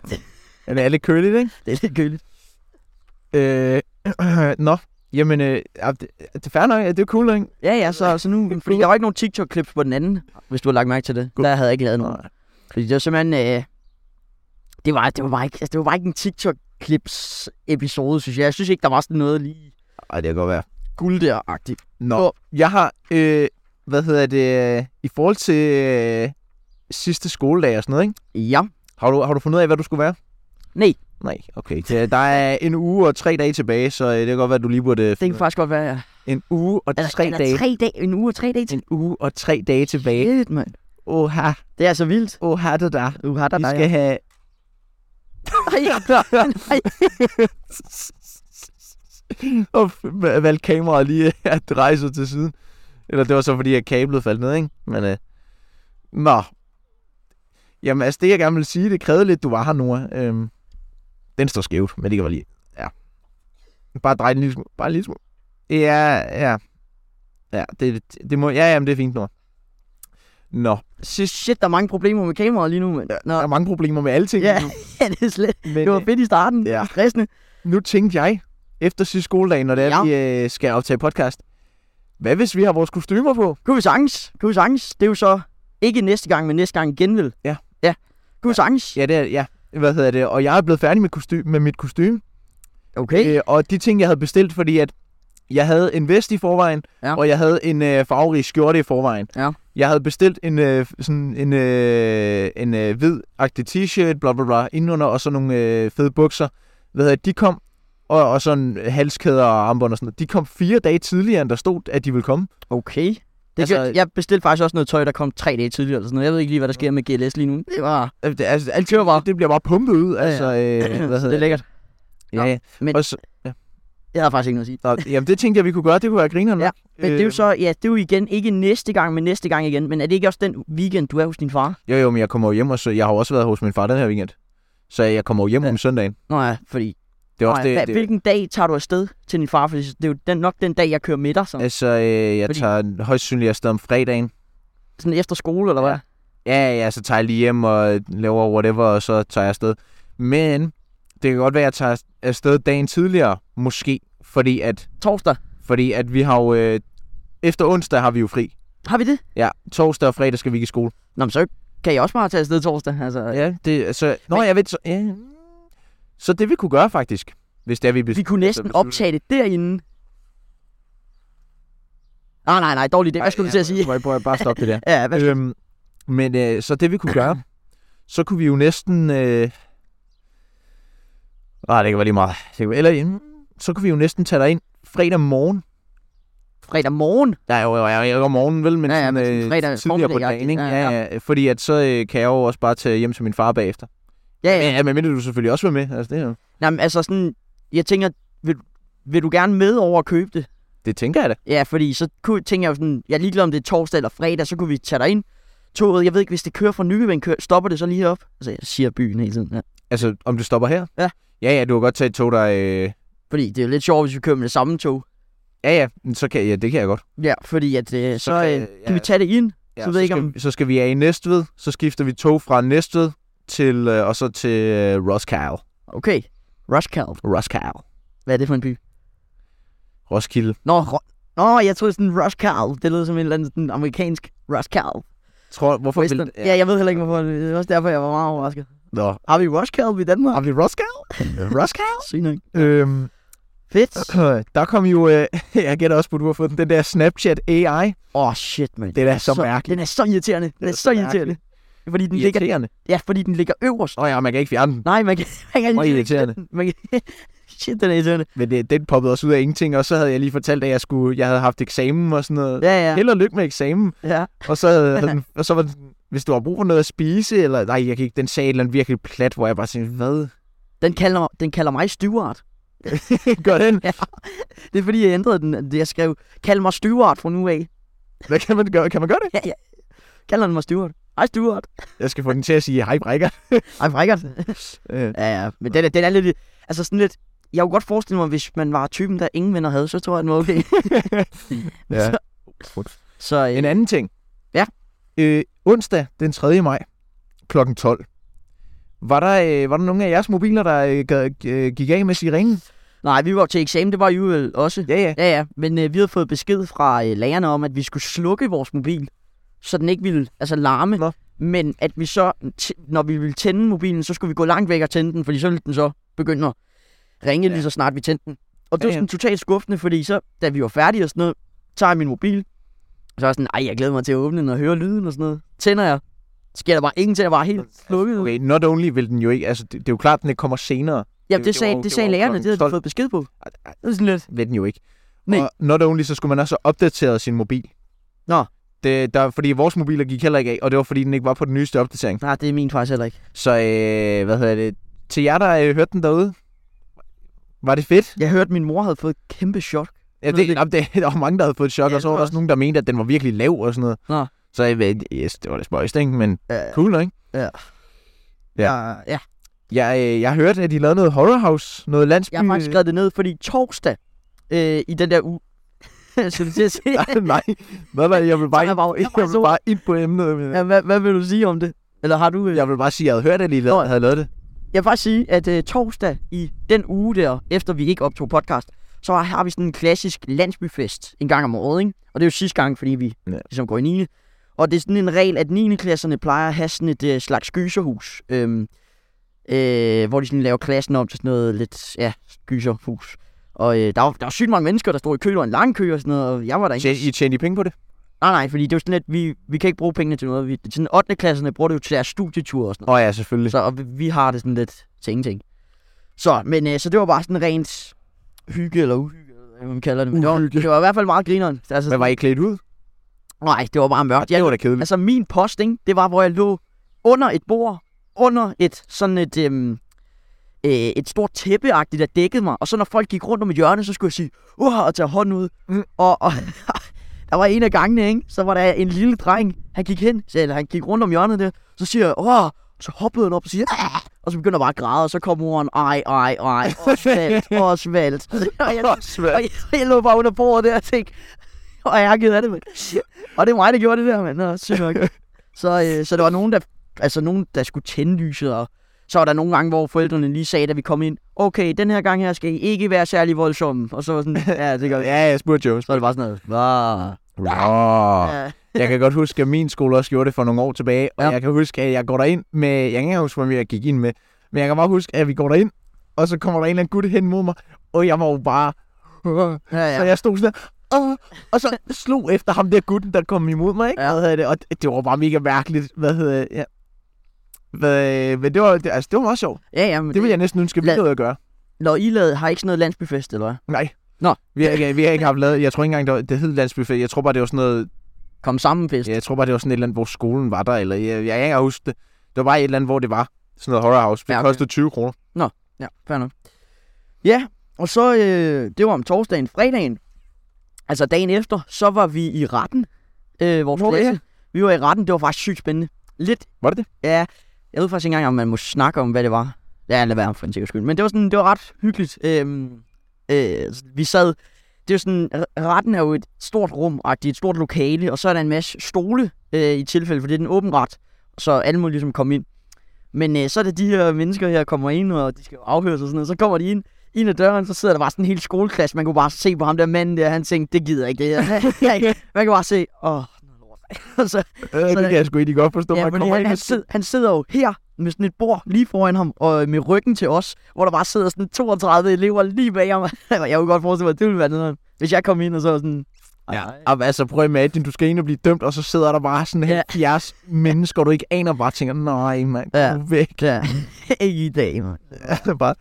Speaker 2: Er det alle køligt, ikke?
Speaker 1: Det er lidt køligt.
Speaker 2: Øh, nå, jamen, øh, ja, det, det er fair nok, det er cool, ikke?
Speaker 1: Ja, ja, så, så nu... Fordi der var ikke nogen TikTok-klips på den anden, hvis du har lagt mærke til det.
Speaker 2: God.
Speaker 1: Der havde jeg ikke lavet nogen.
Speaker 2: Nej.
Speaker 1: Fordi det var simpelthen... Øh, det, var, det, var bare ikke, altså, det var bare ikke en TikTok-klips-episode, synes jeg. Jeg synes ikke, der var sådan noget lige
Speaker 2: Ej, det kan godt være.
Speaker 1: guld der-agtigt.
Speaker 2: Nå,
Speaker 1: Nå.
Speaker 2: jeg har, øh, hvad hedder det, øh, i forhold til øh, sidste skoledag og sådan noget, ikke?
Speaker 1: Ja.
Speaker 2: Har du, har du fundet ud af, hvad du skulle være?
Speaker 1: Nej.
Speaker 2: Nej, okay. Det, der er en uge og tre dage tilbage, så øh, det kan godt være, at du lige burde...
Speaker 1: Det kan faktisk godt være, ja.
Speaker 2: En uge og
Speaker 1: Er der,
Speaker 2: tre
Speaker 1: er der
Speaker 2: dage.
Speaker 1: Tre dage. En uge og tre dage til.
Speaker 2: En uge og tre dage tilbage.
Speaker 1: Shit, mand.
Speaker 2: Oha,
Speaker 1: Det er altså vildt.
Speaker 2: oha, det der.
Speaker 1: Du har der
Speaker 2: Vi
Speaker 1: dig.
Speaker 2: skal have...
Speaker 1: Nej,
Speaker 2: og f- valgte kameraet lige at dreje sig til siden. Eller det var så fordi, at kablet faldt ned, ikke? Men, øh, nå. Jamen, altså det, jeg gerne vil sige, det krævede lidt, du var her, Nora. Øhm, den står skævt, men det kan være lige... Ja. Bare drej den en lille smule. Bare en lille smule. Ja, ja. Ja, det, det må... Ja, jamen, det er fint, Nora. Nå,
Speaker 1: Shit, shit, der er mange problemer med kameraet lige nu, mand. Nå,
Speaker 2: der er mange problemer med alting.
Speaker 1: Ja.
Speaker 2: nu,
Speaker 1: ja, det er slet.
Speaker 2: Men,
Speaker 1: Det var fedt i starten.
Speaker 2: Ja.
Speaker 1: Ja. Stressende.
Speaker 2: nu tænkte jeg, efter sidste skoledag, når det er, vi øh, skal optage podcast, hvad hvis vi har vores kostymer på?
Speaker 1: Kunne vi sagtens. Kunne vi sagtens. Det er jo så ikke næste gang, men næste gang igen, vel?
Speaker 2: Ja.
Speaker 1: Ja. Kunne vi sagtens.
Speaker 2: Ja, det er, ja. hvad hedder det, og jeg er blevet færdig med, kostume, med mit kostume.
Speaker 1: Okay.
Speaker 2: Øh, og de ting, jeg havde bestilt, fordi at jeg havde en vest i forvejen,
Speaker 1: Ja.
Speaker 2: ja. og jeg havde en øh, farverig skjorte i forvejen.
Speaker 1: Ja.
Speaker 2: Jeg havde bestilt en, øh, sådan en, øh, en øh, hvid-agtig t-shirt, bla bla bla, indenunder, og så nogle øh, fede bukser. Hvad hedder det, de kom, og, og sådan halskæder og armbånd og sådan noget. De kom fire dage tidligere, end der stod, at de ville komme.
Speaker 1: Okay. Det
Speaker 2: Øh, Altså-
Speaker 1: altså, jeg bestilte faktisk også noget tøj, der kom tre dage tidligere eller sådan noget. Jeg ved ikke lige, hvad der sker med GLS lige nu. Det var...
Speaker 2: Øh, Det, altså, alt kører bare. Det bliver bare pumpet ud.
Speaker 1: ja.
Speaker 2: Altså, øh, hvad
Speaker 1: Så
Speaker 2: hedder
Speaker 1: det er lækkert.
Speaker 2: Ja, ja.
Speaker 1: men-
Speaker 2: Og så,
Speaker 1: Jeg havde faktisk ikke noget at sige.
Speaker 2: nå, jamen, det tænkte jeg, vi kunne gøre. Det kunne være grineren.
Speaker 1: Ja,
Speaker 2: nok.
Speaker 1: Men det er jo
Speaker 2: Øh,
Speaker 1: så, ja, det er jo igen, ikke næste gang, men næste gang igen. Men er det ikke også den weekend, du er hos din far?
Speaker 2: Jo, jo, men jeg kommer jo hjem, og så, jeg har jo også været hos min far den her weekend. Så jeg kommer jo hjem
Speaker 1: Ja.
Speaker 2: ja. om søndagen.
Speaker 1: Nå ja, fordi...
Speaker 2: Det er
Speaker 1: Nå
Speaker 2: også
Speaker 1: ja,
Speaker 2: det,
Speaker 1: hvad,
Speaker 2: det,
Speaker 1: hvilken dag tager du afsted til din far? Fordi det er jo den, nok den dag, jeg kører med dig. Sådan,
Speaker 2: Altså, øh, jeg
Speaker 1: Fordi-
Speaker 2: Fordi... tager højst sandsynligt afsted om fredagen.
Speaker 1: sådan efter skole, eller hvad?
Speaker 2: Ja. Ja, ja, så tager jeg lige hjem og laver whatever, og så tager jeg afsted. Men det kan godt være, at jeg tager afsted dagen tidligere, måske. Fordi at,
Speaker 1: Torsdag.
Speaker 2: fordi at vi har jo... Øh, efter onsdag har vi jo fri.
Speaker 1: Har vi det?
Speaker 2: Ja, torsdag og fredag skal vi ikke i skole.
Speaker 1: Nå, men så kan jeg også bare tage afsted torsdag. Altså, ja.
Speaker 2: Ja, det, altså, nå,
Speaker 1: Men-
Speaker 2: jeg ved, så, ja. så det vi kunne gøre faktisk, hvis det er, vi, bes-
Speaker 1: Vi kunne næsten
Speaker 2: beslutter-
Speaker 1: optage det derinde. Nej, nej, nej, dårlig idé. Hvad skulle du til at sige?
Speaker 2: Prøv, prøv, prøv, bare stop det der.
Speaker 1: Ja, hvad?
Speaker 2: øhm, men øh, så det vi kunne gøre, så kunne vi jo næsten... Øh... Ah, det kan være lige meget. Det kan være... Eller, mm, så kunne vi jo næsten tage dig ind fredag morgen.
Speaker 1: Fredag morgen?
Speaker 2: Der er jo jeg er jo ikke om morgenen, vel, men,
Speaker 1: Ja, ja, men
Speaker 2: sådan, øh,
Speaker 1: sådan fredag
Speaker 2: tidligere på
Speaker 1: formiddag-agtigt.
Speaker 2: dagen. Ikke?
Speaker 1: Ja,
Speaker 2: Ja, ja. fordi at så øh, kan jeg jo også bare tage hjem til min far bagefter.
Speaker 1: Ja, ja.
Speaker 2: Ja, ja men mindre du selvfølgelig også var med. Altså, det, er jo-
Speaker 1: Nej, men altså sådan, jeg tænker, vil, vil du gerne med over at købe det?
Speaker 2: det tænker jeg da.
Speaker 1: Ja, fordi så kunne, tænker jeg jo sådan, jeg er ligeglad om det er torsdag eller fredag, så kunne vi tage dig ind. Toget, jeg ved ikke, hvis det kører fra Nykøbing, kører, stopper det så lige op? Altså, jeg siger byen hele tiden, ja.
Speaker 2: Altså, om du stopper her?
Speaker 1: Ja.
Speaker 2: Ja, ja, du kan godt tage et tog, der... Øh...
Speaker 1: Fordi det er jo lidt sjovt, hvis vi kører med det samme tog.
Speaker 2: Ja, ja, men så kan, ja, det kan jeg godt.
Speaker 1: Ja, fordi at, øh, så, så øh,
Speaker 2: kan-
Speaker 1: kan
Speaker 2: ja.
Speaker 1: vi tage det ind.
Speaker 2: Ja,
Speaker 1: Så ved jeg ikke,
Speaker 2: skal,
Speaker 1: om-
Speaker 2: vi- så skal vi af i Næstved, så skifter vi tog fra Næstved til, øh, og så til øh, Roskilde.
Speaker 1: Okay, Roskilde.
Speaker 2: Roskilde.
Speaker 1: Hvad er det for en by?
Speaker 2: Roskilde.
Speaker 1: Nå, ro- Nå jeg troede sådan Roskilde. Det lød som en eller anden sådan, amerikansk Roskilde.
Speaker 2: Tror, hvorfor
Speaker 1: Western.
Speaker 2: vil...
Speaker 1: Ja, jeg ved heller ikke, hvorfor. Det er også derfor, jeg var meget overrasket.
Speaker 2: Nå.
Speaker 1: Har vi Roskilde i
Speaker 2: Har
Speaker 1: Danmark?
Speaker 2: vi Roskilde? Roskilde?
Speaker 1: Sygt nok.
Speaker 2: øhm,
Speaker 1: Fedt.
Speaker 2: der kom jo... Øh, jeg gætter også på, at du har fået den, den der Snapchat AI.
Speaker 1: Åh, oh, shit, mand.
Speaker 2: Den er så mærkelig.
Speaker 1: Den er så irriterende. Den er
Speaker 2: er
Speaker 1: så
Speaker 2: så
Speaker 1: irriterende. Fordi den, ligger,
Speaker 2: Irriterende.
Speaker 1: ja, fordi den ligger øverst.
Speaker 2: Åh oh, ja, man kan ikke fjerne den.
Speaker 1: Nej, man kan, man kan
Speaker 2: Og irriterende.
Speaker 1: Man kan, shit, den er irriterende.
Speaker 2: Men det, den poppede også ud af ingenting, og så havde jeg lige fortalt, at jeg, skulle, jeg havde haft eksamen og sådan noget.
Speaker 1: Ja, ja.
Speaker 2: Held og lykke med eksamen.
Speaker 1: ja.
Speaker 2: Og så, havde den, og så var den, sådan, hvis du har brug for noget at spise, eller nej, jeg kan ikke, den sagde et eller andet virkelig plat, hvor jeg bare tænkte, hvad
Speaker 1: Den, kalder, den kalder mig Stuart.
Speaker 2: gør den?
Speaker 1: Det er fordi, jeg ændrede den. Jeg skrev, kald mig Stuart fra nu af.
Speaker 2: Hvad kan man gøre? Kan man gøre det?
Speaker 1: Kalder den mig Stuart. Hej Stuart.
Speaker 2: Jeg skal få den til at sige, hej brækker.
Speaker 1: Hej, Frikert.
Speaker 2: Øh,
Speaker 1: Ja, ja. Men den, er- den er lidt... Altså sådan lidt... Jeg kunne godt forestille mig, hvis man var typen, der ingen venner havde, så tror jeg, den var okay.
Speaker 2: ja.
Speaker 1: Så øh,
Speaker 2: En anden ting.
Speaker 1: Ja.
Speaker 2: Øh, onsdag den 3. maj kl. 12. Var der, øh, var der nogle af jeres mobiler, der øh, gad- øh, gik af med sirenen?
Speaker 1: nej, vi var til eksamen, det var I jo vel også.
Speaker 2: Ja, ja.
Speaker 1: Ja, ja, men øh, vi havde fået besked fra øh, lærerne om, at vi skulle slukke vores mobil, så den ikke ville altså, larme.
Speaker 2: Nå.
Speaker 1: Men at vi så, t- når vi ville tænde mobilen, så skulle vi gå langt væk og tænde den, fordi så ville den så begynde at ringe ja.
Speaker 2: Ja.
Speaker 1: lige så snart vi tændte den. Og det
Speaker 2: Ja,
Speaker 1: var
Speaker 2: ja.
Speaker 1: sådan totalt skuffende, fordi så, da vi var færdige og sådan noget, tager jeg min mobil, og så er jeg sådan, ej, jeg glæder mig til at åbne den og høre lyden og sådan noget. Tænder jeg, sker der bare ingenting, jeg var helt slukket.
Speaker 2: Okay, not only vil den jo ikke, altså det, det er jo klart, den ikke kommer senere.
Speaker 1: Ja,
Speaker 2: det-
Speaker 1: det
Speaker 2: det
Speaker 1: sagde,
Speaker 2: var jo-
Speaker 1: det
Speaker 2: det
Speaker 1: sagde
Speaker 2: var jo
Speaker 1: lærerne, det
Speaker 2: klokken
Speaker 1: havde de
Speaker 2: 12.
Speaker 1: fået besked på.
Speaker 2: Ej, ej.
Speaker 1: Det var sådan lidt,
Speaker 2: ved den jo ikke.
Speaker 1: Nej.
Speaker 2: Nej. Og not only, så skulle man også opdatere sin mobil.
Speaker 1: Nå.
Speaker 2: Det, der, fordi vores mobiler gik heller ikke af, og det var fordi, den ikke var på den nyeste opdatering.
Speaker 1: nej, det er min faktisk heller ikke.
Speaker 2: Så øh, hvad hedder det? Til jer, der øh, hørte den derude, var det fedt?
Speaker 1: Jeg hørte, at min mor havde fået et kæmpe chok.
Speaker 2: Ja,
Speaker 1: Nå,
Speaker 2: det,
Speaker 1: det-
Speaker 2: det, det, der var mange, der havde fået et chok,
Speaker 1: Ja,
Speaker 2: ja, og så
Speaker 1: det
Speaker 2: var
Speaker 1: var
Speaker 2: der også nogen, der mente, at den var virkelig lav og sådan noget.
Speaker 1: Nå.
Speaker 2: Så jeg ved, yes, det var det spøjst, ikke? Men
Speaker 1: Ja.
Speaker 2: cool, ikke? Ja.
Speaker 1: Og, ja.
Speaker 2: Jeg, øh, jeg hørte, at de lavede noget Horror House, noget landsby...
Speaker 1: Jeg har faktisk skrevet det ned, fordi torsdag øh, i den der uge, så det til at sige,
Speaker 2: Nej, nej. Hvad var det? Jeg vil bare,
Speaker 1: Jeg
Speaker 2: jeg
Speaker 1: var jo-
Speaker 2: bare,
Speaker 1: jeg var
Speaker 2: jeg vil
Speaker 1: så-
Speaker 2: bare ind på emnet. men-
Speaker 1: ja, hvad, hvad vil du sige om det? Eller har du... Øh,
Speaker 2: Jeg vil bare sige, at jeg havde hørt, at de
Speaker 1: Nå,
Speaker 2: lavede- havde lavet det.
Speaker 1: Jeg vil faktisk sige, at øh, torsdag i den uge der, efter vi ikke optog podcast, så har vi sådan en klassisk landsbyfest en gang om året, ikke? Og det er jo sidste gang, fordi vi ja.
Speaker 2: Ja.
Speaker 1: ligesom går i 9. Og det er sådan en regel, at 9. klasserne plejer at have sådan et øh, slags gyserhus. Øhm, øh, hvor de sådan laver klassen om til sådan noget lidt, ja, gyserhus. Og øh, der, var, der var sygt mange mennesker, der stod i kø, og en lang kø og sådan noget, og jeg var der ikke.
Speaker 2: Tjente I tjente I penge på det?
Speaker 1: Nej, nej, fordi det var sådan lidt, vi, vi kan ikke bruge pengene til noget. Vi, sådan 8. klasserne bruger det jo til deres studietur og sådan noget.
Speaker 2: Åh oh, ja, selvfølgelig.
Speaker 1: Så og vi, vi har det sådan lidt til ingenting. Så, men øh, så det var bare sådan rent hygge eller uhygge, eller hvad man kalder det. Men det, var,
Speaker 2: Uhygge.
Speaker 1: det var i hvert fald meget grineren. Altså,
Speaker 2: Men var I klædt ud?
Speaker 1: nej, det var bare mørkt.
Speaker 2: Det
Speaker 1: Jeg,
Speaker 2: var da kedeligt.
Speaker 1: altså min post, ikke, det var, hvor jeg lå under et bord, under et sådan et, øhm, øh, et stort tæppeagtigt, der dækkede mig. Og så når folk gik rundt om et hjørne, så skulle jeg sige, uh, og tage hånden ud.
Speaker 2: Mm.
Speaker 1: Mm. Og, og der var en af gangene, ikke, så var der en lille dreng, han gik hen, så- eller han gik rundt om hjørnet der, så siger jeg, uh, så hoppede han op og siger, ah! og så begynder jeg bare at græde, og så kom moren, ej, ej, ej, Osvald, Osvald. og jeg, og
Speaker 2: Åh,
Speaker 1: jeg, jeg lå bare under bordet der og tænkte, og jeg har givet af det, mand. Og det er mig, der gjorde det der, mand. Nå, sygt nok. så, øh, så der var nogen der, altså nogen, der skulle tænde lyset, og så var der nogle gange, hvor forældrene lige sagde, da vi kom ind, okay, den her gang her skal I ikke være særlig voldsomme. Og så var sådan, ja, det gør vi.
Speaker 2: Ja, jeg spurgte Jones.
Speaker 1: Så var det bare sådan noget, "Hva?"
Speaker 2: Nå.
Speaker 1: ja.
Speaker 2: Jeg kan godt huske, at min skole også gjorde det for nogle år tilbage, og
Speaker 1: Ja.
Speaker 2: jeg kan huske, at jeg går derind med, jeg kan ikke engang huske, hvem jeg gik ind med, men jeg kan bare huske, at vi går derind, og så kommer der en eller anden gut hen mod mig, og jeg var jo bare, ja.
Speaker 1: Ja,
Speaker 2: så
Speaker 1: ja.
Speaker 2: jeg stod sådan der, "Åh", og så slog efter ham der gutten, der kom imod mig, ikke?
Speaker 1: Ja.
Speaker 2: Hvad hedder det? Og det, det var bare mega mærkeligt, hvad hedder det? Ja. Hvad, men det var, det, altså, det var meget sjovt.
Speaker 1: ja, ja men
Speaker 2: Det ville jeg næsten ønske, at vi
Speaker 1: Lad-
Speaker 2: havde at gøre.
Speaker 1: Når I lavede, har I ikke sådan noget landsbyfest, eller hvad?
Speaker 2: Nej.
Speaker 1: Nå.
Speaker 2: Vi har, ikke, vi har ikke haft lavet, jeg tror ikke engang, det, var, det hed landsbyfest. Jeg tror bare, det var sådan noget,
Speaker 1: Kom sammen fest.
Speaker 2: Ja, jeg tror bare, det var sådan et eller andet, hvor skolen var der, eller jeg, jeg, jeg kan ikke huske det. Det var bare et eller andet, hvor det var. Sådan noget horror house. Det
Speaker 1: Ja,
Speaker 2: ja,
Speaker 1: okay.
Speaker 2: okay. kostede 20 kroner.
Speaker 1: Ja, fair nok. Ja, og så, øh, det var om torsdagen, fredagen, altså dagen efter, så var vi i retten, øh, vores
Speaker 2: Nå,
Speaker 1: klasse.
Speaker 2: ja.
Speaker 1: Vi var i retten, det var faktisk sygt spændende. Lidt,
Speaker 2: Var det Øh, det?
Speaker 1: ja, jeg ved faktisk ikke engang, om man må snakke om, hvad det var. Ja, lad være for en sikker skyld. Men det var sådan, det var ret hyggeligt. Øhm, øh, vi sad, det er jo sådan, r- retten er jo et stort rum, og det er et stort lokale, og så er der en masse stole øh, i tilfælde, for det er den åben ret, så alle må ligesom komme ind. Men øh, så er det de her mennesker her, kommer ind, og de skal jo afhøres og sådan noget, så kommer de ind, ind ad døren, så sidder der bare sådan en hel skoleklasse, man kunne bare se på ham der manden der, han tænkte, det gider jeg ikke det her. man kan bare se, åh, oh, og så
Speaker 2: Øh, det kan jeg sgu egentlig godt forstå.
Speaker 1: Ja,
Speaker 2: Man
Speaker 1: men
Speaker 2: kommer
Speaker 1: han,
Speaker 2: ind
Speaker 1: han,
Speaker 2: og siger,
Speaker 1: sid, han sidder jo her med sådan et bord lige foran ham, og øh, med ryggen til os, hvor der bare sidder sådan 32 elever lige bag ham. jeg kunne godt forestille mig, at det ville være noget, hvis jeg kom ind og så var sådan... "Ej,
Speaker 2: Ja.
Speaker 1: ej."
Speaker 2: Og altså, prøv at imagine, du skal ind og blive dømt, og så sidder der bare sådan
Speaker 1: Ja.
Speaker 2: 70 mennesker, du ikke aner, bare tænker, nej, mand,
Speaker 1: Ja.
Speaker 2: ja. gå væk.
Speaker 1: Ja, ikke i dag, mand.
Speaker 2: Altså, bare,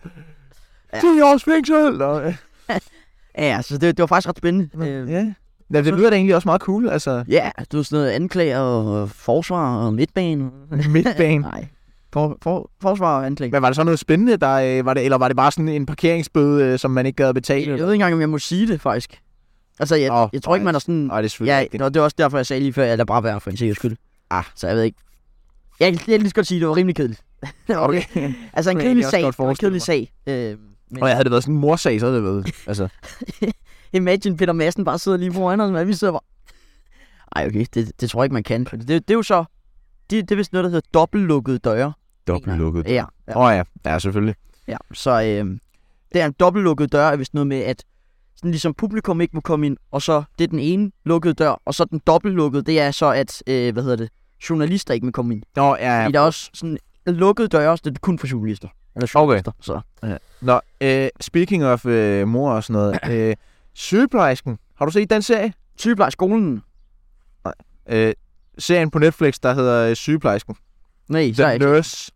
Speaker 1: Ja. Øhm.
Speaker 2: 10 års fængsel! Og, øh,
Speaker 1: Ja, så det, det var faktisk ret spændende. Øh,
Speaker 2: ja. Ja, det lyder da egentlig også meget cool, altså
Speaker 1: ja, det var sådan noget anklager og øh, forsvar og midtbane.
Speaker 2: Mm. midtbane.
Speaker 1: Nej, for, for, forsvar og anklager.
Speaker 2: Men var det så noget spændende, der øh, var det, eller var det bare sådan en parkeringsbøde, øh, som man ikke gad at betale?
Speaker 1: Jeg
Speaker 2: eller?
Speaker 1: ved ikke engang, om jeg må sige det, faktisk. Altså, jeg,
Speaker 2: Åh,
Speaker 1: jeg tror ikke,
Speaker 2: nej.
Speaker 1: man er sådan...
Speaker 2: Nej, det er selvfølgelig
Speaker 1: Ja,
Speaker 2: rigtigt.
Speaker 1: det var, det var også derfor, jeg sagde lige før, at jeg lader bare være for en sikkerheds skyld.
Speaker 2: Ah.
Speaker 1: Så jeg ved ikke. Jeg kan jeg kan lige så godt sige, at det var rimelig kedeligt. Det var-
Speaker 2: Okay.
Speaker 1: Altså en
Speaker 2: Det kan jeg
Speaker 1: kedelig
Speaker 2: også
Speaker 1: sag.
Speaker 2: godt
Speaker 1: Det var en
Speaker 2: forestille
Speaker 1: kedelig sag. Øh, men
Speaker 2: Og jeg havde det været sådan en morsag, så havde det været. Altså,
Speaker 1: imagine Peter Madsen bare sidder lige foran os, men vi sidder bare... Ej, okay, det, det tror jeg ikke, man kan. Det, det er jo så... Det, det er vist noget, der hedder dobbeltlukkede døre.
Speaker 2: dobbeltlukket.
Speaker 1: Ja, ja.
Speaker 2: Åh oh, ja, ja selvfølgelig.
Speaker 1: ja. Så øh, det er en dobbeltlukket dør, er vist noget med, at sådan ligesom publikum ikke må komme ind, og så det er den ene lukkede dør, og så den dobbeltlukkede, det er så, at, øh, hvad hedder det, journalister ikke må komme ind.
Speaker 2: Nå, ja,
Speaker 1: Ja.
Speaker 2: ja.
Speaker 1: Fordi der er også sådan lukkede døre, så det er kun for journalister. Eller journalister, okay. så.
Speaker 2: Nå, øh, speaking of øh, mor og sådan noget. Øh, sygeplejersken, har du set den serie?
Speaker 1: Sygeplejersk skolen.
Speaker 2: Øh, serien på Netflix, der hedder øh, Sygeplejersken.
Speaker 1: Nej, så er
Speaker 2: The
Speaker 1: ikke.
Speaker 2: Nurse.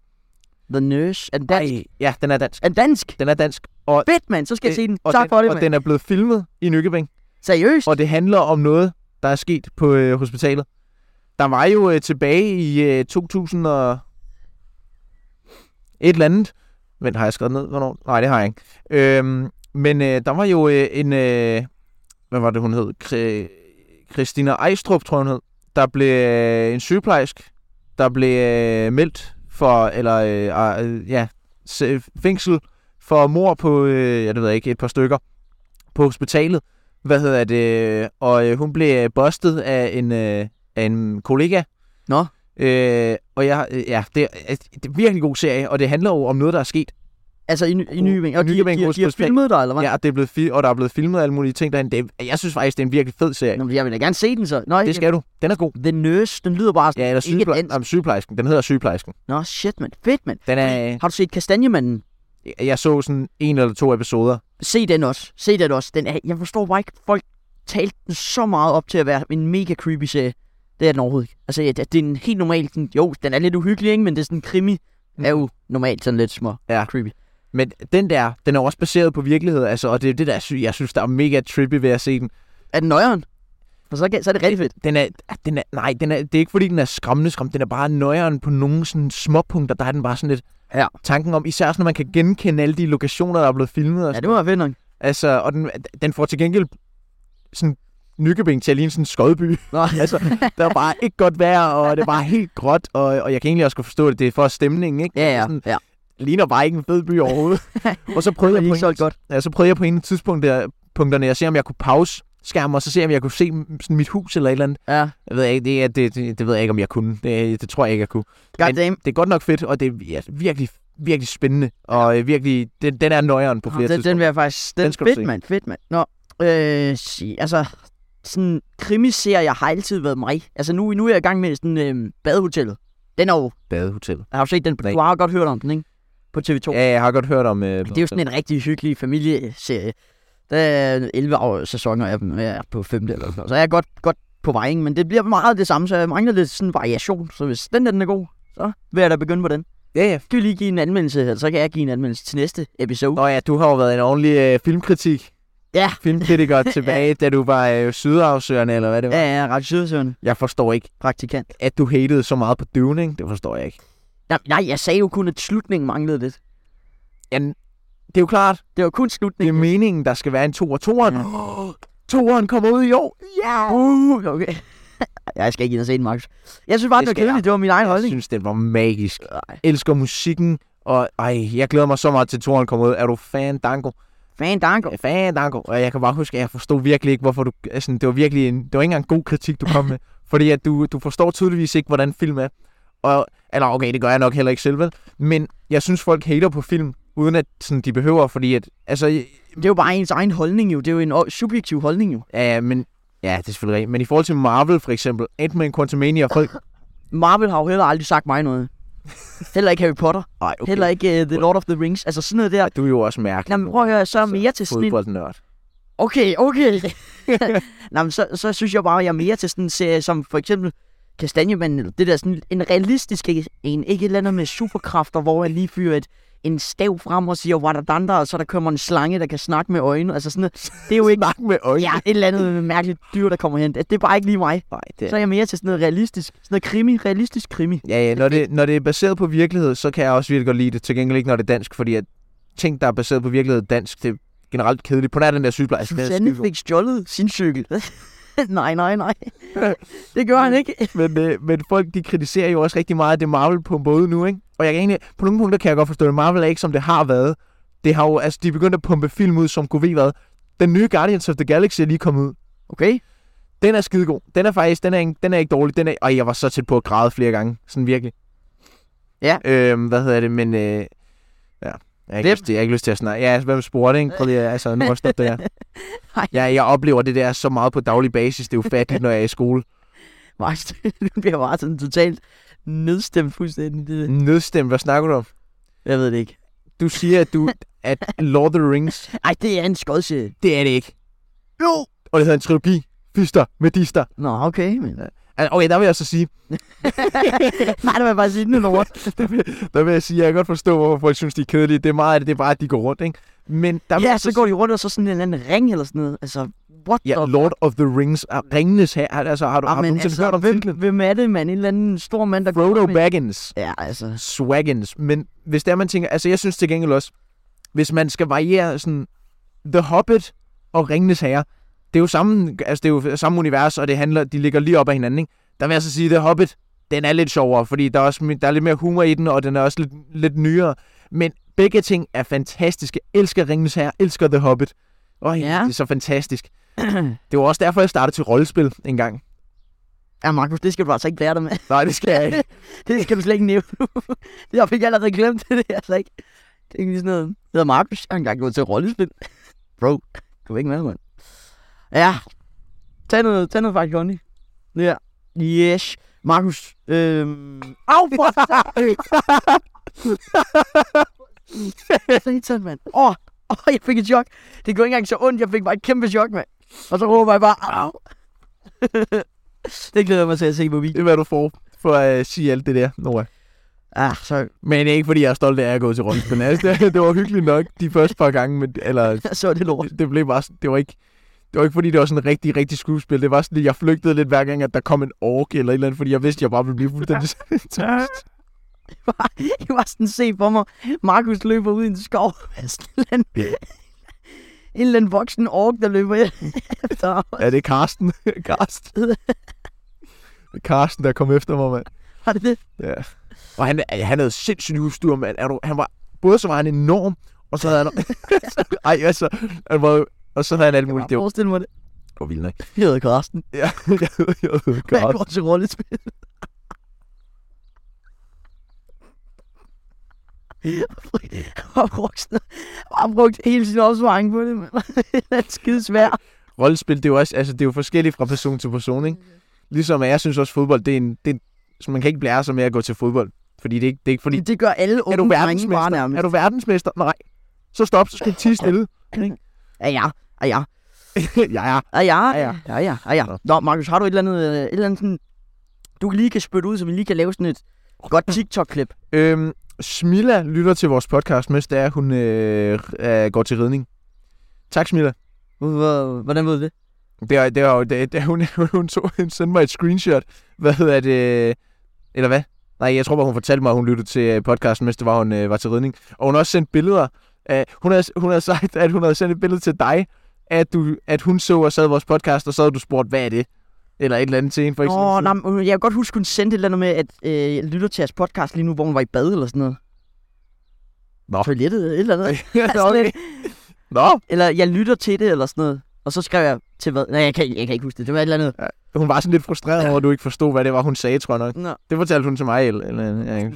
Speaker 1: The Nurse. Er den dansk?
Speaker 2: Ej, ja, den er dansk.
Speaker 1: Er den dansk?
Speaker 2: Den er dansk. Og,
Speaker 1: Fedt, mand. Så skal jeg
Speaker 2: Øh,
Speaker 1: se den.
Speaker 2: og,
Speaker 1: Tak
Speaker 2: den,
Speaker 1: for det,
Speaker 2: og
Speaker 1: mand.
Speaker 2: den er blevet filmet i Nykøbing.
Speaker 1: Seriøst?
Speaker 2: Og det handler om noget, der er sket på øh, hospitalet. Der var jo øh, tilbage i øh, 2000 og... Et eller andet. Vent, har jeg skrevet ned? Hvornår? Nej, det har jeg ikke. Øhm, men øh, der var jo øh, en... Øh, hvad var det, hun hed? Kri- Christina Ejstrup, tror jeg, hun hed. Der blev øh, en sygeplejersk, der blev øh, meldt for... Eller... Øh, øh, ja, se- fængsel for mor på... Øh, jeg ved jeg ikke, et par stykker. På hospitalet hvad hedder det, og øh, hun blev øh, bustet af en, øh, af en kollega.
Speaker 1: Nå.
Speaker 2: Øh, og jeg, øh, ja, det er, det er en virkelig god serie, og det handler jo om noget, der er sket
Speaker 1: Altså i, Ny- i Nykøbing. Og de, de,
Speaker 2: Nykøbing
Speaker 1: de, de har
Speaker 2: Hospital.
Speaker 1: filmet dig, eller hvad?
Speaker 2: Ja, og, det er blevet fi- og der er blevet filmet alle mulige ting derinde. Det, er- jeg synes faktisk, det er en virkelig fed serie.
Speaker 1: Nå, men jeg vil da gerne se den så. Nå,
Speaker 2: Det skal du. Den er god.
Speaker 1: The Nurse, den lyder bare...
Speaker 2: Ja, eller
Speaker 1: Ikke
Speaker 2: sygeple-
Speaker 1: dansk.
Speaker 2: Jamen, sygeplejersken. Den hedder sygeplejersken.
Speaker 1: Nå, shit, mand. Fedt, mand.
Speaker 2: Den er,
Speaker 1: Har du set Kastanjemanden?
Speaker 2: jeg så sådan en eller to episoder.
Speaker 1: Se den også. Se den også. Den er, jeg forstår bare ikke, folk talte den så meget op til at være en mega creepy serie. Det er den overhovedet ikke. Altså, ja, det det er en helt normal... Sådan, jo, den er lidt uhyggelig, ikke? Men det er sådan en krimi. Er jo normalt sådan lidt små
Speaker 2: Ja.
Speaker 1: creepy.
Speaker 2: Men den der, den er jo også baseret på virkelighed, altså, og det er jo det, der, jeg sy- jeg synes, der er mega trippy ved at se den.
Speaker 1: Er den nøjeren? For så, kan, så er det rigtig fedt.
Speaker 2: Den er, ah, den er nej, den er, det er ikke fordi, den er skræmmende skræmmende, den er bare nøjeren på nogle sådan småpunkter, der er den bare sådan lidt
Speaker 1: Ja.
Speaker 2: tanken om, især sådan, når man kan genkende alle de lokationer, der er blevet filmet. Og
Speaker 1: Ja,
Speaker 2: sådan.
Speaker 1: det må være fedt nok.
Speaker 2: Altså, og den, den får til gengæld sådan Nykøbing til at ligne sådan en skodby.
Speaker 1: Nå,
Speaker 2: altså, der er bare ikke godt vejr, og det er bare helt gråt, og, og jeg kan egentlig også godt forstå det, det er for stemningen, ikke?
Speaker 1: Ja, ja.
Speaker 2: Sådan,
Speaker 1: ja.
Speaker 2: ligner bare ikke en fed by overhovedet. og så prøvede
Speaker 1: Det er
Speaker 2: jeg på
Speaker 1: ikke
Speaker 2: en,
Speaker 1: solgt godt.
Speaker 2: ja, så prøvede jeg på en af tidspunkt der, punkterne, jeg ser, om jeg kunne pause skærmen, og så se, om jeg kunne se m- sådan mit hus eller et eller andet.
Speaker 1: Ja.
Speaker 2: Jeg ved ikke, det, er- det, det, det ved jeg ikke, om jeg kunne. Det, det tror jeg ikke, jeg kunne.
Speaker 1: God
Speaker 2: Men-
Speaker 1: damn.
Speaker 2: Det er godt nok fedt, og det er ja, virkelig, virkelig spændende, og øh, virkelig, den, den er nøjeren på flere
Speaker 1: Nå, den,
Speaker 2: tidspunkter.
Speaker 1: den vil jeg faktisk... Den,
Speaker 2: Den
Speaker 1: den
Speaker 2: skal du se.
Speaker 1: fedt, mand. Fedt, mand. Nå, øh, sig, altså... Sådan krimiserier har altid været mig. Altså nu, nu er jeg i gang med sådan øh, badehotellet. Den er jo...
Speaker 2: Badehotel.
Speaker 1: Jeg har jo set den... på-
Speaker 2: Nej.
Speaker 1: Du har jo godt hørt om den, ikke? På TV2.
Speaker 2: Ja, jeg har godt hørt om... Øh,
Speaker 1: det er jo sådan en rigtig hyggelig familieserie. Der er 11 år sæsoner af dem, og jeg er på 5. eller sådan noget. Så jeg er godt, godt på vej, ikke? men det bliver meget det samme, så jeg mangler lidt sådan variation. Så hvis den der den er god, så vil jeg da begynde på den.
Speaker 2: Ja, ja.
Speaker 1: Skal vi lige give en anmeldelse, eller så kan jeg give en anmeldelse til næste episode.
Speaker 2: Nå ja, du har jo været en ordentlig øh, filmkritik.
Speaker 1: Ja.
Speaker 2: Filmkritiker tilbage, da du var øh, sydafsøgerne, eller hvad det var.
Speaker 1: Ja, ja, ret sydsøgende
Speaker 2: Jeg forstår ikke,
Speaker 1: praktikant.
Speaker 2: at du hatede så meget på Døvning. Det forstår jeg ikke.
Speaker 1: Nej, nej, jeg sagde jo kun, at slutningen manglede lidt.
Speaker 2: Ja, det er jo klart,
Speaker 1: Det var kun
Speaker 2: det er
Speaker 1: slutningen.
Speaker 2: meningen, der skal være en to og toeren.
Speaker 1: Ja.
Speaker 2: Ja. Toeren kommer ud i år.
Speaker 1: Ja! Uh, okay. jeg skal ikke ind og se den, Markus. Jeg synes bare,
Speaker 2: Det
Speaker 1: det, det var
Speaker 2: skal jeg.
Speaker 1: kedeligt. Det var min egen
Speaker 2: Jeg
Speaker 1: holdning.
Speaker 2: synes, den var magisk.
Speaker 1: Ej,
Speaker 2: Elsker musikken, og ej, jeg glæder mig så meget til toeren kommer ud. Er du fan, Danko?
Speaker 1: Fan, danko.
Speaker 2: Ja, fan, Danko. Og jeg kan bare huske, at jeg forstod virkelig ikke, hvorfor du... Altså, det var virkelig en, det var ikke engang en god kritik, du kom med. fordi at du, du forstår tydeligvis ikke, hvordan film er. Og, eller okay, det gør jeg nok heller ikke selv, vel? Men jeg synes, folk hater på film, uden at sådan, de behøver, fordi at... Altså,
Speaker 1: Det er jo bare ens egen holdning jo. Det er jo en o- subjektiv holdning jo.
Speaker 2: ja, men... Ja, det er selvfølgelig rigtigt. Men i forhold til Marvel, for eksempel, Ant-Man Quantumania, folk...
Speaker 1: Marvel har jo heller aldrig sagt mig noget. Heller ikke Harry Potter. Okay.
Speaker 2: Ej, okay.
Speaker 1: Heller ikke uh, The Lord of the Rings. Altså sådan noget der.
Speaker 2: Ja, du er jo også mærkelig.
Speaker 1: Nå, men prøv at høre, så er jeg
Speaker 2: Altså,
Speaker 1: mere til sådan en...
Speaker 2: Fodboldnørd.
Speaker 1: Okay, okay. Nå, men så, så synes jeg bare, at jeg er mere til sådan en serie som for eksempel Kastanjemanden, eller det der sådan en realistisk en. Ikke et eller andet med superkræfter, hvor jeg lige fyrer et, en stav frem og siger, Wadadanda, og så der kommer en slange, der kan snakke med øjnene. Altså sådan noget. Det er jo ikke...
Speaker 2: Snak med øjnene.
Speaker 1: Ja, et eller andet mærkeligt dyr, der kommer hen. Det er bare ikke lige mig.
Speaker 2: Nej, det
Speaker 1: Så er jeg mere til sådan noget realistisk. Sådan noget krimi, realistisk krimi.
Speaker 2: Ja, ja når, det, når det er baseret på virkelighed, så kan jeg også virkelig godt lide det. Til gengæld ikke, når det er dansk, fordi at ting, der er baseret på virkelighed dansk, det er generelt kedeligt. På nær den der sygeplejerske. den er
Speaker 1: Susanne
Speaker 2: skidegod.
Speaker 1: fik stjålet sin cykel. nej, nej, nej. Det gør han ikke.
Speaker 2: Men, øh, men folk, de kritiserer jo også rigtig meget, at det er Marvel på både nu, ikke? Og jeg kan egentlig, på nogle punkter kan jeg godt forstå det. Marvel er ikke, som det har været. Det har jo, altså, de er begyndt at pumpe film ud, som kunne ved hvad. Den nye Guardians of the Galaxy er lige kommet ud.
Speaker 1: Okay.
Speaker 2: Den er skidegod. Den er faktisk, den er, ikke- den er ikke dårlig. Den er, og jeg var så tæt på at græde flere gange. Sådan virkelig.
Speaker 1: Ja.
Speaker 2: Øhm, hvad hedder det, men... Øh, ja. Jeg har, ikke
Speaker 1: Hvem?
Speaker 2: lyst til, jeg har ikke lyst til at snakke. Ja, altså, hvem spurgte, ikke? Prøv lige, at- altså, nu må jeg stoppe det her.
Speaker 1: Ej.
Speaker 2: Ja, jeg oplever det der så meget på daglig basis. Det er ufatteligt, når jeg er i skole.
Speaker 1: Max, du bliver bare sådan totalt nedstemt fuldstændig. Det-
Speaker 2: Nødstemt, hvad snakker du om?
Speaker 1: Jeg ved det ikke.
Speaker 2: Du siger, at, du, at Lord of the Rings,
Speaker 1: Ej, det er en skodserie.
Speaker 2: det er det ikke.
Speaker 1: Jo!
Speaker 2: Og det hedder en trilogi. Fister, medister.
Speaker 1: Nå, okay, men... øh.
Speaker 2: Altså, Okay, der vil jeg så sige,
Speaker 1: Nej, det var bare sige den lort.
Speaker 2: der vil jeg sige, at jeg kan godt forstå, hvorfor folk synes, de er kedelige. Det er meget af det, det er bare, at de går rundt, ikke? Men der vil
Speaker 1: Ja,
Speaker 2: jeg
Speaker 1: så går de rundt og så sådan en eller anden ring eller sådan noget. Altså, what the...
Speaker 2: Ja, Lord of the Rings. Ah, Ringenes her. Altså, har du, har du
Speaker 1: Jamen,
Speaker 2: nogensinde
Speaker 1: altså,
Speaker 2: hørt om
Speaker 1: hvem,
Speaker 2: titlen?
Speaker 1: hvem er det, mand? En eller anden stor mand, der... går
Speaker 2: Frodo
Speaker 1: rundt med-
Speaker 2: Baggins.
Speaker 1: Ja, altså...
Speaker 2: Swaggins. Men hvis der man tænker... Altså, jeg synes til gengæld også, hvis man skal variere sådan... The Hobbit og Ringenes Herre, det er jo samme, altså det er jo samme univers, og det handler, de ligger lige op ad hinanden, ikke? Der vil jeg så sige, The Hobbit, den er lidt sjovere, fordi der er, også, mi- der er lidt mere humor i den, og den er også lidt, lidt nyere. Men begge ting er fantastiske. Jeg elsker Ringenes Herre, elsker The Hobbit. Åh, ja.
Speaker 1: Ja.
Speaker 2: det er så fantastisk. Det var også derfor, jeg startede til rollespil en gang.
Speaker 1: Ja, Markus, det skal du altså ikke lære dig med.
Speaker 2: Nej, det skal jeg ikke.
Speaker 1: Det skal du slet ikke nævne. det har jeg fik allerede glemt det der, altså ikke. Det er lige sådan noget. Jeg hedder Markus, jeg har engang gået til rollespil. Bro, du er ikke med, mand. Ja, tag noget, tag noget faktisk, Conny. Ja, yes. Markus, øhm... Au, for satan! mand. Åh, oh, oh, jeg fik et chok. Det gjorde ikke engang så ondt, jeg fik bare et kæmpe chok, mand. Og så råber jeg bare, au. det glæder jeg mig til at se på
Speaker 2: Det
Speaker 1: video.
Speaker 2: er, hvad du får for at øh, sige alt det der, Nora.
Speaker 1: Ah, så,
Speaker 2: Men ikke fordi jeg er stolt af, at jeg er gået til rollespil. Altså, det, det, var hyggeligt nok de første par gange, men, eller
Speaker 1: så er det lort.
Speaker 2: det, det blev bare sådan- det var ikke det var ikke fordi, det var sådan en rigtig, rigtig skuespil. Det var sådan, at jeg flygtede lidt hver gang, at der kom en ork eller et eller andet, fordi jeg vidste, at jeg bare ville blive fuldstændig tost.
Speaker 1: Jeg var sådan se for mig, Markus løber ud i en skov. Sådan en, eller anden,
Speaker 2: Ja.
Speaker 1: en eller anden voksen ork, der løber efter ham.
Speaker 2: Er det Karsten? Karsten? Det er Karsten, der kom efter mig, mand.
Speaker 1: Var det det?
Speaker 2: Ja. Og han, han havde sindssygt udstyr, mand. Er du, han var, både så var han enorm, og så havde han... Ej, altså, han var, jo- og så havde han alt muligt. Det
Speaker 1: Jeg
Speaker 2: var,
Speaker 1: forestiller mig det.
Speaker 2: det var vildt, nok.
Speaker 1: Jeg hedder Karsten.
Speaker 2: Ja, jeg ved, jeg ved,
Speaker 1: Hvad
Speaker 2: Karsten.
Speaker 1: går til rollespil? har brugt, sådan- har brugt hele sin opsparing på det, men det er skide svært.
Speaker 2: rollespil, det er jo også, altså, det er jo forskelligt fra person til person, ikke? Ligesom at jeg synes også, fodbold, det er en, det er, en- så man kan ikke blære sig med at gå til fodbold. Fordi det er ikke, det er ikke fordi,
Speaker 1: Det gør alle
Speaker 2: er du
Speaker 1: unge drenge bare
Speaker 2: verdensmester? Er
Speaker 1: nærmest.
Speaker 2: du verdensmester? Nej. Så stop, så skal du tige stille.
Speaker 1: Ja, ja. Ja, ja.
Speaker 2: ja, ja.
Speaker 1: Ja, ja,
Speaker 2: Ja,
Speaker 1: ja, ja, ja, ja.
Speaker 2: Nå.
Speaker 1: Nå, Markus, har du et eller andet, øh, et eller andet sådan, du lige kan spytte ud, så vi lige kan lave sådan et godt TikTok-klip?
Speaker 2: Øhm, Smilla lytter til vores podcast, mens det er, hun øh, øh, går til ridning. Tak, Smilla.
Speaker 1: Hvor- Hvordan ved du det?
Speaker 2: Det er, det er jo, det, det er, hun, hun, tog, hun sendte mig et screenshot. Hvad hedder det? Eller hvad? Nej, jeg tror bare, hun fortalte mig, at hun lyttede til øh, podcasten, mens det var, hun øh, var til ridning. Og hun har også sendt billeder. Af, hun, havde, hun havde sagt, at hun havde sendt et billede til dig, at, du, at hun så og sad vores podcast, og så havde du spurgt, hvad er det? Eller et eller andet til en, for eksempel.
Speaker 1: Åh, nej, men øh, jeg kan godt huske, hun sendte et eller andet med, at øh, jeg lytter til jeres podcast lige nu, hvor hun var i bad eller sådan noget.
Speaker 2: Nå.
Speaker 1: Toilettet eller et eller andet.
Speaker 2: Nå, okay. Nå,
Speaker 1: Eller jeg lytter til det eller sådan noget. Og så skrev jeg til hvad? Nej, jeg kan, ikke- jeg kan ikke huske det. Det var et eller andet.
Speaker 2: hun var sådan lidt frustreret over, at du ikke forstod, hvad det var, hun sagde, tror jeg nok.
Speaker 1: Nå.
Speaker 2: Det fortalte hun til mig. Eller, eller, ja.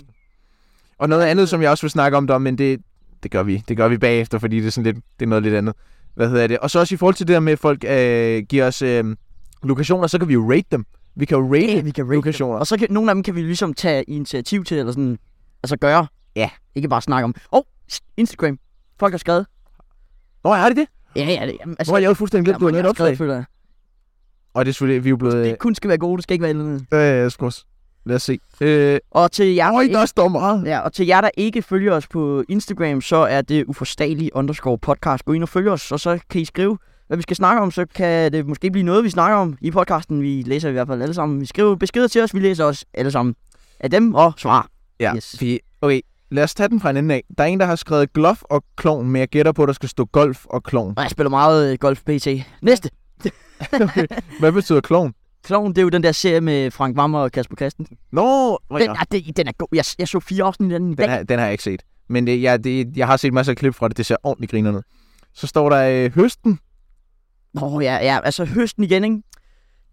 Speaker 2: Og noget andet, som jeg også vil snakke om, der, men det, det, gør vi. det gør vi bagefter, fordi det er, sådan lidt, det er noget lidt andet. Hvad hedder det? Og så også i forhold til det der med, at folk øh, giver os øh, lokationer, så kan vi jo rate dem. Vi kan jo rate
Speaker 1: Ja,
Speaker 2: yeah.
Speaker 1: vi kan rate dem.
Speaker 2: lokationer.
Speaker 1: Og så kan, nogle af dem kan vi ligesom tage initiativ til, eller sådan, altså gøre.
Speaker 2: Ja.
Speaker 1: Ikke bare snakke om. Åh, oh, Instagram. Folk har skrevet.
Speaker 2: Nå, er det det?
Speaker 1: Ja, ja, det, jamen,
Speaker 2: Altså, Nå, jeg har fuldstændig glemt, du har Øh.
Speaker 1: mange
Speaker 2: noget
Speaker 1: har skrevet,
Speaker 2: opslag.
Speaker 1: føler jeg.
Speaker 2: Og det er selvfølgelig, vi er jo blevet...
Speaker 1: Det kun skal være gode, det skal ikke være et eller andet.
Speaker 2: Øh, øh, skos. Lad os se. Øh,
Speaker 1: Og til jer,
Speaker 2: Øj,
Speaker 1: ikke,
Speaker 2: der står meget.
Speaker 1: ja, og til jer, der ikke følger os på Instagram, så er det uforståelig underscore podcast. Gå ind og følg os, og så kan I skrive, hvad vi skal snakke om. Så kan det måske blive noget, vi snakker om i podcasten. Vi læser i hvert fald alle sammen. Vi skriver beskeder til os, vi læser os alle sammen af dem og svar.
Speaker 2: Ja,
Speaker 1: Yes.
Speaker 2: yes. fordi, okay, lad os tage den fra en ende af. Der er en, der har skrevet glof og klovn, men jeg gætter på, at der skal stå golf og klovn.
Speaker 1: Og jeg spiller meget øh, golf PT. Næste.
Speaker 2: Hvad betyder klovn?
Speaker 1: Kloven, det er jo den der serie med Frank Vammer og Kasper Christensen.
Speaker 2: Nå, hvor-
Speaker 1: Den, ja, den, den er god. Jeg, jeg så fire afsnit af den i
Speaker 2: Den
Speaker 1: dag.
Speaker 2: har, den har jeg ikke set. Men det, jeg, det, jeg har set masser af klip fra det. Det ser ordentligt grinerne. Så står der øh, høsten.
Speaker 1: Nå ja, ja, altså høsten igen, ikke?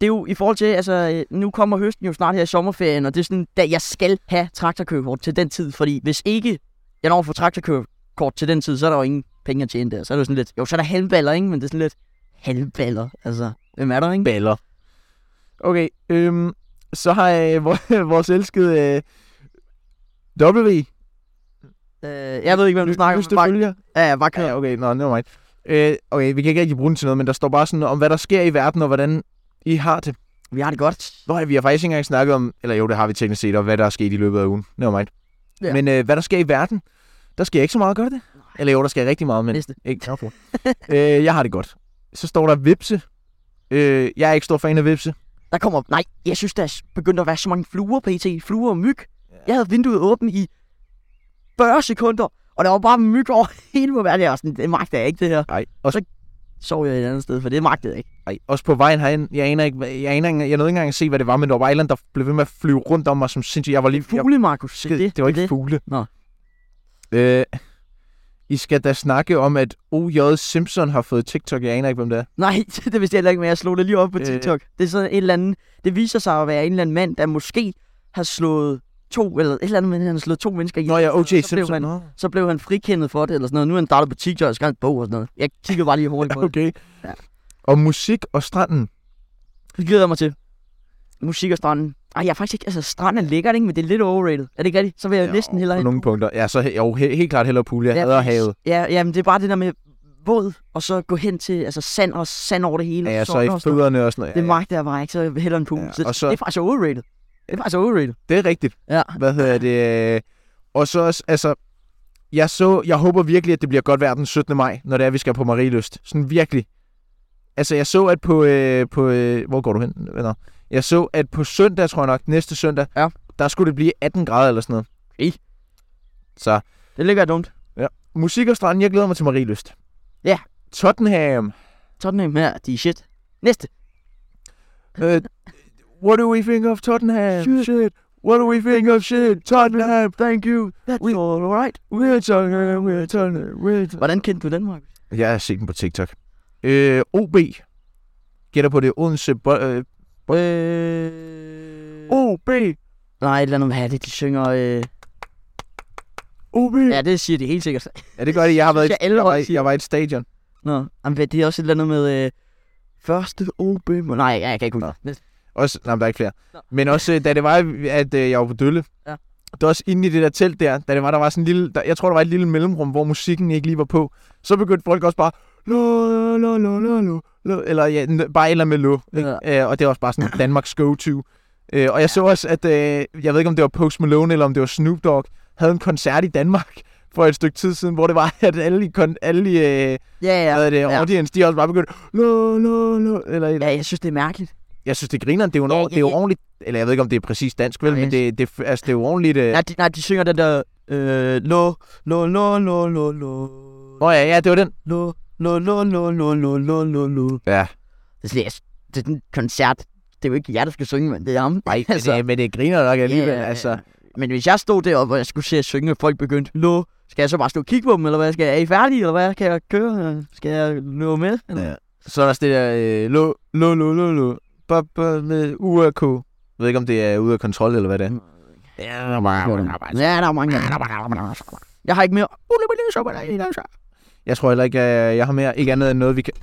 Speaker 1: Det er jo i forhold til, altså øh, nu kommer høsten jo snart her i sommerferien, og det er sådan, da jeg skal have traktorkørekort til den tid, fordi hvis ikke jeg når at få traktorkørekort til den tid, så er der jo ingen penge at tjene der. Så er det jo sådan lidt, jo så er der halvballer, ikke? Men det er sådan lidt halvballer, altså. Hvem er der, ikke?
Speaker 2: Baller. Okay, øhm, så har øh, vor- vores elskede øh, W.
Speaker 1: Øh, jeg ved ikke, hvem du snakker om.
Speaker 2: Nyeste
Speaker 1: Bare,
Speaker 2: følger.
Speaker 1: ja, ja, bare kør.
Speaker 2: Ja, okay, nå, no, nevermind. Øh, okay, vi kan ikke rigtig bruge den til noget, men der står bare sådan om, hvad der sker i verden, og hvordan I har det.
Speaker 1: Vi har det godt.
Speaker 2: Nå, ja, vi har faktisk ikke engang snakket om, eller jo, det har vi teknisk set, og hvad der er sket i løbet af ugen. Nevermind.
Speaker 1: Ja.
Speaker 2: Ja. Men øh, hvad der sker i verden, der sker ikke så meget, gør der det? Eller jo, der sker rigtig meget, men
Speaker 1: Næste.
Speaker 2: Ikke knap øh, jeg har det godt. Så står der vipse. Øh, jeg er ikke stor fan af vipse.
Speaker 1: Der kommer, nej, jeg synes, der er begyndt at være så mange fluer, pt. Fluer og myg. Jeg havde vinduet åbent i 40 sekunder, og der var bare myg over hele hvor verden. Jeg var sådan, det magter jeg ikke, det her.
Speaker 2: Nej. Også,
Speaker 1: Sov jeg et andet sted, for det magtede jeg ikke.
Speaker 2: ej, også på vejen herind. Jeg aner ikke, hvad- jeg, aner, ikke- jeg nåede ikke engang at se, hvad det var, men der var et eller andet, der blev ved med at flyve rundt om mig, som sindssygt. Jeg var lige... Jeg,
Speaker 1: Fugle, Markus. Det, er det,
Speaker 2: det var ikke
Speaker 1: det.
Speaker 2: fugle.
Speaker 1: Nå.
Speaker 2: Øh, I skal da snakke om, at O.J. Simpson har fået TikTok. Jeg aner ikke, hvem det er.
Speaker 1: Nej, det vidste jeg heller ikke, men jeg slog det lige op på
Speaker 2: Øh.
Speaker 1: TikTok. Det er sådan en eller anden, det viser sig at være en eller anden mand, der måske har slået to, eller et eller andet, men han har slået to mennesker ihjel.
Speaker 2: Nå ja, O.J.
Speaker 1: Så blev
Speaker 2: Simpson.
Speaker 1: han-
Speaker 2: Nå.
Speaker 1: Så blev han frikendet for det, eller sådan noget. Nu er han startet på TikTok og skrevet en bog og sådan noget. Jeg kigger bare lige hurtigt på det.
Speaker 2: Okay.
Speaker 1: Ja.
Speaker 2: Og musik og stranden.
Speaker 1: Det glæder jeg mig til. Musik og stranden. Ej, jeg er faktisk ikke... Altså, stranden er lækkert, ikke? Men det er lidt overrated. Er det ikke rigtigt? Så vil jeg jo, næsten hellere...
Speaker 2: På
Speaker 1: have-
Speaker 2: nogle punkter. Ja, så he- jo, he- helt klart hellere pool. Jeg
Speaker 1: Ja,
Speaker 2: hader
Speaker 1: præcis.
Speaker 2: havet.
Speaker 1: Ja, ja, men det er bare det der med våd, og så gå hen til altså sand og sand over det hele.
Speaker 2: Ja, ja,
Speaker 1: og
Speaker 2: så
Speaker 1: sol
Speaker 2: i
Speaker 1: og sådan noget.
Speaker 2: fødderne og sådan noget.
Speaker 1: Det
Speaker 2: Ja, ja.
Speaker 1: magter jeg bare ikke, så heller en pool.
Speaker 2: Ja,
Speaker 1: Ja, så,
Speaker 2: og så-
Speaker 1: det er faktisk overrated. Det er faktisk overrated.
Speaker 2: Det er rigtigt.
Speaker 1: Ja.
Speaker 2: Hvad hedder det? Og så også, altså... Jeg, så, jeg håber virkelig, at det bliver godt vejr den 17. maj, når det er, vi skal på Marieløst. Sådan virkelig. Altså, jeg så, at på... Øh, på øh, hvor går du hen, venner? Jeg så, at på søndag, tror jeg nok, næste søndag,
Speaker 1: Ja.
Speaker 2: der skulle det blive 18 grader eller sådan noget.
Speaker 1: Ej.
Speaker 2: Så
Speaker 1: Det ligger dumt.
Speaker 2: musik og stranden, jeg glæder mig til Marieløst.
Speaker 1: Ja.
Speaker 2: Tottenham.
Speaker 1: Tottenham her, de er shit. Næste.
Speaker 2: Uh, what do we think of Tottenham?
Speaker 1: Shit.
Speaker 2: What do we think of shit? Tottenham.
Speaker 1: Thank you. That's
Speaker 2: We-
Speaker 1: all right.
Speaker 2: We're Tottenham. We're Tottenham. We're Tottenham.
Speaker 1: Hvordan kendte du den, Mark?
Speaker 2: Jeg har set den på TikTok. Øh, OB. Gætter på det. Odense. Bo- øh,
Speaker 1: Øh...
Speaker 2: OB.
Speaker 1: Nej, et eller andet, hvad er det, de synger... Øh...
Speaker 2: OB.
Speaker 1: Ja, det siger de helt sikkert.
Speaker 2: Ja, det gør det. Jeg har været i,
Speaker 1: Synes jeg alle
Speaker 2: jeg var,
Speaker 1: hold
Speaker 2: i,
Speaker 1: siger.
Speaker 2: jeg var i et stadion.
Speaker 1: Nå, jamen, hvad, det er også et eller andet med... Øh... Første OB... Nej, jeg, jeg kan ikke huske.
Speaker 2: Nå.
Speaker 1: det. Næste.
Speaker 2: Også, nej, men der er ikke flere.
Speaker 1: Nå.
Speaker 2: Men også, øh, da det var, at øh, jeg var på Dølle.
Speaker 1: Ja.
Speaker 2: Det var også inde i det der telt der, da det var, der var sådan en lille, der, jeg tror, der var et lille mellemrum, hvor musikken ikke lige var på. Så begyndte folk også bare, lo, lo, lo, lo, lo, lo, eller ja, n- bare et eller andet med lo. Ikke? Øh, og det var også bare sådan Danmarks go-to. Øh, og jeg så også, at øh, jeg ved ikke, om det var Post Malone, eller om det var Snoop Dogg, havde en koncert i Danmark for et stykke tid siden, hvor det var, at alle, i kon- alle i, øh,
Speaker 1: Ja, ja.
Speaker 2: ja, det, audience, de også bare begyndte, lo, lo, lo, eller et
Speaker 1: Ja, jeg synes, det er mærkeligt.
Speaker 2: jeg synes, det griner. Det er jo, en,
Speaker 1: Ja,
Speaker 2: ja,
Speaker 1: ja,
Speaker 2: det er jo
Speaker 1: ja.
Speaker 2: ordentligt... Eller jeg ved ikke, om det er præcis dansk, vel?
Speaker 1: Nej,
Speaker 2: Men det, det, altså, det er jo ordentligt... Øh...
Speaker 1: Nej, de, nej, de synger den der... Øh, lo, lo, lo, lo, lo, lo,
Speaker 2: Nå ja, ja, det var den.
Speaker 1: lo, lo, lo, lo, lo, lo, lo, lo, lo.
Speaker 2: Ja.
Speaker 1: Det er, slet- det er den koncert. Det er jo ikke jer, der skal synge, men det er ham.
Speaker 2: Nej, altså... det, men det griner nok alligevel.
Speaker 1: ja, ja.
Speaker 2: altså,
Speaker 1: Men hvis jeg stod deroppe, og jeg skulle se at synge, og folk begyndte, lo, skal jeg så bare stå og kigge på dem, eller hvad? Skal jeg, er I færdige, eller hvad? Kan jeg køre? Skal jeg nå med? Eller?
Speaker 2: Ja. Så er der også det der... Øh, lo, lo, lo, lo, lo. Ba, ba, med URK. Jeg ved ikke, om det er ude af kontrol, eller hvad
Speaker 1: Mm.
Speaker 2: det er. Ja, der er bare-
Speaker 1: Ja, der er mange. Jeg har ikke mere.
Speaker 2: Jeg tror heller ikke, øh, jeg, jeg har mere. Ikke andet end noget, vi kan...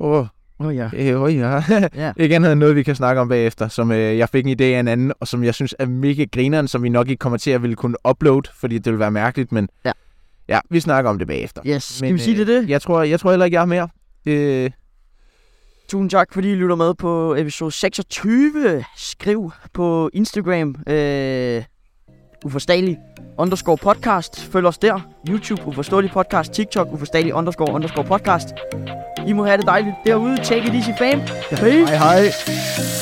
Speaker 2: Åh, oh,
Speaker 1: Åh oh, ja.
Speaker 2: øh, oh, ja.
Speaker 1: Ja.
Speaker 2: ikke andet end noget, vi kan snakke om bagefter, som øh, jeg fik en idé af en anden, og som jeg synes er mega grineren, som vi nok ikke kommer til at ville kunne uploade, fordi det vil være mærkeligt, men
Speaker 1: Ja.
Speaker 2: ja vi snakker om det bagefter.
Speaker 1: Yes, skal
Speaker 2: Men,
Speaker 1: vi sige det er
Speaker 2: øh,
Speaker 1: det?
Speaker 2: Jeg tror, jeg tror heller ikke, jeg har mere. Øh,
Speaker 1: Tusind tak, fordi I lytter med på episode 26. Skriv på Instagram, øh, uforståelig underscore podcast. Følg os der. YouTube, uforståelig podcast. TikTok, uforståelig underscore underscore podcast. I må have det dejligt derude. Take it easy, fam. Peace.
Speaker 2: hej hej.